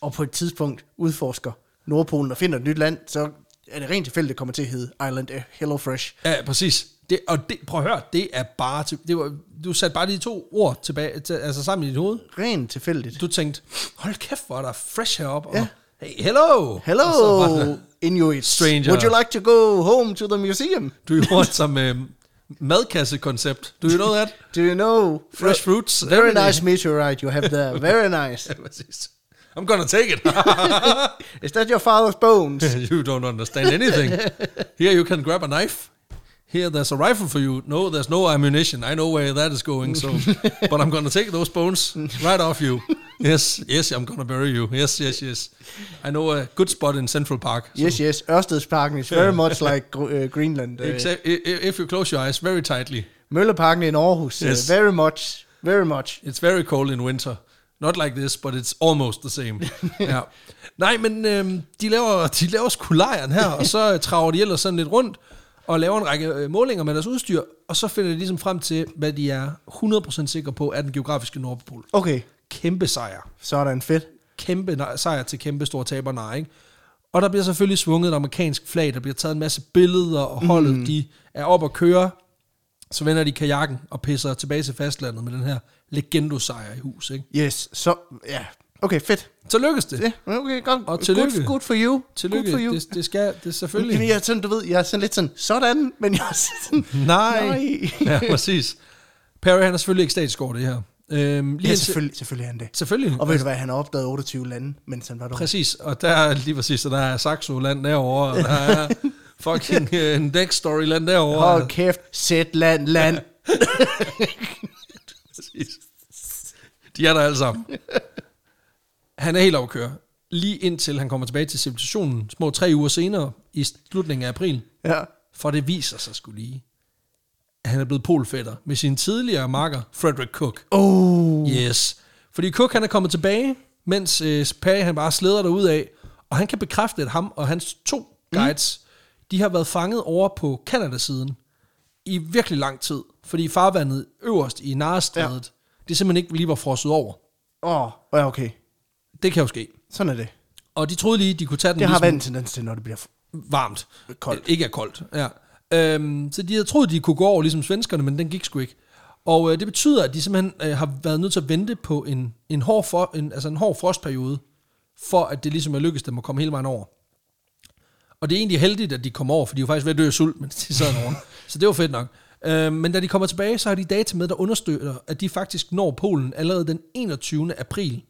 [SPEAKER 1] og på et tidspunkt udforsker Nordpolen og finder et nyt land, så er det rent tilfældigt, det kommer til at hedde Island of Hello Fresh.
[SPEAKER 2] Ja, præcis. Det, og det, prøv at høre, det er bare, til, det var, du satte bare de to ord tilbage, til, altså sammen i dit hoved.
[SPEAKER 1] Rent tilfældigt.
[SPEAKER 2] Du tænkte, hold kæft, hvor er der fresh heroppe.
[SPEAKER 1] Ja.
[SPEAKER 2] Og, hey, hello!
[SPEAKER 1] Hello,
[SPEAKER 2] Og så var der-
[SPEAKER 1] Inuits.
[SPEAKER 2] Stranger.
[SPEAKER 1] Would you like to go home to the museum?
[SPEAKER 2] Du gjorde det som øh, madkassekoncept. Du er noget af det.
[SPEAKER 1] Do you know?
[SPEAKER 2] Fresh fruits.
[SPEAKER 1] Very
[SPEAKER 2] everyday.
[SPEAKER 1] nice meteorite you have there. Very nice.
[SPEAKER 2] Ja, præcis. I'm gonna take it.
[SPEAKER 1] Is that your father's bones?
[SPEAKER 2] you don't understand anything. Here you can grab a knife. Here there's a rifle for you. No, there's no ammunition. I know where that is going. So, but I'm gonna take those bones right off you. Yes, yes, I'm gonna bury you. Yes, yes, yes. I know a good spot in Central Park. So
[SPEAKER 1] Yes, yes. Ørstedsparken is very much like Gr- uh, Greenland. Uh,
[SPEAKER 2] Except i- i- if you close your eyes very tightly,
[SPEAKER 1] Mølleparken in Aarhus. uh,
[SPEAKER 2] Yes.
[SPEAKER 1] very much. Very much.
[SPEAKER 2] It's very cold in winter. Not like this, but it's almost the same. ja. Nej, men øhm, de laver, de laver sgu lejren her, og så øh, traver de ellers sådan lidt rundt, og laver en række øh, målinger med deres udstyr, og så finder de ligesom frem til, hvad de er 100% sikre på, er den geografiske Nordpol.
[SPEAKER 1] Okay,
[SPEAKER 2] Kæmpe sejr.
[SPEAKER 1] sådan fedt.
[SPEAKER 2] Kæmpe nej- sejr til kæmpe store taberne, ikke? Og der bliver selvfølgelig svunget et amerikansk flag, der bliver taget en masse billeder, og holdet, mm. de er op og køre, så vender de kajakken og pisser tilbage til fastlandet med den her legendosejr i hus, ikke?
[SPEAKER 1] Yes, så... Ja, okay, fedt.
[SPEAKER 2] Så lykkes det.
[SPEAKER 1] Ja, okay, godt.
[SPEAKER 2] Og tillykke.
[SPEAKER 1] Good, good for you.
[SPEAKER 2] Tillykke.
[SPEAKER 1] Good for you.
[SPEAKER 2] Det, det skal det
[SPEAKER 1] Fordi
[SPEAKER 2] selvfølgelig.
[SPEAKER 1] jeg er sådan, du ved, jeg er sådan lidt sådan, sådan, men jeg er sådan,
[SPEAKER 2] Nej.
[SPEAKER 1] nej.
[SPEAKER 2] ja, præcis. Perry, han er selvfølgelig ikke statskår, det her. Øhm, lige
[SPEAKER 1] Ja,
[SPEAKER 2] indtil-
[SPEAKER 1] selvfølgelig, selvfølgelig er han det.
[SPEAKER 2] Selvfølgelig.
[SPEAKER 1] Og ved du hvad, han har opdaget 28 lande, mens han var der.
[SPEAKER 2] Præcis, og der er lige præcis, så der er Saxo-land derovre, og der er fucking øh, en next story-land derovre.
[SPEAKER 1] Hold kæft, sæt land, land.
[SPEAKER 2] Præcis. De er der alle sammen. Han er helt overkørt. Lige indtil han kommer tilbage til civilisationen, små tre uger senere, i slutningen af april,
[SPEAKER 1] Ja.
[SPEAKER 2] For det viser sig skulle lige, at han er blevet polfætter med sin tidligere marker, Frederick Cook.
[SPEAKER 1] Oh,
[SPEAKER 2] Yes. Fordi Cook han er kommet tilbage, mens øh, Perry han bare slæder derud af, og han kan bekræfte, at ham og hans to guides, mm. de har været fanget over på Kanadasiden i virkelig lang tid, fordi farvandet øverst i Narestrædet, ja. det simpelthen ikke lige var frosset over.
[SPEAKER 1] åh, oh, ja, okay.
[SPEAKER 2] Det kan jo ske.
[SPEAKER 1] Sådan er ligesom- det.
[SPEAKER 2] Og de troede lige, de kunne tage den
[SPEAKER 1] Det
[SPEAKER 2] en
[SPEAKER 1] har
[SPEAKER 2] lille smule-
[SPEAKER 1] været en tendens til, når det bliver... f-
[SPEAKER 2] varmt.
[SPEAKER 1] Koldt.
[SPEAKER 2] Ikke er koldt, ja. Øhm, så de havde troet, de kunne gå over ligesom svenskerne, men den gik sgu ikke. Og øh, det betyder, at de simpelthen øh, har været nødt til at vente på en, en, hård for, en, altså en hård frostperiode, for at det ligesom er lykkedes dem at komme hele vejen over. Og det er egentlig heldigt, at de kommer over, for de var faktisk ved at dø af sult, mens de sad over. så det var fedt nok. Øh, men da de kommer tilbage, så har de data med, der understøtter, at de faktisk når Polen allerede den 21. april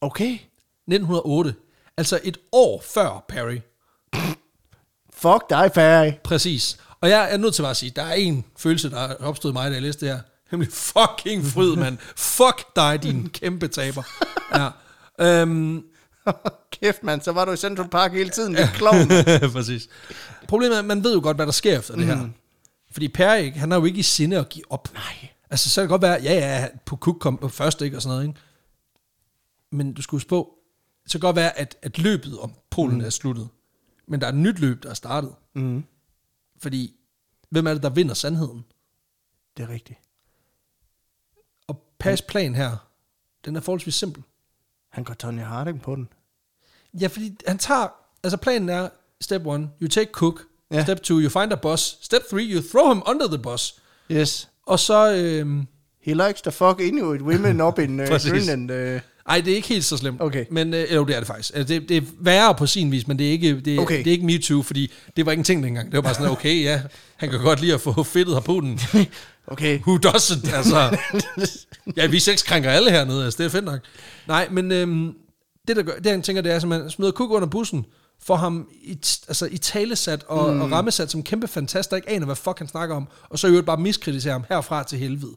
[SPEAKER 1] Okay.
[SPEAKER 2] 1908. Altså et år før Perry.
[SPEAKER 1] Fuck dig, Perry.
[SPEAKER 2] Præcis. Og jeg er nødt til bare at sige, der er en følelse, der er opstået i mig, da jeg læste det her. Nemlig fucking fryd, mand. Fuck dig, din kæmpe taber. Ja. Øhm,
[SPEAKER 1] Kæft, mand, så var du i Central Park hele tiden, det klovn.
[SPEAKER 2] Præcis. Problemet er, at man ved jo godt, hvad der sker efter mm. det her. Fordi Per, ikke, han har jo ikke i sinde at give op. Nej. Altså, så kan det godt være, ja, ja, Pukuk kom på først, ikke, og sådan noget, ikke? Men du skulle huske på, så kan det godt være, at, at løbet om Polen mm. er sluttet. Men der er et nyt løb, der er startet.
[SPEAKER 1] Mm.
[SPEAKER 2] Fordi, hvem er det, der vinder sandheden?
[SPEAKER 1] Det er rigtigt.
[SPEAKER 2] Og Pers plan her, den er forholdsvis simpel.
[SPEAKER 1] Han går Tony Harding på den.
[SPEAKER 2] Ja, fordi han tager... Altså, planen er, step 1, you take Cook.
[SPEAKER 1] Ja.
[SPEAKER 2] Ja. Step 2, you find a bus. Step 3, you throw him under the bus.
[SPEAKER 1] Yes.
[SPEAKER 2] Og så... Øhm,
[SPEAKER 1] He likes to fuck Inuit women up in uh,
[SPEAKER 2] Præcis.
[SPEAKER 1] Greenland. Uh,
[SPEAKER 2] Ej, det er ikke helt så slemt.
[SPEAKER 1] Okay.
[SPEAKER 2] Men, øh, jo, det er det faktisk. Altså, det, det er værre på sin vis, men det er ikke, det,
[SPEAKER 1] Okay.
[SPEAKER 2] okay. det er ikke MeToo, fordi det var ingenting dengang. Det var bare sådan, okay, ja, han kan godt lide at få fedtet harpunen.
[SPEAKER 1] okay.
[SPEAKER 2] Who doesn't? Altså, ja, vi sexkrænker alle hernede, altså, det er fedt nok. Nej, men øhm, det, der gør, det, han tænker, det er, at man smider Cook under bussen, får ham i, t- altså, i talesat og, mm. og rammesat som kæmpe fantast, der ikke aner, hvad fuck han snakker om, og så i øvrigt bare miskritiserer ham herfra til helvede.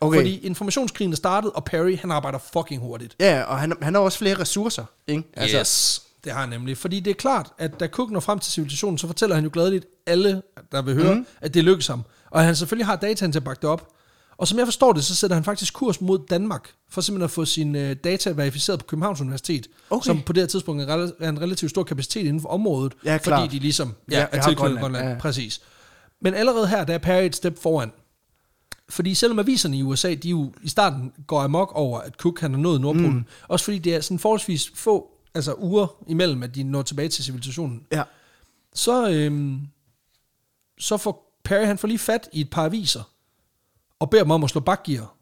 [SPEAKER 1] Okay.
[SPEAKER 2] Fordi informationskrigen er startet, og Perry, han arbejder fucking hurtigt.
[SPEAKER 1] Ja, og han, han har også flere ressourcer, ikke?
[SPEAKER 2] Altså, yes. Det har han nemlig. Fordi det er klart, at da Cook når frem til civilisationen, så fortæller han jo gladeligt alle, der vil
[SPEAKER 1] Mhm.
[SPEAKER 2] høre, mm. at det lykkes ham. Og han selvfølgelig har dataen til at bakke det op. Og som jeg forstår det, så sætter han faktisk kurs mod Danmark, for simpelthen at få sine øh, data verificeret på Københavns Universitet,
[SPEAKER 1] Okay.
[SPEAKER 2] som på det her tidspunkt er en rel- er en relativt stor kapacitet inden for området,
[SPEAKER 1] Ja, klart.
[SPEAKER 2] fordi de ligesom
[SPEAKER 1] Ja,
[SPEAKER 2] ja,
[SPEAKER 1] jeg
[SPEAKER 2] er
[SPEAKER 1] har
[SPEAKER 2] tilknyttet
[SPEAKER 1] Grønland.
[SPEAKER 2] Grønland. Grønland.
[SPEAKER 1] Ja.
[SPEAKER 2] Ja. Præcis. Men allerede her, der er Perry et step foran. Fordi selvom aviserne i USA, de jo i starten går amok over, at Cook han har nået Nordpolen, mm. også fordi det er sådan forholdsvis få altså uger imellem, at de når tilbage til civilisationen,
[SPEAKER 1] Ja.
[SPEAKER 2] så, øhm, så får Perry, han får lige fat i et par aviser, og beder dem om at slå bakgear,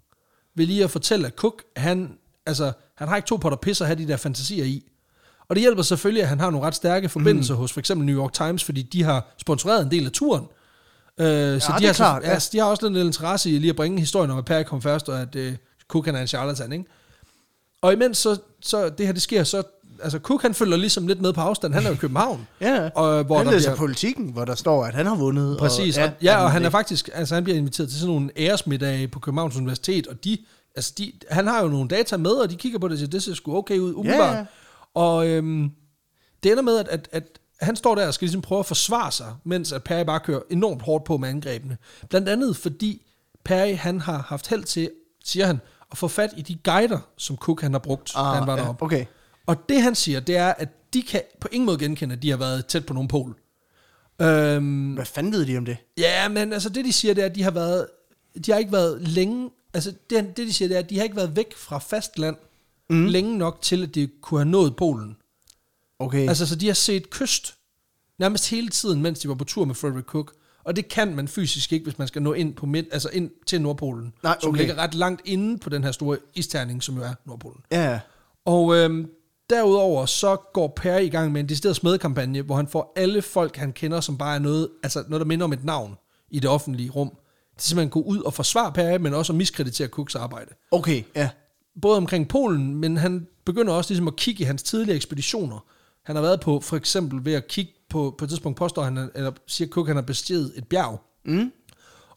[SPEAKER 2] ved lige at fortælle, at Cook, han, altså, han har ikke to potter pis at have de der fantasier i. Og det hjælper selvfølgelig, at han har nogle ret stærke
[SPEAKER 1] Mhm.
[SPEAKER 2] forbindelser mm. hos for eksempel New York Times, fordi de har sponsoreret en del af turen. Øh, så de
[SPEAKER 1] det er
[SPEAKER 2] har,
[SPEAKER 1] klart,
[SPEAKER 2] så,
[SPEAKER 1] ja.
[SPEAKER 2] ja. de har også lidt interesse i lige at bringe historien om, at Perry kom først, og at øh, Cook han er en charlatan, ikke? Og imens så, så det her det sker, så altså Cook han følger ligesom lidt med på afstand. Han er jo i København.
[SPEAKER 1] Ja,
[SPEAKER 2] og, øh, hvor
[SPEAKER 1] han
[SPEAKER 2] der
[SPEAKER 1] læser
[SPEAKER 2] bliver-
[SPEAKER 1] politikken, hvor der står, at han har vundet.
[SPEAKER 2] Præcis,
[SPEAKER 1] og,
[SPEAKER 2] og, ja, og han er
[SPEAKER 1] det-
[SPEAKER 2] faktisk, altså han bliver inviteret til sådan nogle æresmiddage på Københavns Universitet, og de, altså de, han har jo nogle data med, og de kigger på det og siger, det ser sgu okay ud, umiddelbart.
[SPEAKER 1] ja.
[SPEAKER 2] Yeah. Og øhm, det ender med, at, at, at han står der og skal ligesom prøve at forsvare sig, mens at Perry bare kører enormt hårdt på med angrebene. Blandt andet fordi Perry, han har haft held til, siger han, at få fat i de guider, som Cook han har brugt, ah, da han var
[SPEAKER 1] Ah, ja,
[SPEAKER 2] deroppe.
[SPEAKER 1] okay.
[SPEAKER 2] Og det han siger, det er, at de kan på ingen måde genkende, at de har været tæt på nogen pol. Øhm,
[SPEAKER 1] Hvad fanden ved de om det?
[SPEAKER 2] ja, men altså det de siger, det er, at de har været, de har ikke været længe, altså det, det de siger, det er, at de har ikke været væk fra fastland mm. længe nok til, at det kunne have nået Polen.
[SPEAKER 1] Okay. Altså,
[SPEAKER 2] Altså, så de har set kyst nærmest hele tiden, mens de var på tur med Frederick Cook. Og det kan man fysisk ikke, hvis man skal nå ind, på midt, altså ind til Nordpolen,
[SPEAKER 1] Nej,
[SPEAKER 2] som
[SPEAKER 1] okay.
[SPEAKER 2] ligger ret langt inde på den her store isterning, som jo er Nordpolen.
[SPEAKER 1] ja.
[SPEAKER 2] Og øhm, derudover så går Per i gang med en decideret smedekampagne, hvor han får alle folk, han kender, som bare er noget, altså noget der minder om et navn i det offentlige rum, til simpelthen gå ud og forsvare Per, men også at miskreditere Cooks arbejde.
[SPEAKER 1] Okay, ja.
[SPEAKER 2] Både omkring Polen, men han begynder også ligesom at kigge i hans tidligere ekspeditioner. Han har været på, for eksempel ved at kigge på, på et tidspunkt påstår han, eller siger Cook, han har bestiget et bjerg.
[SPEAKER 1] Mm.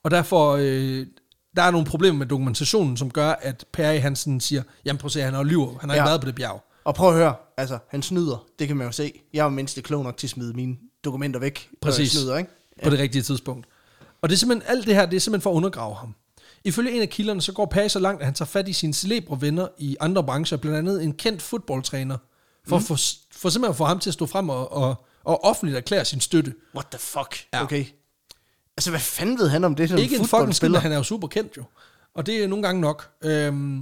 [SPEAKER 2] Og derfor, øh, der er nogle problemer med dokumentationen, som gør, at Per Hansen siger, jamen prøv at se, han har jo lyver, han har ja.
[SPEAKER 1] Ja.
[SPEAKER 2] ikke været på det bjerg.
[SPEAKER 1] Og prøv at høre, altså, han snyder. Det kan man jo se. Jeg er jo mindst klog nok til at smide mine dokumenter væk, når jeg
[SPEAKER 2] Præcis.
[SPEAKER 1] snyder, ikke?
[SPEAKER 2] på det rigtige tidspunkt. Og det er simpelthen, alt det her, det er simpelthen for at undergrave ham. Ifølge en af kilderne, så går Page så langt, at han tager fat i sine celebre venner i andre brancher, blandt andet en kendt fodboldtræner, for, mm. for, for simpelthen at få ham til at stå frem og, og, og offentligt erklære sin støtte.
[SPEAKER 1] What the fuck? Ja.
[SPEAKER 2] Ja.
[SPEAKER 1] Okay. Altså, hvad fanden ved han om det? Som
[SPEAKER 2] Ikke en fucking spiller, han er jo super kendt jo. Og det er nogle gange nok. Øhm,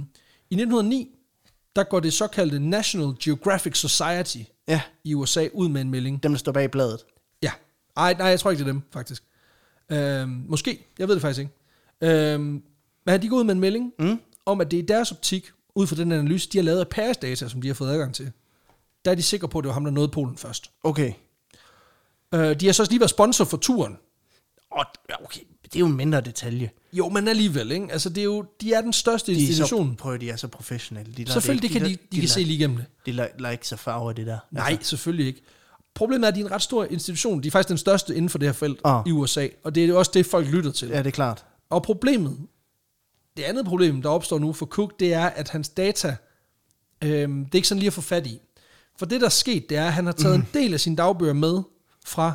[SPEAKER 2] I 1909, der går det såkaldte National Geographic Society
[SPEAKER 1] Ja,
[SPEAKER 2] i USA ud med en melding.
[SPEAKER 1] dem, der står bag bladet.
[SPEAKER 2] Ja. Ej, nej, jeg tror ikke, det er dem, faktisk. Øhm, måske. Jeg ved det faktisk ikke. Øhm, men de går ud med en melding mm. om, at det er i deres optik, ud fra den analyse, de har lavet af Paris data, som de har fået adgang til, der er de sikre på, at det var ham, der nåede Polen først.
[SPEAKER 1] Okay.
[SPEAKER 2] Øh, de har så også lige været sponsor for turen.
[SPEAKER 1] Og, ja, okay, det er jo en mindre detalje.
[SPEAKER 2] Jo, men alligevel, ikke? Altså, det er jo, de er den største
[SPEAKER 1] De er så,
[SPEAKER 2] institution.
[SPEAKER 1] prøv, de er så professionelle. De Altså. lader
[SPEAKER 2] Selvfølgelig, det
[SPEAKER 1] det
[SPEAKER 2] kan de,
[SPEAKER 1] ikke-
[SPEAKER 2] de kan se
[SPEAKER 1] lader-
[SPEAKER 2] lige igennem det.
[SPEAKER 1] De lader, lader ikke så farve det der.
[SPEAKER 2] Nej, selvfølgelig ikke. Problemet er, at de er en ret stor institution. De er faktisk den største inden for det her felt
[SPEAKER 1] Ah.
[SPEAKER 2] i USA, og det er jo også det, folk lytter til.
[SPEAKER 1] Ja, det er klart.
[SPEAKER 2] Og problemet, det andet problem, der opstår nu for Cook, det er, at hans data, øhm, det er ikke sådan lige at få fat i. For det, der er sket, det er, at han har
[SPEAKER 1] Mhm.
[SPEAKER 2] taget mm. en del af sine dagbøger med fra,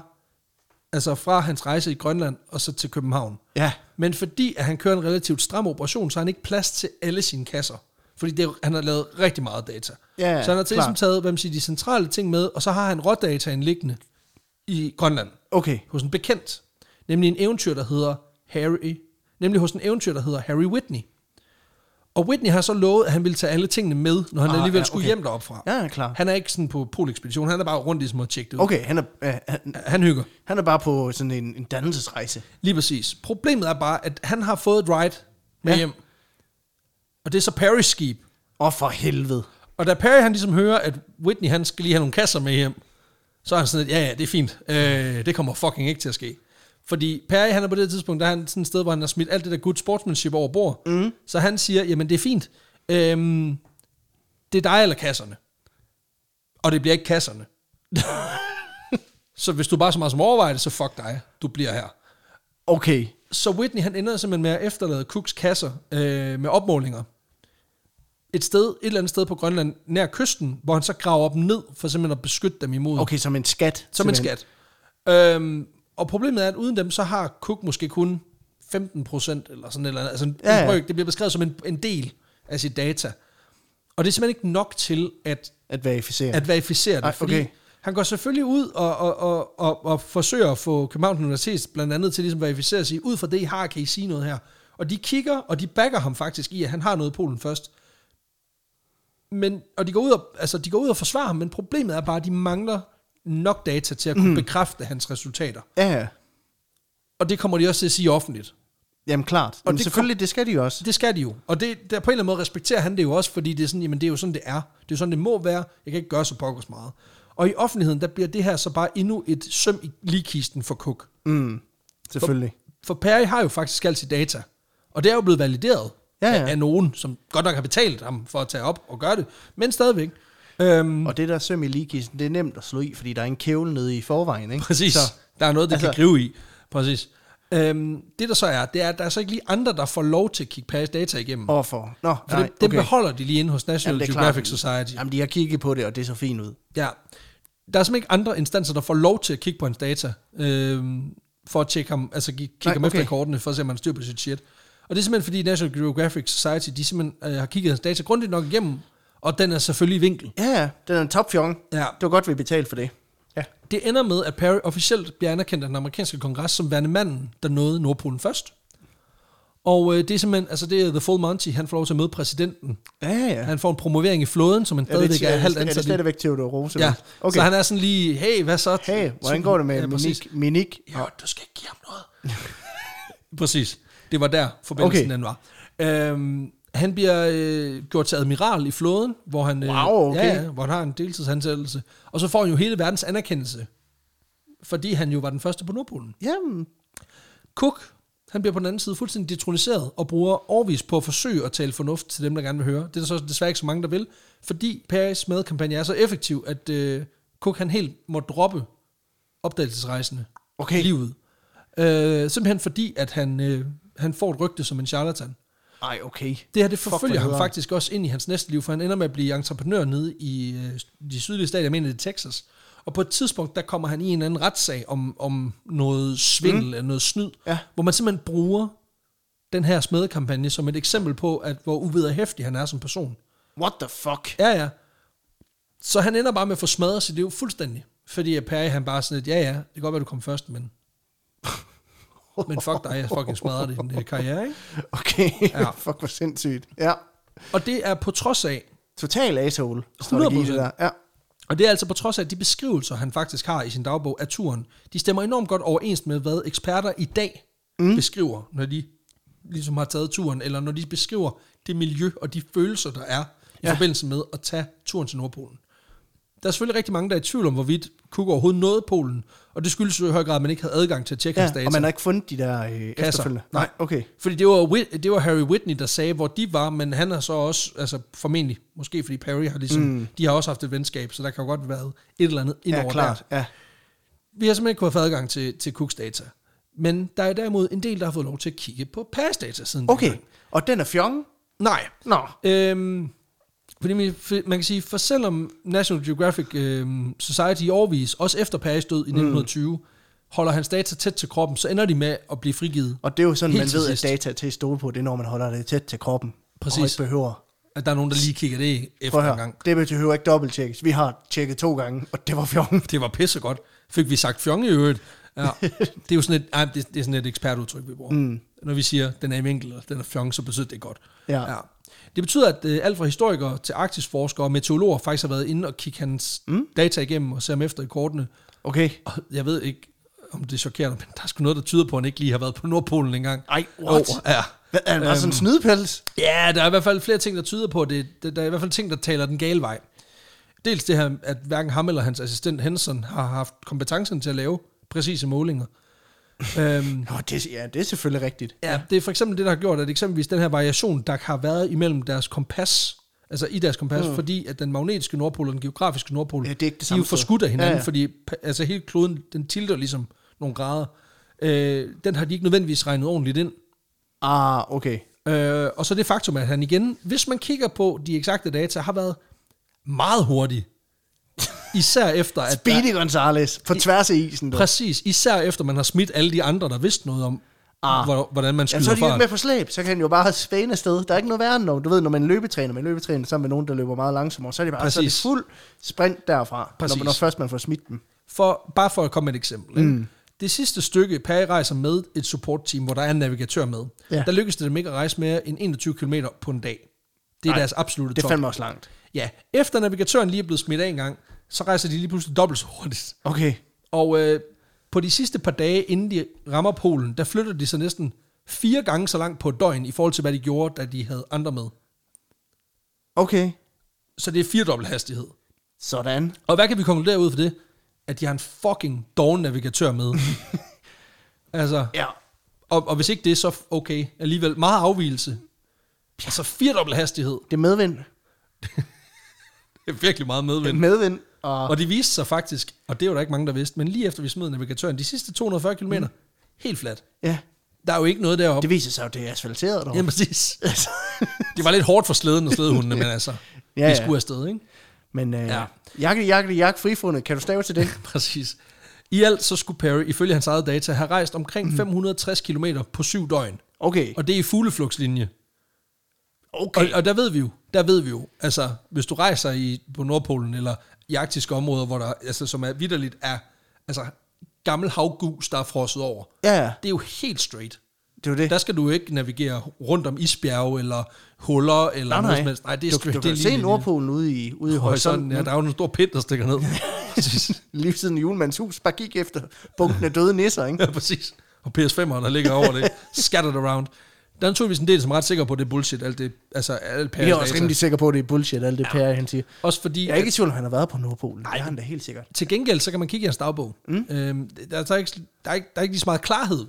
[SPEAKER 2] altså fra hans rejse i Grønland og så til København.
[SPEAKER 1] Ja,
[SPEAKER 2] Men fordi at han kører en relativt stram operation, så har han ikke plads til alle sine kasser. Fordi det, han har lavet rigtig meget data.
[SPEAKER 1] Ja, ja,
[SPEAKER 2] så han har til ligesom
[SPEAKER 1] klart.
[SPEAKER 2] taget hvad man siger, de centrale ting med, og så har han rådataen liggende i Grønland
[SPEAKER 1] okay.
[SPEAKER 2] hos en bekendt, nemlig en eventyr, der hedder Harry, nemlig hos en eventyr, der hedder Harry Whitney. Og Whitney har så lovet, at han ville tage alle tingene med, når han
[SPEAKER 1] Ah,
[SPEAKER 2] ah, alligevel
[SPEAKER 1] ja,
[SPEAKER 2] ja, skulle
[SPEAKER 1] okay.
[SPEAKER 2] hjem deroppe fra.
[SPEAKER 1] Ja, ja, klart.
[SPEAKER 2] Han er ikke sådan på polekspedition, han er bare rundt ligesom og tjekke det ud.
[SPEAKER 1] Okay, han er, øh, han,
[SPEAKER 2] Han hygger.
[SPEAKER 1] han er bare på sådan en, en dannelsesrejse.
[SPEAKER 2] Lige præcis. Problemet er bare, at han har fået et ride med
[SPEAKER 1] Ja.
[SPEAKER 2] ja. hjem. Og det er så Perrys skib.
[SPEAKER 1] Åh, for helvede.
[SPEAKER 2] Og da Perry han ligesom hører, at Whitney han skal lige have nogle kasser med hjem, så er han sådan lidt, ja ja, det er fint. Øh, det kommer fucking ikke til at ske. Fordi Perry han er på det tidspunkt, der er han sådan et sted, hvor han har smidt alt det der good sportsmanship over bord. Mm. Så han siger, jamen det er fint. Øhm, det er dig eller kasserne. Og det bliver ikke kasserne. så hvis du bare så meget som overvejer det, så fuck dig. Du bliver her.
[SPEAKER 1] Okay.
[SPEAKER 2] Så Whitney han ender simpelthen med at efterlade Cooks kasser øh, med opmålinger. Et sted, et eller andet sted på Grønland, nær kysten, hvor han så graver dem ned, for simpelthen at beskytte dem imod.
[SPEAKER 1] Okay, som en skat.
[SPEAKER 2] som en
[SPEAKER 1] simpelthen.
[SPEAKER 2] skat. Øhm, og problemet er, at uden dem, så har Cook måske kun 15 procent, eller sådan et eller andet. Altså en,
[SPEAKER 1] Ja,
[SPEAKER 2] ja,
[SPEAKER 1] ja.
[SPEAKER 2] ja. Brøk, det bliver beskrevet som en, en del af sit data. Og det er simpelthen ikke nok til, at
[SPEAKER 1] At verificere.
[SPEAKER 2] at verificere det.
[SPEAKER 1] Ej,
[SPEAKER 2] Ej, fordi
[SPEAKER 1] okay.
[SPEAKER 2] okay. han går selvfølgelig ud og, og, og, og, og forsøger at få Københavns Universitet blandt andet til ligesom at verificere sig, ud fra det I har, kan I sige noget her. Og de kigger, og de backer ham faktisk i, at han har noget i Polen først. Men, og de går, ud og, altså, de går ud og forsvarer ham, men problemet er bare, at de mangler nok data til at
[SPEAKER 1] Mhm.
[SPEAKER 2] kunne mm. bekræfte hans resultater.
[SPEAKER 1] Ja, ja.
[SPEAKER 2] Og det kommer de også til at sige offentligt.
[SPEAKER 1] Jamen klart. Og Jamen, det
[SPEAKER 2] det
[SPEAKER 1] selvfølgelig, det skal de jo også.
[SPEAKER 2] Det skal de jo. Og det, der på en eller anden måde respekterer han det jo også, fordi det er sådan, jamen det er jo sådan, det er. Det er sådan, det må være. Jeg kan ikke gøre så pokkers meget. Og i offentligheden, der bliver det her så bare endnu et søm i ligkisten for Cook.
[SPEAKER 1] Mm, selvfølgelig.
[SPEAKER 2] For Perry har jo faktisk alt sit data. Og det er jo blevet valideret
[SPEAKER 1] Ja, ja.
[SPEAKER 2] Af, af nogen, som godt nok har betalt ham for at tage op og gøre det. Men stadigvæk. Øhm,
[SPEAKER 1] Og det der søm i ligkisten, det er nemt at slå i, fordi der er en kævle nede i forvejen, ikke?
[SPEAKER 2] Præcis.
[SPEAKER 1] Så,
[SPEAKER 2] Så. Der er noget, det
[SPEAKER 1] altså-
[SPEAKER 2] altså, kan gribe i. Præcis. Øhm, det der så er, det er, at der er så ikke lige andre, der får lov til at kigge Perrys data igennem.
[SPEAKER 1] overfor. Nå,
[SPEAKER 2] For
[SPEAKER 1] nej,
[SPEAKER 2] det, det
[SPEAKER 1] okay.
[SPEAKER 2] beholder de lige inde hos National
[SPEAKER 1] Jamen, det er klart.
[SPEAKER 2] Geographic Society.
[SPEAKER 1] Jamen, de har kigget på det, og det så fint ud.
[SPEAKER 2] Ja. Der er simpelthen ikke andre instanser, der får lov til at kigge på hans data, øh, for at tjekke ham, altså gi- kigge
[SPEAKER 1] Nej,
[SPEAKER 2] ham efter
[SPEAKER 1] okay.
[SPEAKER 2] i kortene, for at se, om han har styr på sit shit. Og det er simpelthen, fordi National Geographic Society, de simpelthen øh, har kigget hans data grundigt nok igennem, og den er selvfølgelig i vinkel.
[SPEAKER 1] Ja, ja, den er en topfjong.
[SPEAKER 2] Ja.
[SPEAKER 1] Det var godt, vi betalte for det. Ja.
[SPEAKER 2] Det ender med, at Perry officielt bliver anerkendt af den amerikanske kongres som værende manden, der nåede Nordpolen først. Og øh, det er simpelthen, altså det er The Full Monty, han får lov til at møde præsidenten.
[SPEAKER 1] Ja, ja, ja.
[SPEAKER 2] Han får en promovering i flåden, som han
[SPEAKER 1] Er det,
[SPEAKER 2] stadigvæk er,
[SPEAKER 1] er,
[SPEAKER 2] halvt
[SPEAKER 1] det, er det
[SPEAKER 2] ansat i.
[SPEAKER 1] stadigvæk Theodor Roosevelt?
[SPEAKER 2] Ja,
[SPEAKER 1] Okay.
[SPEAKER 2] okay. så han er sådan lige, hey, hvad så?
[SPEAKER 1] Hey, hvordan går det med
[SPEAKER 2] Ja, præcis.
[SPEAKER 1] Minik? Minik?
[SPEAKER 2] Ja, du skal ikke give ham noget. præcis. Det var der forbindelsen
[SPEAKER 1] Okay.
[SPEAKER 2] okay. den var. Øhm, han bliver øh, gjort til admiral i flåden, hvor han, øh,
[SPEAKER 1] Wow, okay.
[SPEAKER 2] ja, ja, hvor han har en deltidsansættelse. Og så får han jo hele verdens anerkendelse, fordi han jo var den første på Nordpolen.
[SPEAKER 1] Jamen,
[SPEAKER 2] Cook, han bliver på den anden side fuldstændig detroniseret og bruger overvis på at forsøge at tale fornuft til dem, der gerne vil høre. Det er der så desværre ikke så mange, der vil, fordi Paris madkampagne er så effektiv, at øh, Cook han helt må droppe opdagelsesrejsende
[SPEAKER 1] Okay.
[SPEAKER 2] i livet. Øh, simpelthen fordi, at han, øh, han får et rygte som en charlatan.
[SPEAKER 1] ej, okay.
[SPEAKER 2] Det her, det
[SPEAKER 1] Fuck,
[SPEAKER 2] forfølger
[SPEAKER 1] hvor
[SPEAKER 2] ham
[SPEAKER 1] nederen.
[SPEAKER 2] faktisk også ind i hans næste liv, for han ender med at blive entreprenør nede i øh, de sydlige stater, jeg mener det er Texas. Og på et tidspunkt, der kommer han i en eller anden retssag om, om noget svindel mm. eller noget snyd,
[SPEAKER 1] Ja.
[SPEAKER 2] hvor man simpelthen bruger den her smedekampagne som et eksempel på, at hvor uvederhæftig han er som person.
[SPEAKER 1] What the fuck?
[SPEAKER 2] Ja, ja. Så han ender bare med at få smadret sit liv fuldstændig. Fordi at Perry, han bare sådan lidt, ja, ja, det kan godt være, du kom først, men... men fuck dig, jeg fucking smadrer din øh, karriere, ikke?
[SPEAKER 1] Okay, ja.
[SPEAKER 2] Ja.
[SPEAKER 1] fuck, hvor sindssygt. Ja.
[SPEAKER 2] Og det er på trods af,
[SPEAKER 1] Total asshole. strategi, det
[SPEAKER 2] 100%.
[SPEAKER 1] der. Ja.
[SPEAKER 2] Og det er altså på trods af, at de beskrivelser, han faktisk har i sin dagbog af turen, de stemmer enormt godt overens med, hvad eksperter i dag mm. beskriver, når de ligesom har taget turen, eller når de beskriver det miljø og de følelser, der er i
[SPEAKER 1] Ja.
[SPEAKER 2] ja. forbindelse med at tage turen til Nordpolen. Der er selvfølgelig rigtig mange, der er i tvivl om, hvorvidt Cook overhovedet nåede Polen, og det skyldes jo i høj grad, at man ikke havde adgang til at tjekke hans
[SPEAKER 1] Ja,
[SPEAKER 2] data.
[SPEAKER 1] og man har ikke fundet de der øh, efterfølgende?
[SPEAKER 2] Nej.
[SPEAKER 1] Okay.
[SPEAKER 2] Fordi det var, Whit- det var Harry Whitney, der sagde, hvor de var, men han har så også, altså formentlig, måske fordi Perry har ligesom, mm. de har også haft et venskab, så der kan jo godt være et eller andet indover
[SPEAKER 1] ja,
[SPEAKER 2] der.
[SPEAKER 1] klart. Ja.
[SPEAKER 2] Vi har simpelthen ikke kunnet få adgang til, til Cooks data. Men der er derimod en del, der har fået lov til at kigge på Pass data siden
[SPEAKER 1] Okay,
[SPEAKER 2] dengang.
[SPEAKER 1] og den er fjong?
[SPEAKER 2] Nej.
[SPEAKER 1] Nå.
[SPEAKER 2] Øhm, fordi man, for- man kan sige, for selvom National Geographic øhm, Society i årvis, også efter Paris død i
[SPEAKER 1] Mm.
[SPEAKER 2] 1920, holder hans data tæt til kroppen, så ender de med at blive frigivet.
[SPEAKER 1] Og det er jo sådan,
[SPEAKER 2] Helt
[SPEAKER 1] man
[SPEAKER 2] til
[SPEAKER 1] ved, at
[SPEAKER 2] sidst.
[SPEAKER 1] data er til at stole på, det er, når man holder det tæt til kroppen.
[SPEAKER 2] Præcis.
[SPEAKER 1] Og ikke behøver.
[SPEAKER 2] At der er nogen, der lige kigger det
[SPEAKER 1] Prøv
[SPEAKER 2] efter
[SPEAKER 1] at
[SPEAKER 2] en
[SPEAKER 1] høre,
[SPEAKER 2] gang.
[SPEAKER 1] det behøver ikke dobbelttjekkes. Vi har tjekket to gange, og det var fjong.
[SPEAKER 2] Det var pissegodt. Fik vi sagt fjong i øvrigt. Ja, det er jo sådan et, ej, det, det er sådan et ekspertudtryk, vi bruger. Mm. Når vi siger, den er i vinkel, og den er fjong, så betyder det godt.
[SPEAKER 1] Ja.
[SPEAKER 2] Ja. Det betyder, at øh, alt fra historikere til arktisforskere og meteorologer faktisk har været inde og kigge hans mm. data igennem og se ham efter i kortene.
[SPEAKER 1] Okay.
[SPEAKER 2] Og jeg ved ikke, om det chokerer dig, men der er sgu noget, der tyder på, at han ikke lige har været på Nordpolen engang.
[SPEAKER 1] Ej, what?
[SPEAKER 2] Over. Ja.
[SPEAKER 1] Hvad, er han bare
[SPEAKER 2] Øhm.
[SPEAKER 1] sådan en snydepels?
[SPEAKER 2] ja, der er i hvert fald flere ting, der tyder på, at det, der, der er i hvert fald ting, der taler den gale vej. Dels det her, at hverken ham eller hans assistent Henson har haft kompetencen til at lave præcise målinger. øhm,
[SPEAKER 1] Nå, det, ja, det er selvfølgelig rigtigt.
[SPEAKER 2] Ja, det er for eksempel det, der har gjort, at eksempelvis den her variation, der har været imellem deres kompas, altså i deres kompas, mm. fordi at den magnetiske nordpol og den geografiske nordpol,
[SPEAKER 1] Ja, det er ikke det
[SPEAKER 2] de er
[SPEAKER 1] samme
[SPEAKER 2] jo
[SPEAKER 1] sted.
[SPEAKER 2] forskudt af hinanden,
[SPEAKER 1] Ja,
[SPEAKER 2] ja,
[SPEAKER 1] ja.
[SPEAKER 2] ja. fordi pa- altså, hele kloden, den tilter ligesom nogle grader. Øh, den har de ikke nødvendigvis regnet ordentligt ind.
[SPEAKER 1] Ah, okay.
[SPEAKER 2] Øh, og så det faktum, at han igen, hvis man kigger på de eksakte data, har været meget hurtig. Især efter, at der,
[SPEAKER 1] Speedy Gonzales på tværs af isen. Du.
[SPEAKER 2] præcis, især efter man har smidt alle de andre, der vidste noget om,
[SPEAKER 1] Ah.
[SPEAKER 2] hvor- hvordan man
[SPEAKER 1] Jamen, så
[SPEAKER 2] skyder
[SPEAKER 1] er de jo ikke
[SPEAKER 2] fra.
[SPEAKER 1] med på slæb, så kan han jo bare svæne afsted. Der er ikke noget værre end nogen. Du ved, når man løbetræner, man løbetræner sammen med nogen, der løber meget langsommere, så er det bare så er det
[SPEAKER 2] Præcis.
[SPEAKER 1] fuld sprint derfra, når,
[SPEAKER 2] Præcis.
[SPEAKER 1] når, først man får smidt dem.
[SPEAKER 2] For, bare for at komme med et eksempel. Mm. Det sidste stykke, Perry rejser med et supportteam, hvor der er en navigatør med.
[SPEAKER 1] Ja.
[SPEAKER 2] Ja. Der lykkedes det dem ikke at rejse mere end 21 km på en dag. Det er
[SPEAKER 1] Nej,
[SPEAKER 2] deres absolute
[SPEAKER 1] Det
[SPEAKER 2] top.
[SPEAKER 1] fandt mig også langt.
[SPEAKER 2] Ja, efter navigatøren lige er blevet smidt af en gang, så rejser de lige pludselig dobbelt så hurtigt.
[SPEAKER 1] Okay.
[SPEAKER 2] Og øh, på de sidste par dage, inden de rammer Polen, der flytter de sig næsten fire gange så langt på et døgn, i forhold til hvad de gjorde, da de havde andre med.
[SPEAKER 1] Okay.
[SPEAKER 2] Så det er firedobbelt hastighed.
[SPEAKER 1] Sådan.
[SPEAKER 2] Og hvad kan vi konkludere ud fra det? At de har en fucking doven navigatør med. altså,
[SPEAKER 1] Ja.
[SPEAKER 2] Og, og hvis ikke det, så f- okay. Alligevel meget afvielse. Altså firedobbel hastighed.
[SPEAKER 1] Det er medvind.
[SPEAKER 2] Det er virkelig meget medvind.
[SPEAKER 1] Medvind. Og,
[SPEAKER 2] Og det viste sig faktisk, og det er jo der ikke mange, der vidste, men lige efter vi smed navigatøren, de sidste 240 km, mm. helt fladt.
[SPEAKER 1] ja,
[SPEAKER 2] Der er jo ikke noget deroppe.
[SPEAKER 1] det viser sig jo, det er asfalteret
[SPEAKER 2] Ja,
[SPEAKER 1] derovre.
[SPEAKER 2] præcis.
[SPEAKER 1] Altså,
[SPEAKER 2] Det var lidt hårdt for slæden og slædehundene, men altså,
[SPEAKER 1] Ja,
[SPEAKER 2] ja,
[SPEAKER 1] ja.
[SPEAKER 2] vi skulle afsted, ikke?
[SPEAKER 1] Men øh, ja.
[SPEAKER 2] Ja.
[SPEAKER 1] jakke, jakke, jakke, frifundet. Kan du stave til det?
[SPEAKER 2] Præcis. I alt så skulle Perry, ifølge hans eget data, have rejst omkring
[SPEAKER 1] Mhm.
[SPEAKER 2] 560 km på syv døgn.
[SPEAKER 1] Okay.
[SPEAKER 2] Og det er i fugleflugtslinje.
[SPEAKER 1] Okay.
[SPEAKER 2] Og, og der ved vi jo, der ved vi jo, altså hvis du rejser i, på Nordpolen eller i arktiske områder, hvor der, altså som er vidderligt er, altså gammel havgus, der er frosset over.
[SPEAKER 1] Ja, ja.
[SPEAKER 2] Det er jo helt straight.
[SPEAKER 1] Det er jo det.
[SPEAKER 2] Der skal du ikke navigere rundt om isbjerge eller huller
[SPEAKER 1] nej,
[SPEAKER 2] eller noget
[SPEAKER 1] nej.
[SPEAKER 2] som helst. Nej, det er
[SPEAKER 1] du,
[SPEAKER 2] straight.
[SPEAKER 1] du
[SPEAKER 2] det
[SPEAKER 1] kan
[SPEAKER 2] er lige-
[SPEAKER 1] se Nordpolen ude i, ude i
[SPEAKER 2] Horisonten,
[SPEAKER 1] horisonten.
[SPEAKER 2] ja, der er jo en stor pind, der stikker ned. præcis.
[SPEAKER 1] Lige siden julemandens hus bare gik efter bunken af døde nisser, ikke?
[SPEAKER 2] Ja, præcis. Og PS5'eren, der ligger over det, scattered around. Der er naturligvis en del, som er ret sikker på, at det er bullshit, alt det, altså alt
[SPEAKER 1] Jeg er også rimelig sikker på, at det er bullshit, alt det ja. Per, han siger.
[SPEAKER 2] Også fordi,
[SPEAKER 1] Jeg er ikke i tvivl, om han har været på Nordpolen. Nej, han da helt sikkert.
[SPEAKER 2] Til gengæld, så kan man kigge i hans dagbog. Mm. Øhm, der, der, er ikke, der, er ikke, der er ikke lige så meget klarhed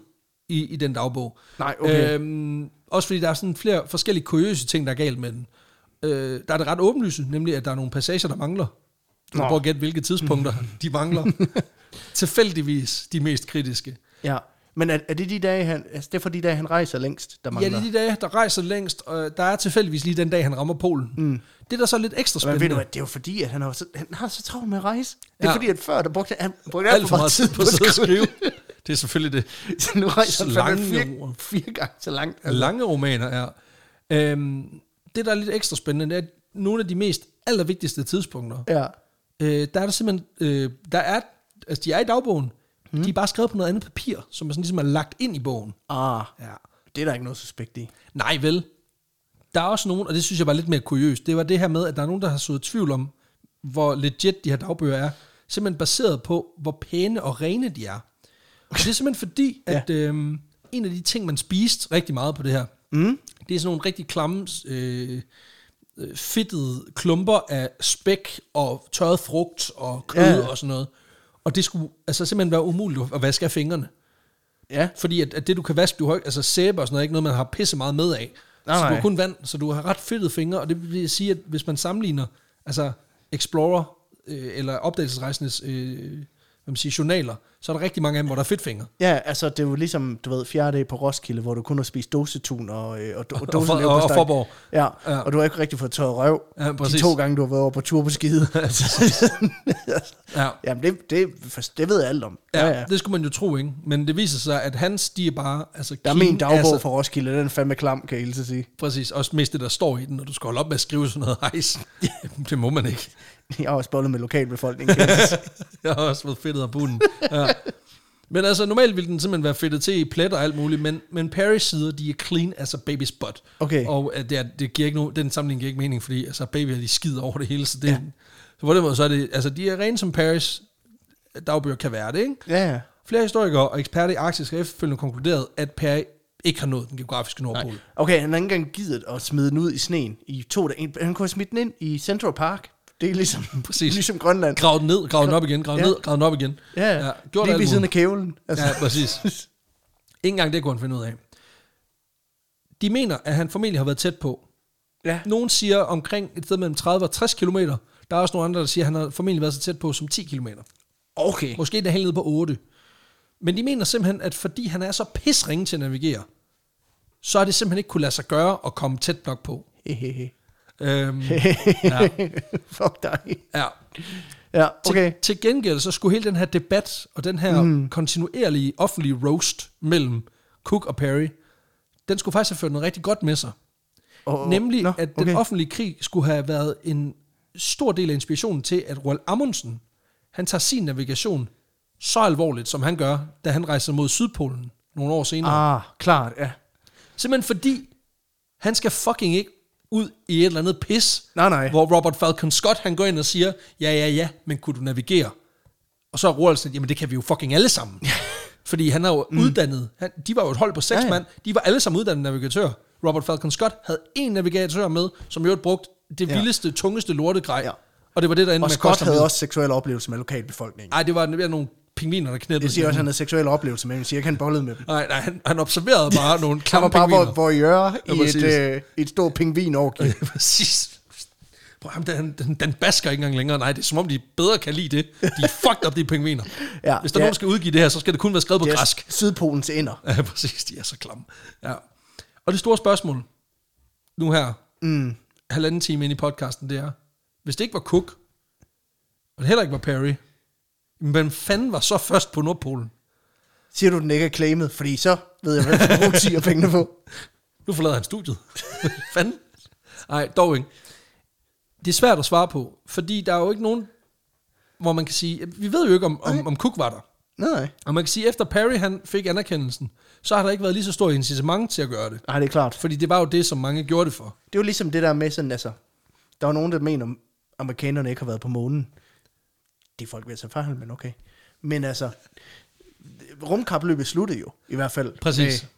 [SPEAKER 2] i, i den dagbog.
[SPEAKER 1] Nej, okay.
[SPEAKER 2] Øhm, også fordi der er sådan flere forskellige kuriøse ting, der er galt med den. Øh, der er det ret åbenlyse, nemlig at der er nogle passager, der mangler. Du
[SPEAKER 1] Nå.
[SPEAKER 2] kan prøve at gætte, hvilke tidspunkter de mangler. Tilfældigvis de mest kritiske.
[SPEAKER 1] Ja. Men er, er det de dage, han, altså det er for de dage, han rejser længst, der
[SPEAKER 2] Ja,
[SPEAKER 1] mangler?
[SPEAKER 2] det er de dage, der rejser længst, og øh, der er tilfældigvis lige den dag, han rammer Polen. Mm. Det, der så er lidt ekstra
[SPEAKER 1] Men ved du
[SPEAKER 2] spændende,
[SPEAKER 1] hvad, det er jo fordi, at han har, så, han har så travlt med at rejse. Det er ja.
[SPEAKER 2] Ja.
[SPEAKER 1] fordi, at før, der brugte han brugte
[SPEAKER 2] alt for meget tid på at sidde og skrive. Det er selvfølgelig det.
[SPEAKER 1] Så nu rejser han
[SPEAKER 2] Lange
[SPEAKER 1] fandme fire,
[SPEAKER 2] ord.
[SPEAKER 1] fire gange så langt. Altså.
[SPEAKER 2] lange romaner er. Øhm, det, der er lidt ekstra spændende, det er, at nogle af de mest allervigtigste tidspunkter,
[SPEAKER 1] Ja.
[SPEAKER 2] øh, der er der simpelthen, øh, der er, altså de er i dagbogen, mm. de er bare skrevet på noget andet papir, som er sådan ligesom er lagt ind i bogen.
[SPEAKER 1] Ah,
[SPEAKER 2] Ja.
[SPEAKER 1] det er der ikke noget suspekt i.
[SPEAKER 2] Nej vel. Der er også nogen, og det synes jeg var lidt mere kuriøst, det var det her med, at der er nogen, der har sået tvivl om, hvor legit de her dagbøger er, simpelthen baseret på, hvor pæne og rene de er. Og det er simpelthen fordi,
[SPEAKER 1] Ja.
[SPEAKER 2] at øhm, en af de ting, man spiste rigtig meget på det her, mm. det er sådan nogle rigtig klamme øh, øh, fedtede klumper af spæk og tørret frugt og kød
[SPEAKER 1] Ja.
[SPEAKER 2] ja. og sådan noget. Og det skulle altså simpelthen være umuligt at vaske af fingrene.
[SPEAKER 1] Ja.
[SPEAKER 2] Fordi at, at det, du kan vaske, du har, ikke- altså sæbe og sådan noget, er ikke noget, man har pisse meget med af.
[SPEAKER 1] Nej,
[SPEAKER 2] så du
[SPEAKER 1] nej.
[SPEAKER 2] har kun vand, så du har ret fedtede fingre, og det vil sige, at hvis man sammenligner, altså Explorer, øh, eller opdagelsesrejsendes øh, hvad man siger, journaler, så er der rigtig mange af dem, hvor der er fedtfingre.
[SPEAKER 1] Ja, altså det er jo ligesom, du ved, fjerde dag på Roskilde, hvor du kun har spist dosetun og, øh, og, og,
[SPEAKER 2] og
[SPEAKER 1] og,
[SPEAKER 2] for- og- og Fåborg.
[SPEAKER 1] Ja,
[SPEAKER 2] Ja.
[SPEAKER 1] ja, og du har ikke rigtig fået tørret røv
[SPEAKER 2] Ja,
[SPEAKER 1] de
[SPEAKER 2] præcis.
[SPEAKER 1] to gange, du har været over på tur på skide.
[SPEAKER 2] Ja.
[SPEAKER 1] Jamen, det, det, for- det ved jeg alt om.
[SPEAKER 2] Ja, ja, det skulle man jo tro, ikke? Men det viser sig, at hans, de er bare... Altså,
[SPEAKER 1] Der er min dagbog
[SPEAKER 2] altså,
[SPEAKER 1] for Roskilde, den er fandme klam, kan jeg hilse at sige.
[SPEAKER 2] Præcis, også mest det, der står i den, når du skal holde op med at skrive sådan noget hejs. det må man ikke.
[SPEAKER 1] Jeg har også bollet med lokalbefolkningen. kan jeg hilse at sige.
[SPEAKER 2] Jeg har også været fedtet af bunden. Ja. Men altså, normalt ville den simpelthen være fedtet til i plet og alt muligt, men, men Paris sider, de er clean, altså baby's butt.
[SPEAKER 1] Okay.
[SPEAKER 2] Og at det, er, det giver ikke no, den sammenligning giver ikke mening, fordi altså, babyer, de skider over det hele, så det, ja. så på den måde, så er det, altså, de er rene som Paris dagbøger kan være det, ikke?
[SPEAKER 1] ja, ja.
[SPEAKER 2] Flere historikere og eksperter i Arktis har efterfølgende konkluderet, at Perry ikke har nået den geografiske nordpol. Nej.
[SPEAKER 1] Okay, han har ikke engang givet at smide den ud i sneen i to dage. Han kunne have smidt den ind i Central Park. Det er ligesom,
[SPEAKER 2] Præcis.
[SPEAKER 1] ligesom Grønland.
[SPEAKER 2] Grav den ned, grav den op igen, grav den
[SPEAKER 1] Ja.
[SPEAKER 2] ned, grav den op igen.
[SPEAKER 1] Ja, ja.
[SPEAKER 2] ja gjort
[SPEAKER 1] lige
[SPEAKER 2] alt
[SPEAKER 1] ved siden af
[SPEAKER 2] muligt.
[SPEAKER 1] kævlen. Altså,
[SPEAKER 2] Ja, præcis. Ikke engang det kunne han finde ud af. De mener, at han formentlig har været tæt på.
[SPEAKER 1] ja.
[SPEAKER 2] Nogen siger omkring et sted mellem 30 og 60 km. Der er også nogle andre, der siger, at han har formentlig været så tæt på som 10 km.
[SPEAKER 1] Okay.
[SPEAKER 2] Måske er det helt nede på 8. Men de mener simpelthen, at fordi han er så pisringe til at navigere, så er det simpelthen ikke kunne lade sig gøre at komme tæt nok på.
[SPEAKER 1] Hehehe.
[SPEAKER 2] Øhm, ja,
[SPEAKER 1] Fuck dig.
[SPEAKER 2] ja.
[SPEAKER 1] Ja, okay.
[SPEAKER 2] Okay. Til, til gengæld så skulle hele den her debat og den her mm. kontinuerlige offentlige roast mellem Cook og Perry, den skulle faktisk have ført noget rigtig godt med sig.
[SPEAKER 1] Og,
[SPEAKER 2] Nemlig,
[SPEAKER 1] nå,
[SPEAKER 2] at den offentlige krig skulle have været en stor del af inspirationen til, at Roald Amundsen, han tager sin navigation så alvorligt, som han gør, da han rejser mod Sydpolen nogle år senere. Ah.
[SPEAKER 1] Ah, klart, ja.
[SPEAKER 2] Simpelthen fordi, han skal fucking ikke ud i et eller andet pis,
[SPEAKER 1] Nej, nej.
[SPEAKER 2] hvor Robert Falcon Scott, han går ind og siger, ja, ja, ja, men kunne du navigere? Og så er Roald sådan, jamen det kan vi jo fucking alle sammen. Fordi han er jo mm. uddannet. Han, de var jo et hold på seks
[SPEAKER 1] Ja,
[SPEAKER 2] ja,
[SPEAKER 1] ja.
[SPEAKER 2] ja. mand. De var alle sammen uddannede navigatører. Robert Falcon Scott havde en navigatør med, som jo brugte det
[SPEAKER 1] Ja.
[SPEAKER 2] ja. vildeste, tungeste lortegrej.
[SPEAKER 1] Ja.
[SPEAKER 2] Ja. Og det var det, der endte
[SPEAKER 1] Og
[SPEAKER 2] med at
[SPEAKER 1] Scott
[SPEAKER 2] koste
[SPEAKER 1] havde
[SPEAKER 2] ham.
[SPEAKER 1] også seksuelle oplevelser med lokalbefolkningen.
[SPEAKER 2] Nej, det var det var nogle pingviner, der knæppede.
[SPEAKER 1] Jeg siger også, at han havde seksuelle oplevelser med, men jeg siger ikke, han bollede med dem.
[SPEAKER 2] Nej, nej, han, han observerede bare nogle
[SPEAKER 1] Han var
[SPEAKER 2] klamme
[SPEAKER 1] bare
[SPEAKER 2] pingviner.
[SPEAKER 1] vor, voyeur
[SPEAKER 2] Ja,
[SPEAKER 1] i et,
[SPEAKER 2] præcis.
[SPEAKER 1] øh, et stort pingvin
[SPEAKER 2] Ja, præcis. Prøv, ham, den, den, den basker ikke engang længere. Nej, det er som om, de bedre kan lide det. De er fucked up, de pingviner.
[SPEAKER 1] Ja,
[SPEAKER 2] Hvis der
[SPEAKER 1] ja.
[SPEAKER 2] ja. nogen skal udgive det her, så skal det kun være skrevet på
[SPEAKER 1] Det er
[SPEAKER 2] græsk.
[SPEAKER 1] Sydpolens ender.
[SPEAKER 2] Ja, præcis. De er så klamme. Ja. Og det store spørgsmål nu her, mm. halvanden time ind i podcasten, det er, hvis det ikke var Cook, og det heller ikke var Perry, men hvem fanden var så først på Nordpolen?
[SPEAKER 1] Siger du, den ikke er claimet? Fordi så ved jeg, hvad jeg bruger 10 af pengene på.
[SPEAKER 2] Nu forlader han studiet. Fanden. Nej, dog ikke. Det er svært at svare på, fordi der er jo ikke nogen, hvor man kan sige, vi ved jo ikke, om, om, om Cook var der.
[SPEAKER 1] Nej,
[SPEAKER 2] Og man kan sige, efter Perry han fik anerkendelsen, så har der ikke været lige så stor incitament til at gøre det.
[SPEAKER 1] nej, det er klart.
[SPEAKER 2] Fordi det var jo det, som mange gjorde det for.
[SPEAKER 1] Det er jo ligesom det der med sådan, altså, der var nogen, der mener, at amerikanerne ikke har været på månen. Det er folk ved at tage fejl, men okay. Men altså, rumkapløbet sluttede jo, i hvert fald.
[SPEAKER 2] Præcis.
[SPEAKER 1] Med,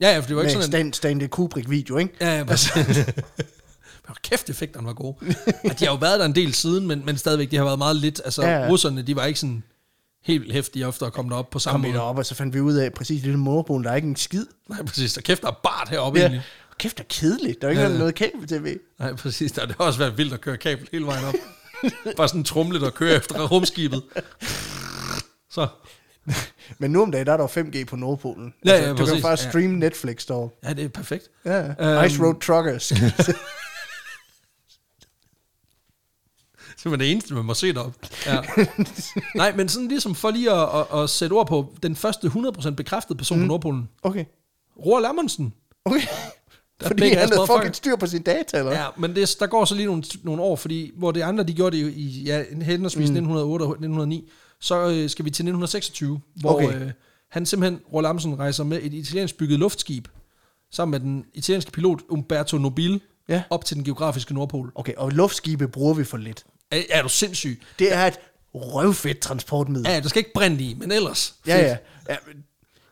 [SPEAKER 2] Ja, ja, for det var
[SPEAKER 1] med
[SPEAKER 2] ikke sådan,
[SPEAKER 1] Stan,
[SPEAKER 2] en...
[SPEAKER 1] Stanley Kubrick-video, ikke?
[SPEAKER 2] Ja, ja, præcis. Hold kæft, effekterne var gode. Og de har jo været der en del siden, men, men stadigvæk, de har været meget lidt. Altså,
[SPEAKER 1] Ja,
[SPEAKER 2] ja,
[SPEAKER 1] ja.
[SPEAKER 2] ja. russerne, de var ikke sådan helt vildt hæftige ofte at komme derop på samme
[SPEAKER 1] Kom vi
[SPEAKER 2] måde.
[SPEAKER 1] derop, og så fandt vi ud af, præcis lille Nordpolen, der er ikke en skid.
[SPEAKER 2] Nej, præcis. Der kæft, der er bart heroppe ja. egentlig.
[SPEAKER 1] Kæft, der er kedeligt. Der er jo ikke
[SPEAKER 2] Ja,
[SPEAKER 1] ja,
[SPEAKER 2] ja.
[SPEAKER 1] noget kabel-tv.
[SPEAKER 2] Nej, præcis. Der, det har også været vildt at køre kabel hele vejen op. Bare sådan en trumle, der kører efter rumskibet. Så.
[SPEAKER 1] Men nu om dagen, der er der jo 5G på Nordpolen. Altså,
[SPEAKER 2] Ja, ja,
[SPEAKER 1] Du kan
[SPEAKER 2] præcis.
[SPEAKER 1] faktisk
[SPEAKER 2] Ja.
[SPEAKER 1] streame Netflix derovre.
[SPEAKER 2] Ja, det er perfekt.
[SPEAKER 1] Ja,
[SPEAKER 2] Øhm.
[SPEAKER 1] Ice Road Truckers.
[SPEAKER 2] Det var det eneste, man må se derop. Ja. Nej, men sådan ligesom for lige at, at, at sætte ord på den første 100% bekræftede person mm. på Nordpolen.
[SPEAKER 1] Okay.
[SPEAKER 2] Roald Amundsen.
[SPEAKER 1] Okay.
[SPEAKER 2] Der
[SPEAKER 1] Fordi
[SPEAKER 2] begge
[SPEAKER 1] han
[SPEAKER 2] hans
[SPEAKER 1] havde
[SPEAKER 2] motherfucker.
[SPEAKER 1] fucking styr på sine data, eller hvad?
[SPEAKER 2] Ja, men det, der går så lige nogle, nogle år, fordi hvor det andre, de gjorde det jo i ja, henholdsvis mm. 1908 og 1909, så øh, skal vi til 1926, hvor
[SPEAKER 1] Okay.
[SPEAKER 2] okay. øh, han simpelthen, Roald Amundsen, rejser med et italiensk bygget luftskib, sammen med den italienske pilot Umberto Nobile,
[SPEAKER 1] Ja.
[SPEAKER 2] op til den geografiske Nordpol.
[SPEAKER 1] Okay, og luftskibe bruger vi for lidt.
[SPEAKER 2] Er, er du sindssyg?
[SPEAKER 1] Det er et røvfedt transportmiddel.
[SPEAKER 2] Ja, der skal ikke brænde i, men ellers.
[SPEAKER 1] Ja, Øh.
[SPEAKER 2] Fedt.
[SPEAKER 1] ja. ja men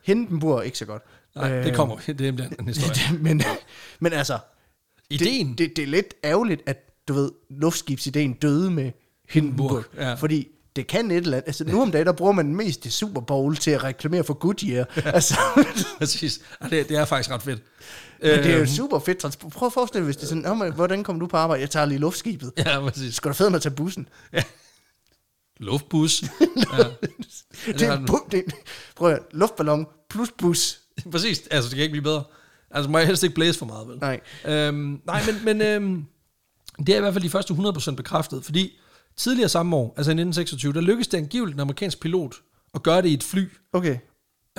[SPEAKER 1] Hindenburg er ikke så godt.
[SPEAKER 2] Nej, det kommer. Det er en anden historie.
[SPEAKER 1] men, men altså,
[SPEAKER 2] Ideen.
[SPEAKER 1] Det, det, det er lidt ærgerligt, at du ved, luftskibsideen døde med Hindenburg.
[SPEAKER 2] Hindenburg, ja.
[SPEAKER 1] Fordi det kan et eller andet. Altså nu om dagen, der bruger man mest i Super Bowl til at reklamere for Goodyear. Altså,
[SPEAKER 2] Præcis. Og det, det er faktisk ret fedt.
[SPEAKER 1] men det er jo
[SPEAKER 2] Øhm,
[SPEAKER 1] et super fedt transport. Prøv at forestille dig, hvis det er sådan, "Nå, men hvordan kommer du på arbejde? Jeg tager lige luftskibet. Ja.
[SPEAKER 2] Ja, præcis.
[SPEAKER 1] Skal du fedt med at tage bussen?
[SPEAKER 2] Luftbus.
[SPEAKER 1] det er en bu- det er en, prøv at høre, luftballon plus bus.
[SPEAKER 2] Præcis, altså det kan ikke blive bedre. Altså må jeg helst ikke blæse for meget, vel?
[SPEAKER 1] Nej.
[SPEAKER 2] Øhm, nej, men, men øhm, det er i hvert fald de første 100% bekræftet, fordi tidligere samme år, altså i 1926, der lykkedes det angiveligt en amerikansk pilot at gøre det i et fly.
[SPEAKER 1] Okay.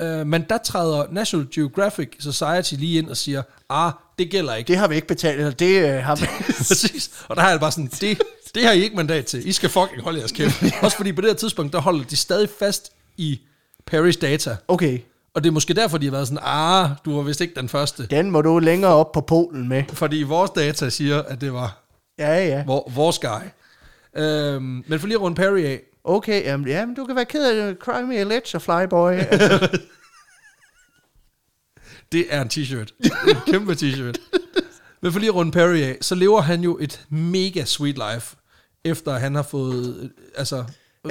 [SPEAKER 2] Øh, men der træder National Geographic Society lige ind og siger, ah, det gælder ikke.
[SPEAKER 1] Det har vi ikke betalt, eller det øh, har vi...
[SPEAKER 2] Præcis. Og der er det bare sådan, det, det har I ikke mandat til. I skal fucking holde jeres kæft. Også fordi på det her tidspunkt, der holder de stadig fast i Paris Data.
[SPEAKER 1] Okay,
[SPEAKER 2] Og det er måske derfor, de har været sådan, ah, du var vist ikke den første.
[SPEAKER 1] den må du længere op på polen med.
[SPEAKER 2] Fordi vores data siger, at det var
[SPEAKER 1] Ja, ja.
[SPEAKER 2] vor, vores guy. Øhm, men for lige at runde Perry af.
[SPEAKER 1] Okay, jamen, jamen du kan være ked af det. Cry me a ledge, flyboy. Altså,
[SPEAKER 2] Det er en t-shirt. En kæmpe t-shirt. Men for lige at runde Perry af, så lever han jo et mega sweet life, efter han har fået, øh, altså,
[SPEAKER 1] Ja,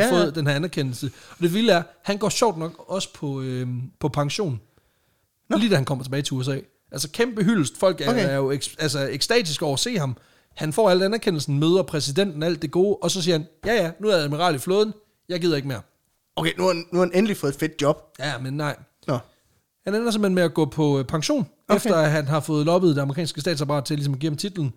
[SPEAKER 2] ja,
[SPEAKER 1] ja.
[SPEAKER 2] fået den her anerkendelse. Og det vilde er, han går sjovt nok også på, øhm, på pension. Nå. Lige da han kommer tilbage til USA. Altså kæmpe hyldest. Folk er,
[SPEAKER 1] Okay.
[SPEAKER 2] okay. er jo eks, altså, ekstatiske over at se ham. Han får al anerkendelsen, møder præsidenten, alt det gode, og så siger han, ja ja, nu er jeg admiral i flåden, jeg gider ikke mere.
[SPEAKER 1] okay, nu har, han- nu har han endelig fået et fedt job.
[SPEAKER 2] Ja, men nej.
[SPEAKER 1] Nå.
[SPEAKER 2] Han ender simpelthen med at gå på øh, pension,
[SPEAKER 1] Okay.
[SPEAKER 2] okay. efter at han har fået loppet det amerikanske statsapparat til ligesom at give ham titlen,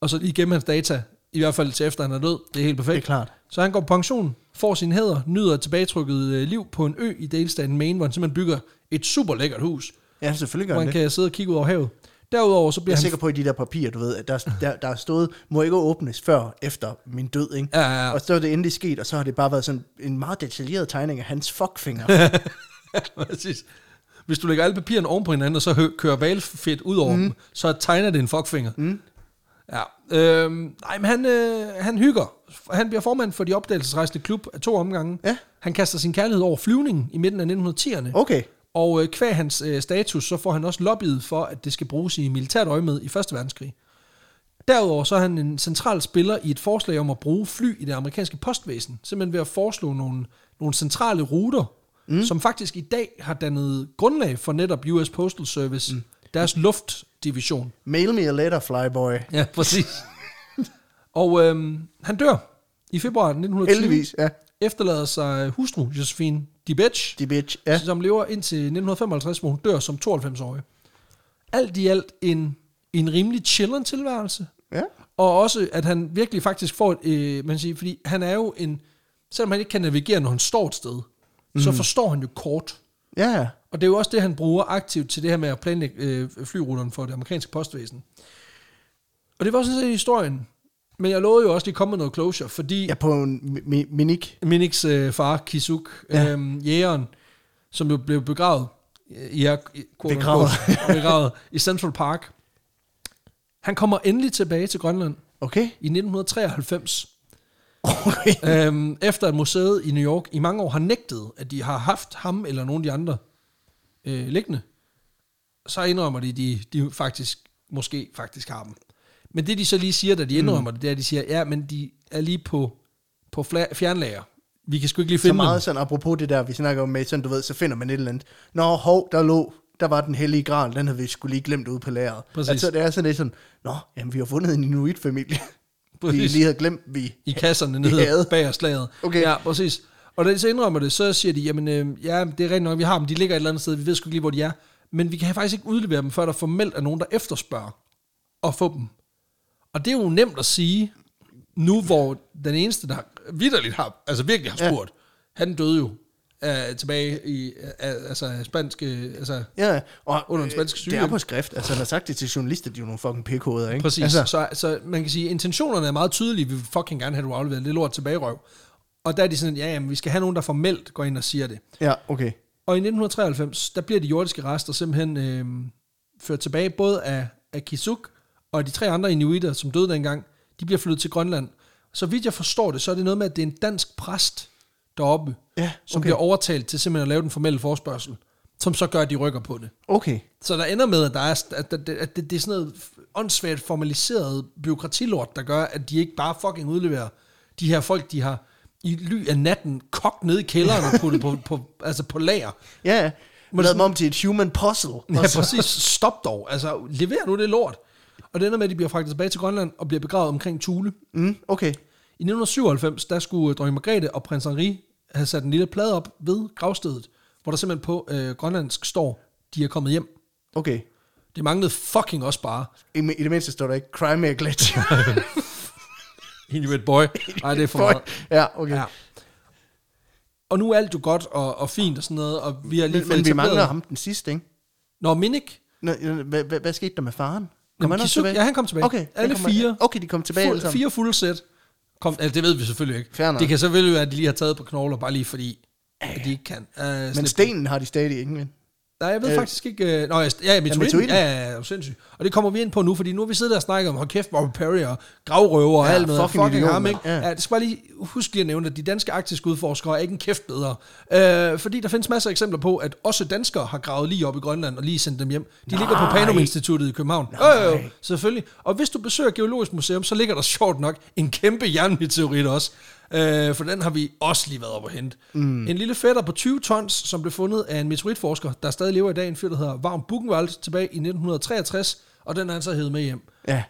[SPEAKER 2] og så lige gemme hans data, i hvert fald til efter han er død. Det er helt perfekt.
[SPEAKER 1] Det er klart.
[SPEAKER 2] Så han går på pension, får sin hæder, nyder et tilbagetrykket øh, liv på en ø i delstaten Maine, hvor han simpelthen bygger et super lækkert hus,
[SPEAKER 1] Ja, selvfølgelig gør
[SPEAKER 2] hvor
[SPEAKER 1] han
[SPEAKER 2] han
[SPEAKER 1] det.
[SPEAKER 2] kan sidde og kigge ud over havet. Derudover så
[SPEAKER 1] Jeg
[SPEAKER 2] bliver
[SPEAKER 1] er
[SPEAKER 2] han...
[SPEAKER 1] sikker på, at i de der papirer, du ved, at der, der, der er stået, må ikke åbnes før efter min død, ikke?
[SPEAKER 2] Ja, ja, ja.
[SPEAKER 1] Og så er det endelig sket, og så har det bare været sådan en meget detaljeret tegning af hans fuckfinger.
[SPEAKER 2] Præcis. Hvis du lægger alle papirerne oven på hinanden, og så hø- kører valfedt ud over mm. dem, så tegner det en fuckfinger. Mm. Ja. Øhm, nej, men han, øh, han hygger. Han bliver formand for de opdagelsesrejsende klub af to omgange.
[SPEAKER 1] Ja.
[SPEAKER 2] Han kaster sin kærlighed over flyvningen i midten af 1910'erne.
[SPEAKER 1] Okay,
[SPEAKER 2] Og øh, kvæg hans øh, status, så får han også lobbyet for, at det skal bruges i militært øjemed i Første Verdenskrig. Derudover så er han en central spiller i et forslag om at bruge fly i det amerikanske postvæsen, simpelthen ved at foreslå nogle, nogle centrale ruter, mm. som faktisk i dag har dannet grundlag for netop US Postal Service, mm. deres luftdivision.
[SPEAKER 1] mail me a letter, flyboy.
[SPEAKER 2] Ja, præcis. Og øhm, han dør i februar 1920.
[SPEAKER 1] Heldigvis, ja.
[SPEAKER 2] Efterlader sig øh, hustru Josephine DiBetch,
[SPEAKER 1] De bitch, ja.
[SPEAKER 2] som lever indtil 1955, hvor hun dør som 92-årig. Alt i alt en, en rimelig chilleren tilværelse.
[SPEAKER 1] Ja,
[SPEAKER 2] Og også, at han virkelig faktisk får et, øh, man siger, fordi han er jo en, selvom han ikke kan navigere, når han står et sted, mm. så forstår han jo kort.
[SPEAKER 1] ja. ja.
[SPEAKER 2] Og det er jo også det, han bruger aktivt til det her med at planlægge øh, flyruterne for det amerikanske postvæsen. Og det var sådan set historien. Men jeg lovede jo også lige at komme med noget closure, fordi
[SPEAKER 1] Ja, på en mi- mi- minik.
[SPEAKER 2] Miniks øh, far, Kisuk,
[SPEAKER 1] Ja.
[SPEAKER 2] ja. øhm, jægeren, som jo blev begravet, øh, i, i, quote
[SPEAKER 1] Begravet.
[SPEAKER 2] unquote, begravet i Central Park. Han kommer endelig tilbage til Grønland
[SPEAKER 1] Okay.
[SPEAKER 2] i 1993,
[SPEAKER 1] okay.
[SPEAKER 2] øhm, efter at museet i New York i mange år har nægtet, at de har haft ham eller nogen af de andre øh, liggende. Så indrømmer de, de, de faktisk, måske faktisk har dem. Men det de så lige siger, da de indrømmer mm. det, det er, at de siger, ja, men de er lige på, på fla- fjernlager. Vi kan sgu ikke lige
[SPEAKER 1] Så
[SPEAKER 2] finde dem.
[SPEAKER 1] meget sådan, apropos det der, vi snakker om med, sådan du ved, så finder man et eller andet. Nå, hov, der lå, der var den hellige gral, den havde vi skulle lige glemt ude på lageret.
[SPEAKER 2] Præcis.
[SPEAKER 1] Altså, det er sådan lidt sådan, nå, jamen, vi har fundet en inuit-familie. vi
[SPEAKER 2] Præcis.
[SPEAKER 1] lige havde glemt, vi...
[SPEAKER 2] i kasserne
[SPEAKER 1] havde.
[SPEAKER 2] nede bag slaget.
[SPEAKER 1] Okay.
[SPEAKER 2] Ja, præcis. Og da de så indrømmer det, så siger de, jamen øh, ja, det er rigtigt nok, vi har dem, de ligger et eller andet sted, vi ved sgu ikke lige, hvor de er. Men vi kan faktisk ikke udlevere dem, før der formelt er nogen, der efterspørger at få dem. Og det er jo nemt at sige, nu hvor den eneste, der vidderligt har, altså virkelig har
[SPEAKER 1] Ja.
[SPEAKER 2] spurgt, ja. han døde jo øh, tilbage i, øh, altså spanske, altså
[SPEAKER 1] Ja, og
[SPEAKER 2] Under den
[SPEAKER 1] øh,
[SPEAKER 2] spanske syge,
[SPEAKER 1] Det er
[SPEAKER 2] ikke?
[SPEAKER 1] på skrift. Altså, han har sagt det til journalister, de er jo nogle fucking pikhoveder, ikke?
[SPEAKER 2] Præcis.
[SPEAKER 1] Altså,
[SPEAKER 2] Altså. Så, så man kan sige, at intentionerne er meget tydelige. Vi vil fucking gerne have, at du afleverer det lort tilbage, røv. Og der er de sådan, ja, jamen, vi skal have nogen, der formelt går ind og siger det.
[SPEAKER 1] ja, okay.
[SPEAKER 2] Og i 1993, der bliver de jordiske rester simpelthen øh, ført tilbage, både af, af Kisuk og af de tre andre inuitter, som døde dengang, de bliver flyttet til Grønland. Så vidt jeg forstår det, så er det noget med, at det er en dansk præst deroppe,
[SPEAKER 1] Ja,
[SPEAKER 2] som
[SPEAKER 1] okay.
[SPEAKER 2] bliver overtalt til simpelthen at lave den formelle forspørgsel. som så gør, at de rykker på det.
[SPEAKER 1] Okay.
[SPEAKER 2] Så der ender med, at, der er, at, at, at det, det er sådan noget åndssvagt formaliseret byråkratilort, der gør, at de ikke bare fucking udleverer de her folk, de har i ly af natten kogt ned i kælderen og puttet på, på, altså på lager.
[SPEAKER 1] Ja, ja.
[SPEAKER 2] Men
[SPEAKER 1] Men lavede
[SPEAKER 2] sådan-
[SPEAKER 1] dem om til et human puzzle.
[SPEAKER 2] Ja,
[SPEAKER 1] Og så-
[SPEAKER 2] præcis. Stop dog. Altså, lever nu det lort. Og det ender med, at de bliver fragtet tilbage til Grønland og bliver begravet omkring Thule.
[SPEAKER 1] Mm, okay.
[SPEAKER 2] I 1997, der skulle øh, dronning Margrethe og prins Henri have sat en lille plade op ved gravstedet, hvor der simpelthen på øh, grønlandsk står, de er kommet hjem.
[SPEAKER 1] Okay.
[SPEAKER 2] Det manglede fucking også bare.
[SPEAKER 1] I, i det mindste står der ikke, cry me a glitch.
[SPEAKER 2] Inuit boy. Nej, det er for meget.
[SPEAKER 1] ja, okay.
[SPEAKER 2] Ja. Og nu er alt jo godt og, og fint og sådan noget, og vi har lige
[SPEAKER 1] Men,
[SPEAKER 2] fået
[SPEAKER 1] men vi
[SPEAKER 2] etableret-
[SPEAKER 1] mangler ham den sidste, ikke?
[SPEAKER 2] Nå, Minik.
[SPEAKER 1] Nå, hvad, hvad, hvad skete der med faren?
[SPEAKER 2] Jamen,
[SPEAKER 1] Kom han
[SPEAKER 2] de
[SPEAKER 1] også
[SPEAKER 2] søg-
[SPEAKER 1] tilbage?
[SPEAKER 2] ja, han kom tilbage.
[SPEAKER 1] Okay,
[SPEAKER 2] Alle
[SPEAKER 1] han kom-
[SPEAKER 2] fire.
[SPEAKER 1] Okay, de kom tilbage alle
[SPEAKER 2] Fuld,
[SPEAKER 1] sammen.
[SPEAKER 2] fire fulde sæt. Kom, altså, det ved vi selvfølgelig ikke.
[SPEAKER 1] Fair nok.
[SPEAKER 2] det kan selvfølgelig være, at de lige har taget på knogler, bare lige fordi, at de ikke kan. Uh,
[SPEAKER 1] Men stenen har de stadig ingen men.
[SPEAKER 2] Nej, jeg ved
[SPEAKER 1] Øh,
[SPEAKER 2] øh, faktisk ikke... Øh, nå, jeg, ja, meteoritten.
[SPEAKER 1] meteoritten.
[SPEAKER 2] Ja, ja, ja, ja, sindssygt. Og det kommer vi ind på nu, fordi nu har vi siddet der og snakket om, hold kæft, Robert Perry og gravrøver og
[SPEAKER 1] Ja,
[SPEAKER 2] alt noget.
[SPEAKER 1] fucking idiot,
[SPEAKER 2] ham,
[SPEAKER 1] mand.
[SPEAKER 2] ikke?
[SPEAKER 1] Ja.
[SPEAKER 2] Ja. ja. det skal bare lige huske lige at nævne, at de danske arktiske udforskere er ikke en kæft bedre. Øh, fordi der findes masser af eksempler på, at også danskere har gravet lige op i Grønland og lige sendt dem hjem. De ligger på
[SPEAKER 1] Nej.
[SPEAKER 2] Panum-instituttet i København. Øh, øh, selvfølgelig. Og hvis du besøger Geologisk Museum, så ligger der sjovt nok en kæmpe jernmeteorit også. Øh, for den har vi også lige været op og hente. Mm. En lille fætter på 20 tons, som blev fundet af en meteoritforsker, der stadig lever i dag, en fyr, der hedder Vagn Buchenwald, tilbage i 1963, og den har han så hævet med hjem.
[SPEAKER 1] Ja.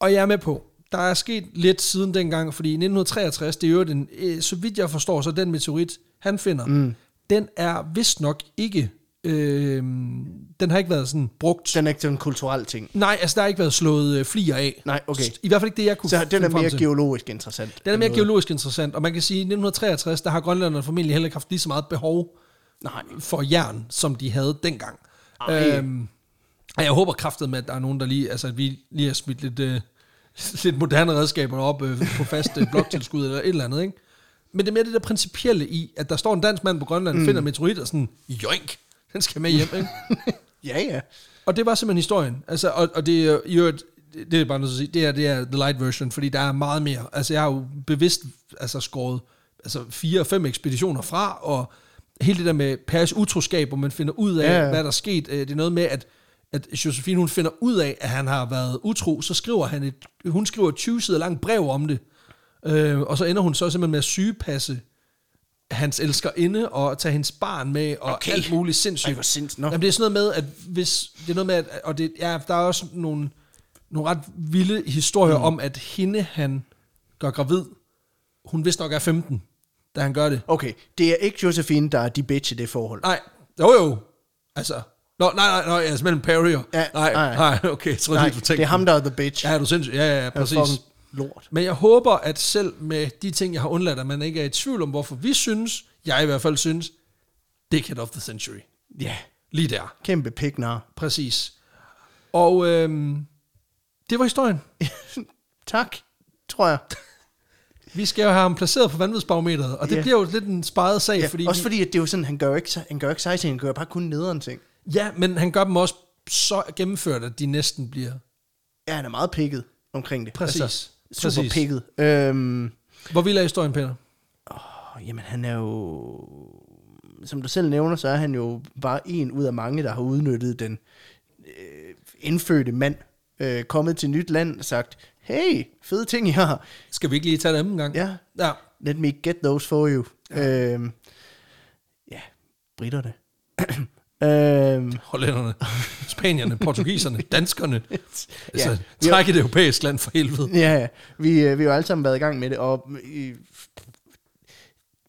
[SPEAKER 2] Og jeg er med på, der er sket lidt siden dengang, fordi i 1963, det er jo den, øh, så vidt jeg forstår, så den meteorit, han finder, mm. den er vist nok ikke, øh, den har ikke været sådan brugt.
[SPEAKER 1] Den er ikke sådan en kulturel ting.
[SPEAKER 2] Nej, altså der har ikke været slået øh, flier af.
[SPEAKER 1] Nej, okay.
[SPEAKER 2] I hvert fald ikke det, jeg kunne
[SPEAKER 1] Så den
[SPEAKER 2] finde
[SPEAKER 1] er
[SPEAKER 2] frem
[SPEAKER 1] mere
[SPEAKER 2] til.
[SPEAKER 1] geologisk interessant.
[SPEAKER 2] Den er
[SPEAKER 1] end
[SPEAKER 2] mere
[SPEAKER 1] noget.
[SPEAKER 2] geologisk interessant, og man kan sige, at i 1963, der har grønlænderne formentlig heller ikke haft lige så meget behov
[SPEAKER 1] Nej.
[SPEAKER 2] for jern, som de havde dengang.
[SPEAKER 1] Ej.
[SPEAKER 2] Øhm, og jeg håber kraftet med, at der er nogen, der lige, altså at vi lige har smidt lidt, øh, lidt moderne redskaber op øh, på fast øh, bloktilskud eller et eller andet, ikke? Men det er mere det der principielle i, at der står en dansk mand på Grønland, mm. finder meteorit og sådan, joink, den skal med hjem, ikke?
[SPEAKER 1] Ja, ja.
[SPEAKER 2] Og det var simpelthen historien. Altså, og, og det er jo et, det er bare noget at sige, det er, det er the light version, fordi der er meget mere. Altså, jeg har jo bevidst altså, skåret altså, fire og fem ekspeditioner fra, og hele det der med Paris utroskab, hvor man finder ud af,
[SPEAKER 1] Ja, ja.
[SPEAKER 2] ja. hvad der er sket. øh, Det er noget med, at, at Josephine, hun finder ud af, at han har været utro, så skriver han et, hun skriver et 20 sider langt brev om det. Øh, og så ender hun så simpelthen med at sygepasse hans elskerinde, og tage hendes barn med, og
[SPEAKER 1] Okay.
[SPEAKER 2] okay. alt muligt sindssygt.
[SPEAKER 1] Ej, hvor sindssygt. Nå.
[SPEAKER 2] Jamen, det er sådan noget med, at hvis... Det er noget med, at, og det, ja, der er også nogle, nogle ret vilde historier mm. om, at hende, han gør gravid, hun vist nok er 15, da han gør det.
[SPEAKER 1] Okay, det er ikke Josephine, der er de bitch i det forhold.
[SPEAKER 2] Nej, jo jo. Altså, nå, nej, nej, nej, altså mellem Perry og...
[SPEAKER 1] Ja, nej.
[SPEAKER 2] nej, nej, nej, okay, jeg tror
[SPEAKER 1] Nej,
[SPEAKER 2] lige, du tænkte...
[SPEAKER 1] det er ham, der er the bitch.
[SPEAKER 2] Ja, er du sindssyg? Ja, ja, ja,
[SPEAKER 1] Han er
[SPEAKER 2] præcis.
[SPEAKER 1] fucking lort.
[SPEAKER 2] Men jeg håber, at selv med de ting, jeg har undladt, at man ikke er i tvivl om, hvorfor vi synes, jeg i hvert fald synes, dickhead of the century.
[SPEAKER 1] Ja,
[SPEAKER 2] Lige der.
[SPEAKER 1] kæmpe piknar.
[SPEAKER 2] Præcis. Og øhm, det var historien.
[SPEAKER 1] tak, tror jeg.
[SPEAKER 2] Vi skal jo have ham placeret på vanvidsbarometeret, og det
[SPEAKER 1] Ja.
[SPEAKER 2] yeah. bliver jo lidt en sparet sag,
[SPEAKER 1] Ja,
[SPEAKER 2] yeah, fordi...
[SPEAKER 1] også
[SPEAKER 2] vi-
[SPEAKER 1] fordi, at det er jo sådan, han gør jo ikke, se- han gør jo ikke seje ting, han gør bare kun nederen ting.
[SPEAKER 2] Ja, men han gør dem også så gennemført, at de næsten bliver...
[SPEAKER 1] Ja, han er meget pikket omkring det. Altså,
[SPEAKER 2] Præcis.
[SPEAKER 1] super
[SPEAKER 2] Præcis.
[SPEAKER 1] pikket. Øhm,
[SPEAKER 2] Hvor vild er historien, Peter?
[SPEAKER 1] Og Jamen, han er jo... Som du selv nævner, så er han jo bare en ud af mange, der har udnyttet den øh, indfødte mand, øh, kommet til nyt land og sagt, hey, fede ting, I har.
[SPEAKER 2] Skal vi ikke lige tage dem en gang?
[SPEAKER 1] Ja,
[SPEAKER 2] ja.
[SPEAKER 1] let me get those for you. Ja, øhm, ja britterne. øhm,
[SPEAKER 2] Hollænderne, spanierne, portugiserne, danskerne. Altså,
[SPEAKER 1] Jo.
[SPEAKER 2] ja. træk et europæisk land for helvede.
[SPEAKER 1] ja, ja. vi, øh, vi har jo alle sammen været i gang med det, og øh,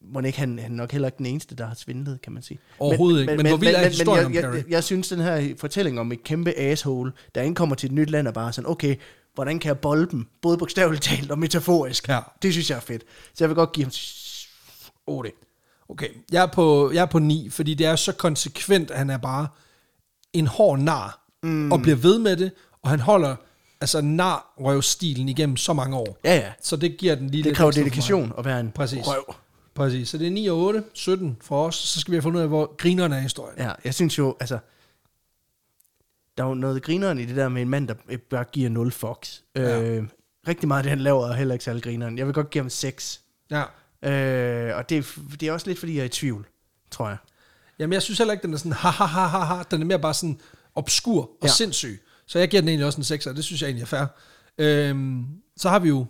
[SPEAKER 1] må ikke, han, han er nok heller ikke den eneste, der har svindlet, kan man sige.
[SPEAKER 2] Overhovedet ikke. Men hvor vild er historien
[SPEAKER 1] jeg,
[SPEAKER 2] om
[SPEAKER 1] jeg,
[SPEAKER 2] Perry?
[SPEAKER 1] jeg, jeg synes, den her fortælling om et kæmpe asshole, der indkommer til et nyt land og bare er sådan, okay, hvordan kan jeg bolde dem? Både bogstaveligt talt og metaforisk.
[SPEAKER 2] Ja.
[SPEAKER 1] Det synes jeg er fedt. Så jeg vil godt give ham 8.
[SPEAKER 2] Okay, jeg er, på, jeg er på 9, fordi det er så konsekvent, at han er bare en hård nar, mm. og bliver ved med det, og han holder altså nar-røvstilen igennem så mange år.
[SPEAKER 1] Ja, ja.
[SPEAKER 2] Så det giver den lige
[SPEAKER 1] Det
[SPEAKER 2] lidt
[SPEAKER 1] kræver
[SPEAKER 2] ekstra for mig.
[SPEAKER 1] dedikation at være en
[SPEAKER 2] Præcis.
[SPEAKER 1] røv.
[SPEAKER 2] Præcis, så det er 9 og 8, 17 for os, så skal vi have fundet ud af, hvor grinerne er i historien.
[SPEAKER 1] Ja, jeg synes jo, altså, der er jo noget grineren i det der med en mand, der øh, bare giver 0 fucks.
[SPEAKER 2] Ja.
[SPEAKER 1] Øh, rigtig meget af det, han laver, er heller ikke særlig grineren. Jeg vil godt give ham 6.
[SPEAKER 2] Ja.
[SPEAKER 1] Øh, og det, er f- det er også lidt, fordi jeg er i tvivl, tror jeg.
[SPEAKER 2] Jamen, jeg synes heller ikke, den er sådan, ha, ha, ha, ha, ha. Den er mere bare sådan obskur og ja.
[SPEAKER 1] Ja.
[SPEAKER 2] sindssyg. Så jeg giver den egentlig også en 6, og det synes jeg egentlig er fair. Øhm, så har vi jo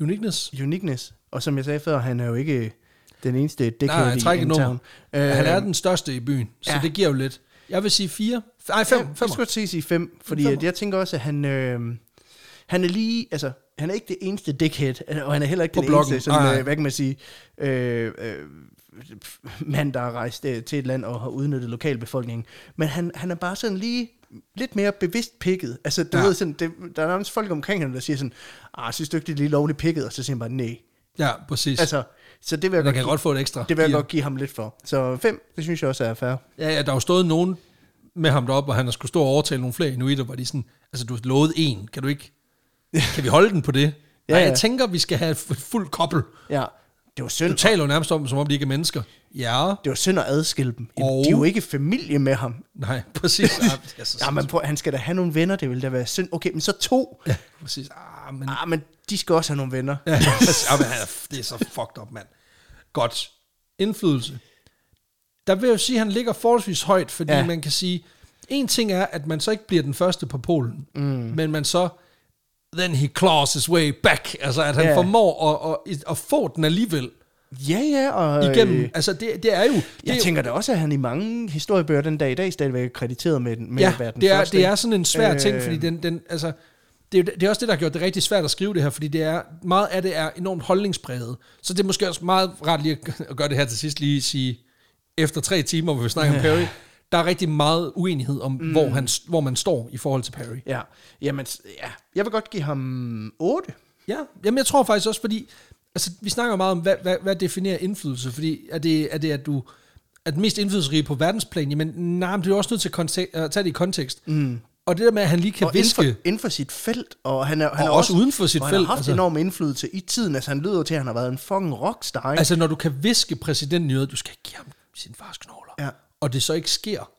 [SPEAKER 2] Uniqueness.
[SPEAKER 1] Uniqueness. Og som jeg sagde før, han er jo ikke øh, den eneste
[SPEAKER 2] Nej,
[SPEAKER 1] dickhead
[SPEAKER 2] jeg trækker
[SPEAKER 1] i
[SPEAKER 2] et nummer.
[SPEAKER 1] town.
[SPEAKER 2] Øh, han er den største i byen, så ja.
[SPEAKER 1] ja.
[SPEAKER 2] det giver jo lidt. Jeg vil sige 4. Nej, 5.
[SPEAKER 1] Jeg, jeg skulle til at sige fem, fordi
[SPEAKER 2] Femmer.
[SPEAKER 1] at jeg tænker også, at han, øh, han er lige, altså, han er ikke det eneste dickhead, og han er heller ikke
[SPEAKER 2] På
[SPEAKER 1] den
[SPEAKER 2] bloggen.
[SPEAKER 1] eneste, sådan,
[SPEAKER 2] Nej, nej.
[SPEAKER 1] øh, hvad kan man sige, øh, øh, mand, der er rejst øh, til et land og har udnyttet lokalbefolkningen. Men han, han er bare sådan lige lidt mere bevidst pikket. Altså, du
[SPEAKER 2] Ja.
[SPEAKER 1] ja. ved, sådan, det, der er nærmest folk omkring ham, der siger sådan, ah, synes du ikke, det er lige lovligt pikket? Og så siger han bare, nej.
[SPEAKER 2] Ja, præcis. Altså,
[SPEAKER 1] Altså, så det vil jeg,
[SPEAKER 2] jeg
[SPEAKER 1] godt,
[SPEAKER 2] kan
[SPEAKER 1] give,
[SPEAKER 2] godt få et ekstra.
[SPEAKER 1] det vil jeg
[SPEAKER 2] fire.
[SPEAKER 1] godt give ham lidt for. Så fem, det synes jeg også er fair.
[SPEAKER 2] Ja, ja, der har jo stået nogen med ham deroppe, og han har skulle stå og overtale nogle flere inuitter, hvor de sådan, altså du har lovet en, kan du ikke, kan vi holde den på det? ja,
[SPEAKER 1] Ja,
[SPEAKER 2] Nej,
[SPEAKER 1] ja.
[SPEAKER 2] jeg tænker, vi skal have et fu- fuldt koppel.
[SPEAKER 1] Ja, det var synd.
[SPEAKER 2] Du taler jo nærmest om, dem, som om de ikke er mennesker. Ja,
[SPEAKER 1] Det var synd at adskille dem. Jamen,
[SPEAKER 2] Og-
[SPEAKER 1] De er jo ikke familie med ham.
[SPEAKER 2] nej, præcis. Ah, det er så
[SPEAKER 1] Ja, men prøv, han skal da have nogle venner, det vil da være synd. Okay, men så to.
[SPEAKER 2] sindssygt. Ja, præcis. Ah, men,
[SPEAKER 1] Ah, men de skal også have nogle venner.
[SPEAKER 2] ja, præcis. ah, men han er- det er så fucked up, mand. Godt. Indflydelse. Der vil jeg jo sige, at han ligger forholdsvis højt, fordi ja.
[SPEAKER 1] Ja.
[SPEAKER 2] man kan sige, en ting er, at man så ikke bliver den første på Polen, mm. men man så, then he claws his way back, altså at han ja.
[SPEAKER 1] Ja.
[SPEAKER 2] formår at, at, at få den alligevel
[SPEAKER 1] Ja, ja, og... øh,
[SPEAKER 2] igennem. Altså det, det er jo... Det er
[SPEAKER 1] Jeg
[SPEAKER 2] jo-
[SPEAKER 1] tænker da også, at han i mange historiebøger den dag i dag stadigvæk er krediteret med, den, med
[SPEAKER 2] ja,
[SPEAKER 1] at være den
[SPEAKER 2] det er,
[SPEAKER 1] første.
[SPEAKER 2] det er sådan en svær øh,
[SPEAKER 1] Øh.
[SPEAKER 2] ting, fordi den, den altså, det, er, jo- det er også det, der har gjort det rigtig svært at skrive det her, fordi det er, meget af det er enormt holdningspræget. Så det er måske også meget rart lige at gø- at gøre det her til sidst, lige sige, efter tre timer, hvor vi snakker om Perry, der er rigtig meget uenighed om, mm. hvor, han, hvor man står i forhold til Perry.
[SPEAKER 1] Ja, jamen, s- ja. Jeg vil godt give ham 8.
[SPEAKER 2] Ja, jamen jeg tror faktisk også, fordi altså, vi snakker jo meget om, hvad, hvad, hvad definerer indflydelse, fordi er det, er det at du er den mest indflydelsesrige på verdensplan, jamen nej, men du er jo også nødt til at, kontek- at tage det i kontekst. Mm. Og det der med, at han lige kan
[SPEAKER 1] Og inden
[SPEAKER 2] viske...
[SPEAKER 1] for, inden for sit felt, og han er, han
[SPEAKER 2] Og
[SPEAKER 1] er
[SPEAKER 2] også uden for sit
[SPEAKER 1] og
[SPEAKER 2] felt,
[SPEAKER 1] han har haft
[SPEAKER 2] altså.
[SPEAKER 1] altså. enorm indflydelse i tiden. Altså, han lyder jo til, at han har været en fucking rockstar, ikke?
[SPEAKER 2] Altså, når du kan viske præsidenten i øret, du skal ikke give ham sin fars knogler,
[SPEAKER 1] Ja.
[SPEAKER 2] og det så ikke sker.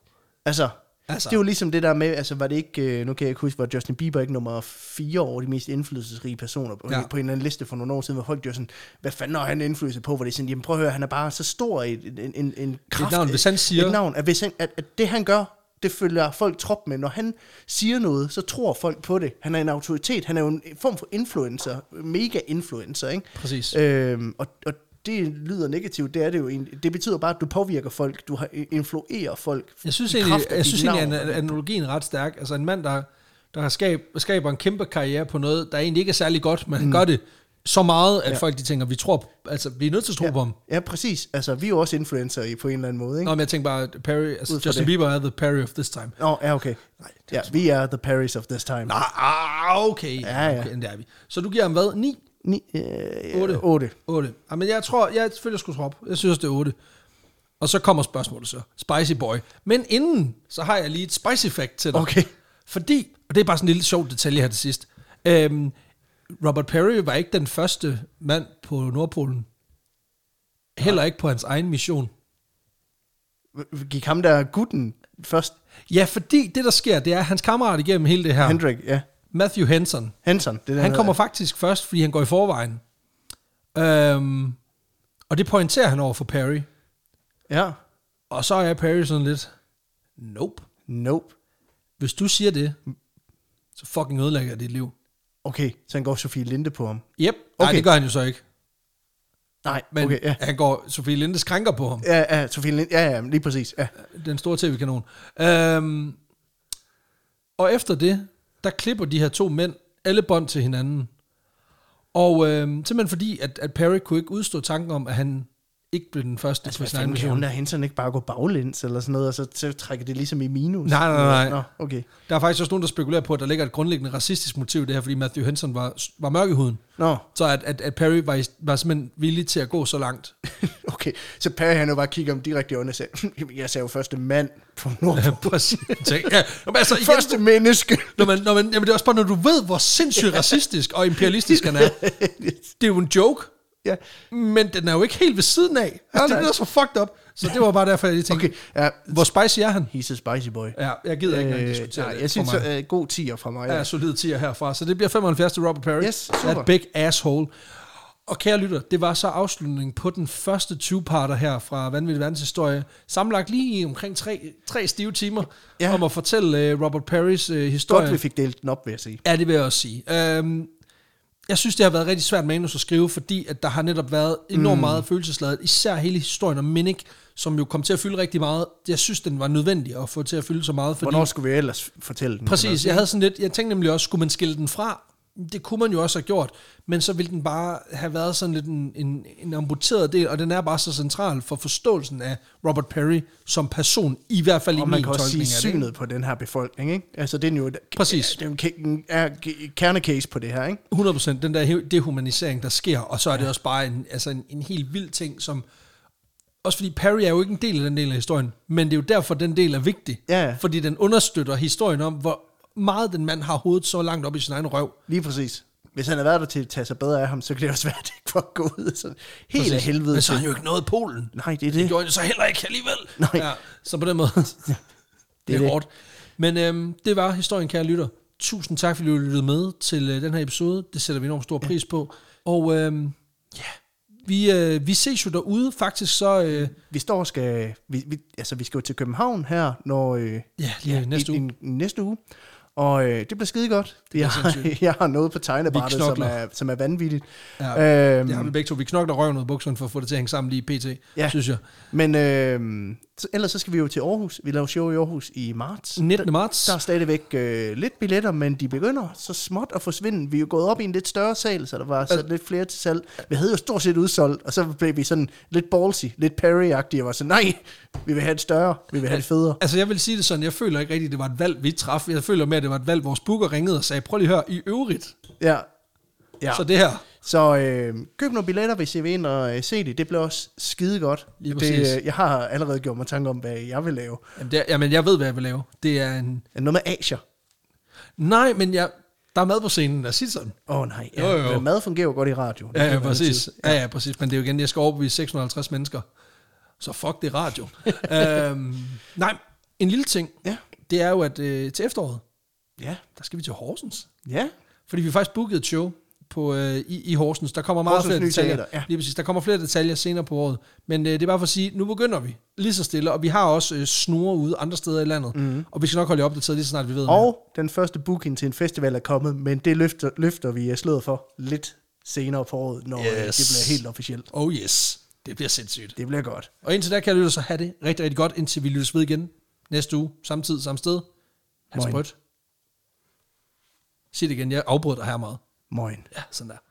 [SPEAKER 1] Altså,
[SPEAKER 2] Altså.
[SPEAKER 1] altså, det er jo ligesom det der med, altså var det ikke, øh, nu kan jeg ikke huske, var Justin Bieber ikke nummer 4 over de mest indflydelsesrige personer på,
[SPEAKER 2] Ja.
[SPEAKER 1] ja. på en eller anden liste for nogle år siden, hvor folk jo sådan, hvad fanden har han indflydelse på, hvor det er sådan, jamen prøv at høre, han er bare så stor i en, en, en, en kraft.
[SPEAKER 2] navn, hvis han siger-
[SPEAKER 1] Et navn, at, hvis han, at, at det han gør, det følger folk trop med. Når han siger noget, så tror folk på det. Han er en autoritet, han er jo en form for influencer, mega influencer, ikke?
[SPEAKER 2] Præcis.
[SPEAKER 1] Øhm, og, og det lyder negativt, det er det jo egentlig. Det betyder bare, at du påvirker folk, du har, øh, influerer folk.
[SPEAKER 2] Jeg synes
[SPEAKER 1] i
[SPEAKER 2] egentlig,
[SPEAKER 1] kraft af
[SPEAKER 2] jeg
[SPEAKER 1] dit
[SPEAKER 2] synes egentlig
[SPEAKER 1] navn.
[SPEAKER 2] at analogien er ret stærk. Altså en mand, der, der har skab, skaber en kæmpe karriere på noget, der egentlig ikke er særlig godt, men mm. han gør det så meget, at ja. folk de tænker, vi tror, altså vi er nødt til at tro ja. på ham.
[SPEAKER 1] Ja, præcis. Altså, vi er jo også influencer i, på en eller anden måde, ikke?
[SPEAKER 2] Nå, men jeg tænker bare, at Perry, altså
[SPEAKER 1] Ud fra
[SPEAKER 2] Justin det.
[SPEAKER 1] det.
[SPEAKER 2] Bieber er the Perry of this time.
[SPEAKER 1] Nå, ja, okay.
[SPEAKER 2] Nej, det er
[SPEAKER 1] Ja, vi er the Paris of this time.
[SPEAKER 2] Ah, ah, okay.
[SPEAKER 1] Ja, ja.
[SPEAKER 2] okay. Der er vi. Så du giver ham hvad? 9?
[SPEAKER 1] Ni, øh,
[SPEAKER 2] Otte.
[SPEAKER 1] 8.
[SPEAKER 2] 8. Jamen, jeg tror, jeg føler, jeg skulle droppe. Jeg synes, det er 8. Og så kommer spørgsmålet så. Spicy boy. Men inden, så har jeg lige et spicy fact til dig.
[SPEAKER 1] Okay.
[SPEAKER 2] Fordi, og det er bare sådan en lille sjov detalje her til sidst. Øhm, Robert Perry var ikke den første mand på Nordpolen. Heller ikke på hans egen mission.
[SPEAKER 1] Gik ham der gutten først?
[SPEAKER 2] Ja, fordi det, der sker, det er, at hans kammerat igennem hele det her,
[SPEAKER 1] Hendrik, ja.
[SPEAKER 2] Matthew Henson,
[SPEAKER 1] Hanson, det der
[SPEAKER 2] han kommer faktisk først, fordi han går i forvejen. Øhm, og det pointerer han over for Perry.
[SPEAKER 1] Ja.
[SPEAKER 2] Og så er Perry sådan lidt, nope.
[SPEAKER 1] Nope.
[SPEAKER 2] Hvis du siger det, så fucking ødelægger jeg dit liv.
[SPEAKER 1] Okay, så han går Sofie Linde på ham.
[SPEAKER 2] Yep. Nej, okay.
[SPEAKER 1] Okay.
[SPEAKER 2] det gør han jo så ikke.
[SPEAKER 1] Nej,
[SPEAKER 2] Men
[SPEAKER 1] okay, ja.
[SPEAKER 2] han går, Sofie Linde skrænker på ham.
[SPEAKER 1] Ja, ja, Sofie Linde, ja, ja, lige præcis, ja.
[SPEAKER 2] Den store tv-kanon. Øhm, og efter det, der klipper de her to mænd alle bånd til hinanden. Og øhm, simpelthen fordi, at, at Perry kunne ikke udstå tanken om, at han ikke blev den første altså, på
[SPEAKER 1] Hvad
[SPEAKER 2] sin egen
[SPEAKER 1] fanden kan
[SPEAKER 2] mission.
[SPEAKER 1] hun der Henson ikke bare gå baglæns eller sådan noget, og så, så trækker det ligesom i minus?
[SPEAKER 2] Nej, nej, nej.
[SPEAKER 1] Nå, okay.
[SPEAKER 2] Der er faktisk også nogen, der spekulerer på, at der ligger et grundlæggende racistisk motiv i det her, fordi Matthew Henson var, var mørk i huden.
[SPEAKER 1] Nå,
[SPEAKER 2] Så at, at, at Perry var, i, var simpelthen villig til at gå så langt.
[SPEAKER 1] okay. Så Perry han jo bare kigger om direkte i øjnene og sagde, jeg sagde jo første mand på Nordpolen.
[SPEAKER 2] Præcis. ja, men altså, igen,
[SPEAKER 1] Første menneske.
[SPEAKER 2] når man, når man, jamen, det er også bare, når du ved, hvor sindssygt racistisk og imperialistisk han er. Det er jo en joke,
[SPEAKER 1] ja,
[SPEAKER 2] men den er jo ikke helt ved siden af. Altså, det er også for fucked up. Så det var bare derfor, jeg lige tænkte,
[SPEAKER 1] okay. Ja,
[SPEAKER 2] hvor spicy er han?
[SPEAKER 1] he's a spicy boy.
[SPEAKER 2] Ja, jeg gider ikke
[SPEAKER 1] Øh,
[SPEAKER 2] engang diskutere
[SPEAKER 1] nej,
[SPEAKER 2] det.
[SPEAKER 1] jeg
[SPEAKER 2] for
[SPEAKER 1] synes,
[SPEAKER 2] mig.
[SPEAKER 1] så, uh, god tier fra mig.
[SPEAKER 2] Ja, solid 10 herfra. Så det bliver 75 til Robert Perry.
[SPEAKER 1] Yes, super.
[SPEAKER 2] That big asshole. Og kære lytter, det var så afslutningen på den første 20-parter her fra Vanvittig Verdenshistorie. Sammenlagt lige i omkring tre, tre stive timer ja.
[SPEAKER 1] Ja.
[SPEAKER 2] om at fortælle uh, Robert Perrys uh, historie.
[SPEAKER 1] Godt, vi fik delt den op, vil jeg sige.
[SPEAKER 2] Ja, det vil jeg også sige. Øhm, jeg synes, det har været rigtig svært manus at skrive, fordi at der har netop været enormt mm. meget følelsesladet, især hele historien om Minik, som jo kom til at fylde rigtig meget. Jeg synes, den var nødvendig at få til at fylde så meget. Fordi,
[SPEAKER 1] Hvornår skulle vi ellers fortælle den?
[SPEAKER 2] Præcis, jeg havde sådan lidt, jeg tænkte nemlig også, skulle man skille den fra? Det kunne man jo også have gjort, men så ville den bare have været sådan lidt en, en, en amputeret del, og den er bare så central for forståelsen af Robert Perry som person, i hvert fald i
[SPEAKER 1] Og
[SPEAKER 2] min
[SPEAKER 1] man kan
[SPEAKER 2] tolkning
[SPEAKER 1] også sige
[SPEAKER 2] af det. ikke?
[SPEAKER 1] synet på den her befolkning, ikke? Altså, det er jo
[SPEAKER 2] Præcis.
[SPEAKER 1] Det er jo en ke- en er ke- kernecase på det her, ikke?
[SPEAKER 2] 100% den der he- dehumanisering, der sker, og så er det også bare en, altså en, en helt vild ting, som... Også fordi Perry er jo ikke en del af den del af historien, men det er jo derfor, den del er vigtig.
[SPEAKER 1] Ja, ja.
[SPEAKER 2] Fordi den understøtter historien om, hvor meget den mand har hovedet så langt op i sin egen røv.
[SPEAKER 1] Lige præcis. Hvis han har været der til at tage sig bedre af ham, så kan det også være, at det ikke var gået sådan helt af helvede
[SPEAKER 2] Altså, Men så har
[SPEAKER 1] til.
[SPEAKER 2] han jo ikke nået Polen.
[SPEAKER 1] Nej, det er det.
[SPEAKER 2] Det gjorde han så heller ikke alligevel.
[SPEAKER 1] Nej.
[SPEAKER 2] Ja, så på den måde, det, det er
[SPEAKER 1] det.
[SPEAKER 2] hårdt. Men øhm, det var historien, kære lytter. Tusind tak, fordi du lyttede med til øh, den her episode. Det sætter vi enormt stor pris på. Og øhm, ja, vi, øh, vi ses jo derude. Faktisk så, øh,
[SPEAKER 1] Vi står og skal... Vi, vi, altså, vi skal jo til København her, når... Øh,
[SPEAKER 2] ja, lige ja, næste
[SPEAKER 1] i,
[SPEAKER 2] uge.
[SPEAKER 1] I, næste uge. Og øh, det bliver skide godt. Jeg,
[SPEAKER 2] sindssygt.
[SPEAKER 1] jeg har noget på tegnebrættet,
[SPEAKER 2] Vi
[SPEAKER 1] som
[SPEAKER 2] knokler.
[SPEAKER 1] er, som er vanvittigt.
[SPEAKER 2] Ja,
[SPEAKER 1] øhm,
[SPEAKER 2] Det har vi begge to. Vi knokler røven ud af bukserne for at få det til at hænge sammen lige i pt, ja.
[SPEAKER 1] Ja.
[SPEAKER 2] synes jeg.
[SPEAKER 1] Men øh, så, ellers så skal vi jo til Aarhus. Vi laver show i Aarhus i marts.
[SPEAKER 2] 19. marts.
[SPEAKER 1] Der er stadigvæk øh, lidt billetter, men de begynder så småt at forsvinde. Vi er jo gået op i en lidt større sal, så der var sat lidt flere til salg. Vi havde jo stort set udsolgt, og så blev vi sådan lidt ballsy, lidt Perry-agtige, og var sådan, nej, vi vil have det større, vi vil have det federe.
[SPEAKER 2] Altså jeg vil sige det sådan, jeg føler ikke rigtigt, det var et valg, vi traf. Jeg føler mere, at det var et valg, vores booker ringede og sagde, prøv lige at høre, i øvrigt.
[SPEAKER 1] Ja. ja.
[SPEAKER 2] Ja. Så det her,
[SPEAKER 1] Så øh, køb nogle billetter, hvis I vil ind og øh, se det. Det bliver også skide godt.
[SPEAKER 2] Lige præcis.
[SPEAKER 1] det, øh, jeg har allerede gjort mig tanke om, hvad jeg vil lave.
[SPEAKER 2] Jamen, det er, jamen, jeg ved, hvad jeg vil lave. Det er en...
[SPEAKER 1] Noget med Asia.
[SPEAKER 2] Nej, men jeg... der er mad på scenen, lad os sige det sådan.
[SPEAKER 1] Åh oh, nej, ja.
[SPEAKER 2] Jo, jo.
[SPEAKER 1] Men mad fungerer jo godt i radio. Det
[SPEAKER 2] Ja,
[SPEAKER 1] kan
[SPEAKER 2] ja,
[SPEAKER 1] man
[SPEAKER 2] præcis.
[SPEAKER 1] altid.
[SPEAKER 2] Ja, ja, præcis. Men det er jo igen, jeg skal overbevise 650 mennesker. Så fuck det radio. øhm, nej, en lille ting.
[SPEAKER 1] Ja.
[SPEAKER 2] Det er jo, at øh, til efteråret,
[SPEAKER 1] Ja,
[SPEAKER 2] der skal vi til Horsens.
[SPEAKER 1] ja.
[SPEAKER 2] Fordi vi har faktisk booket et show på, øh, i, i Horsens. Der kommer meget
[SPEAKER 1] Horsens
[SPEAKER 2] flere
[SPEAKER 1] Nye
[SPEAKER 2] detaljer.
[SPEAKER 1] Teater, ja.
[SPEAKER 2] Lige præcis. Der kommer flere detaljer senere på året. Men øh, det er bare for at sige, nu begynder vi lige så stille. Og vi har også øh, snore ude andre steder i landet. Mm. Og vi skal nok holde jer opdateret lige så snart vi ved. mere.
[SPEAKER 1] Mhm. Og den første booking til en festival er kommet, men det løfter, løfter vi øh, sløret for lidt senere på året, når yes. det
[SPEAKER 2] Yes.
[SPEAKER 1] bliver helt officielt.
[SPEAKER 2] Oh yes, det bliver sindssygt.
[SPEAKER 1] Det bliver godt.
[SPEAKER 2] Og indtil da kan jeg lytte, så have det rigtig, rigtig godt, indtil vi lyttes ved igen næste uge, samme tid, samme sted. Hans
[SPEAKER 1] Moin.
[SPEAKER 2] Brødt. Sig det igen, jeg afbrød dig her meget.
[SPEAKER 1] Moin.
[SPEAKER 2] Ja, sådan der.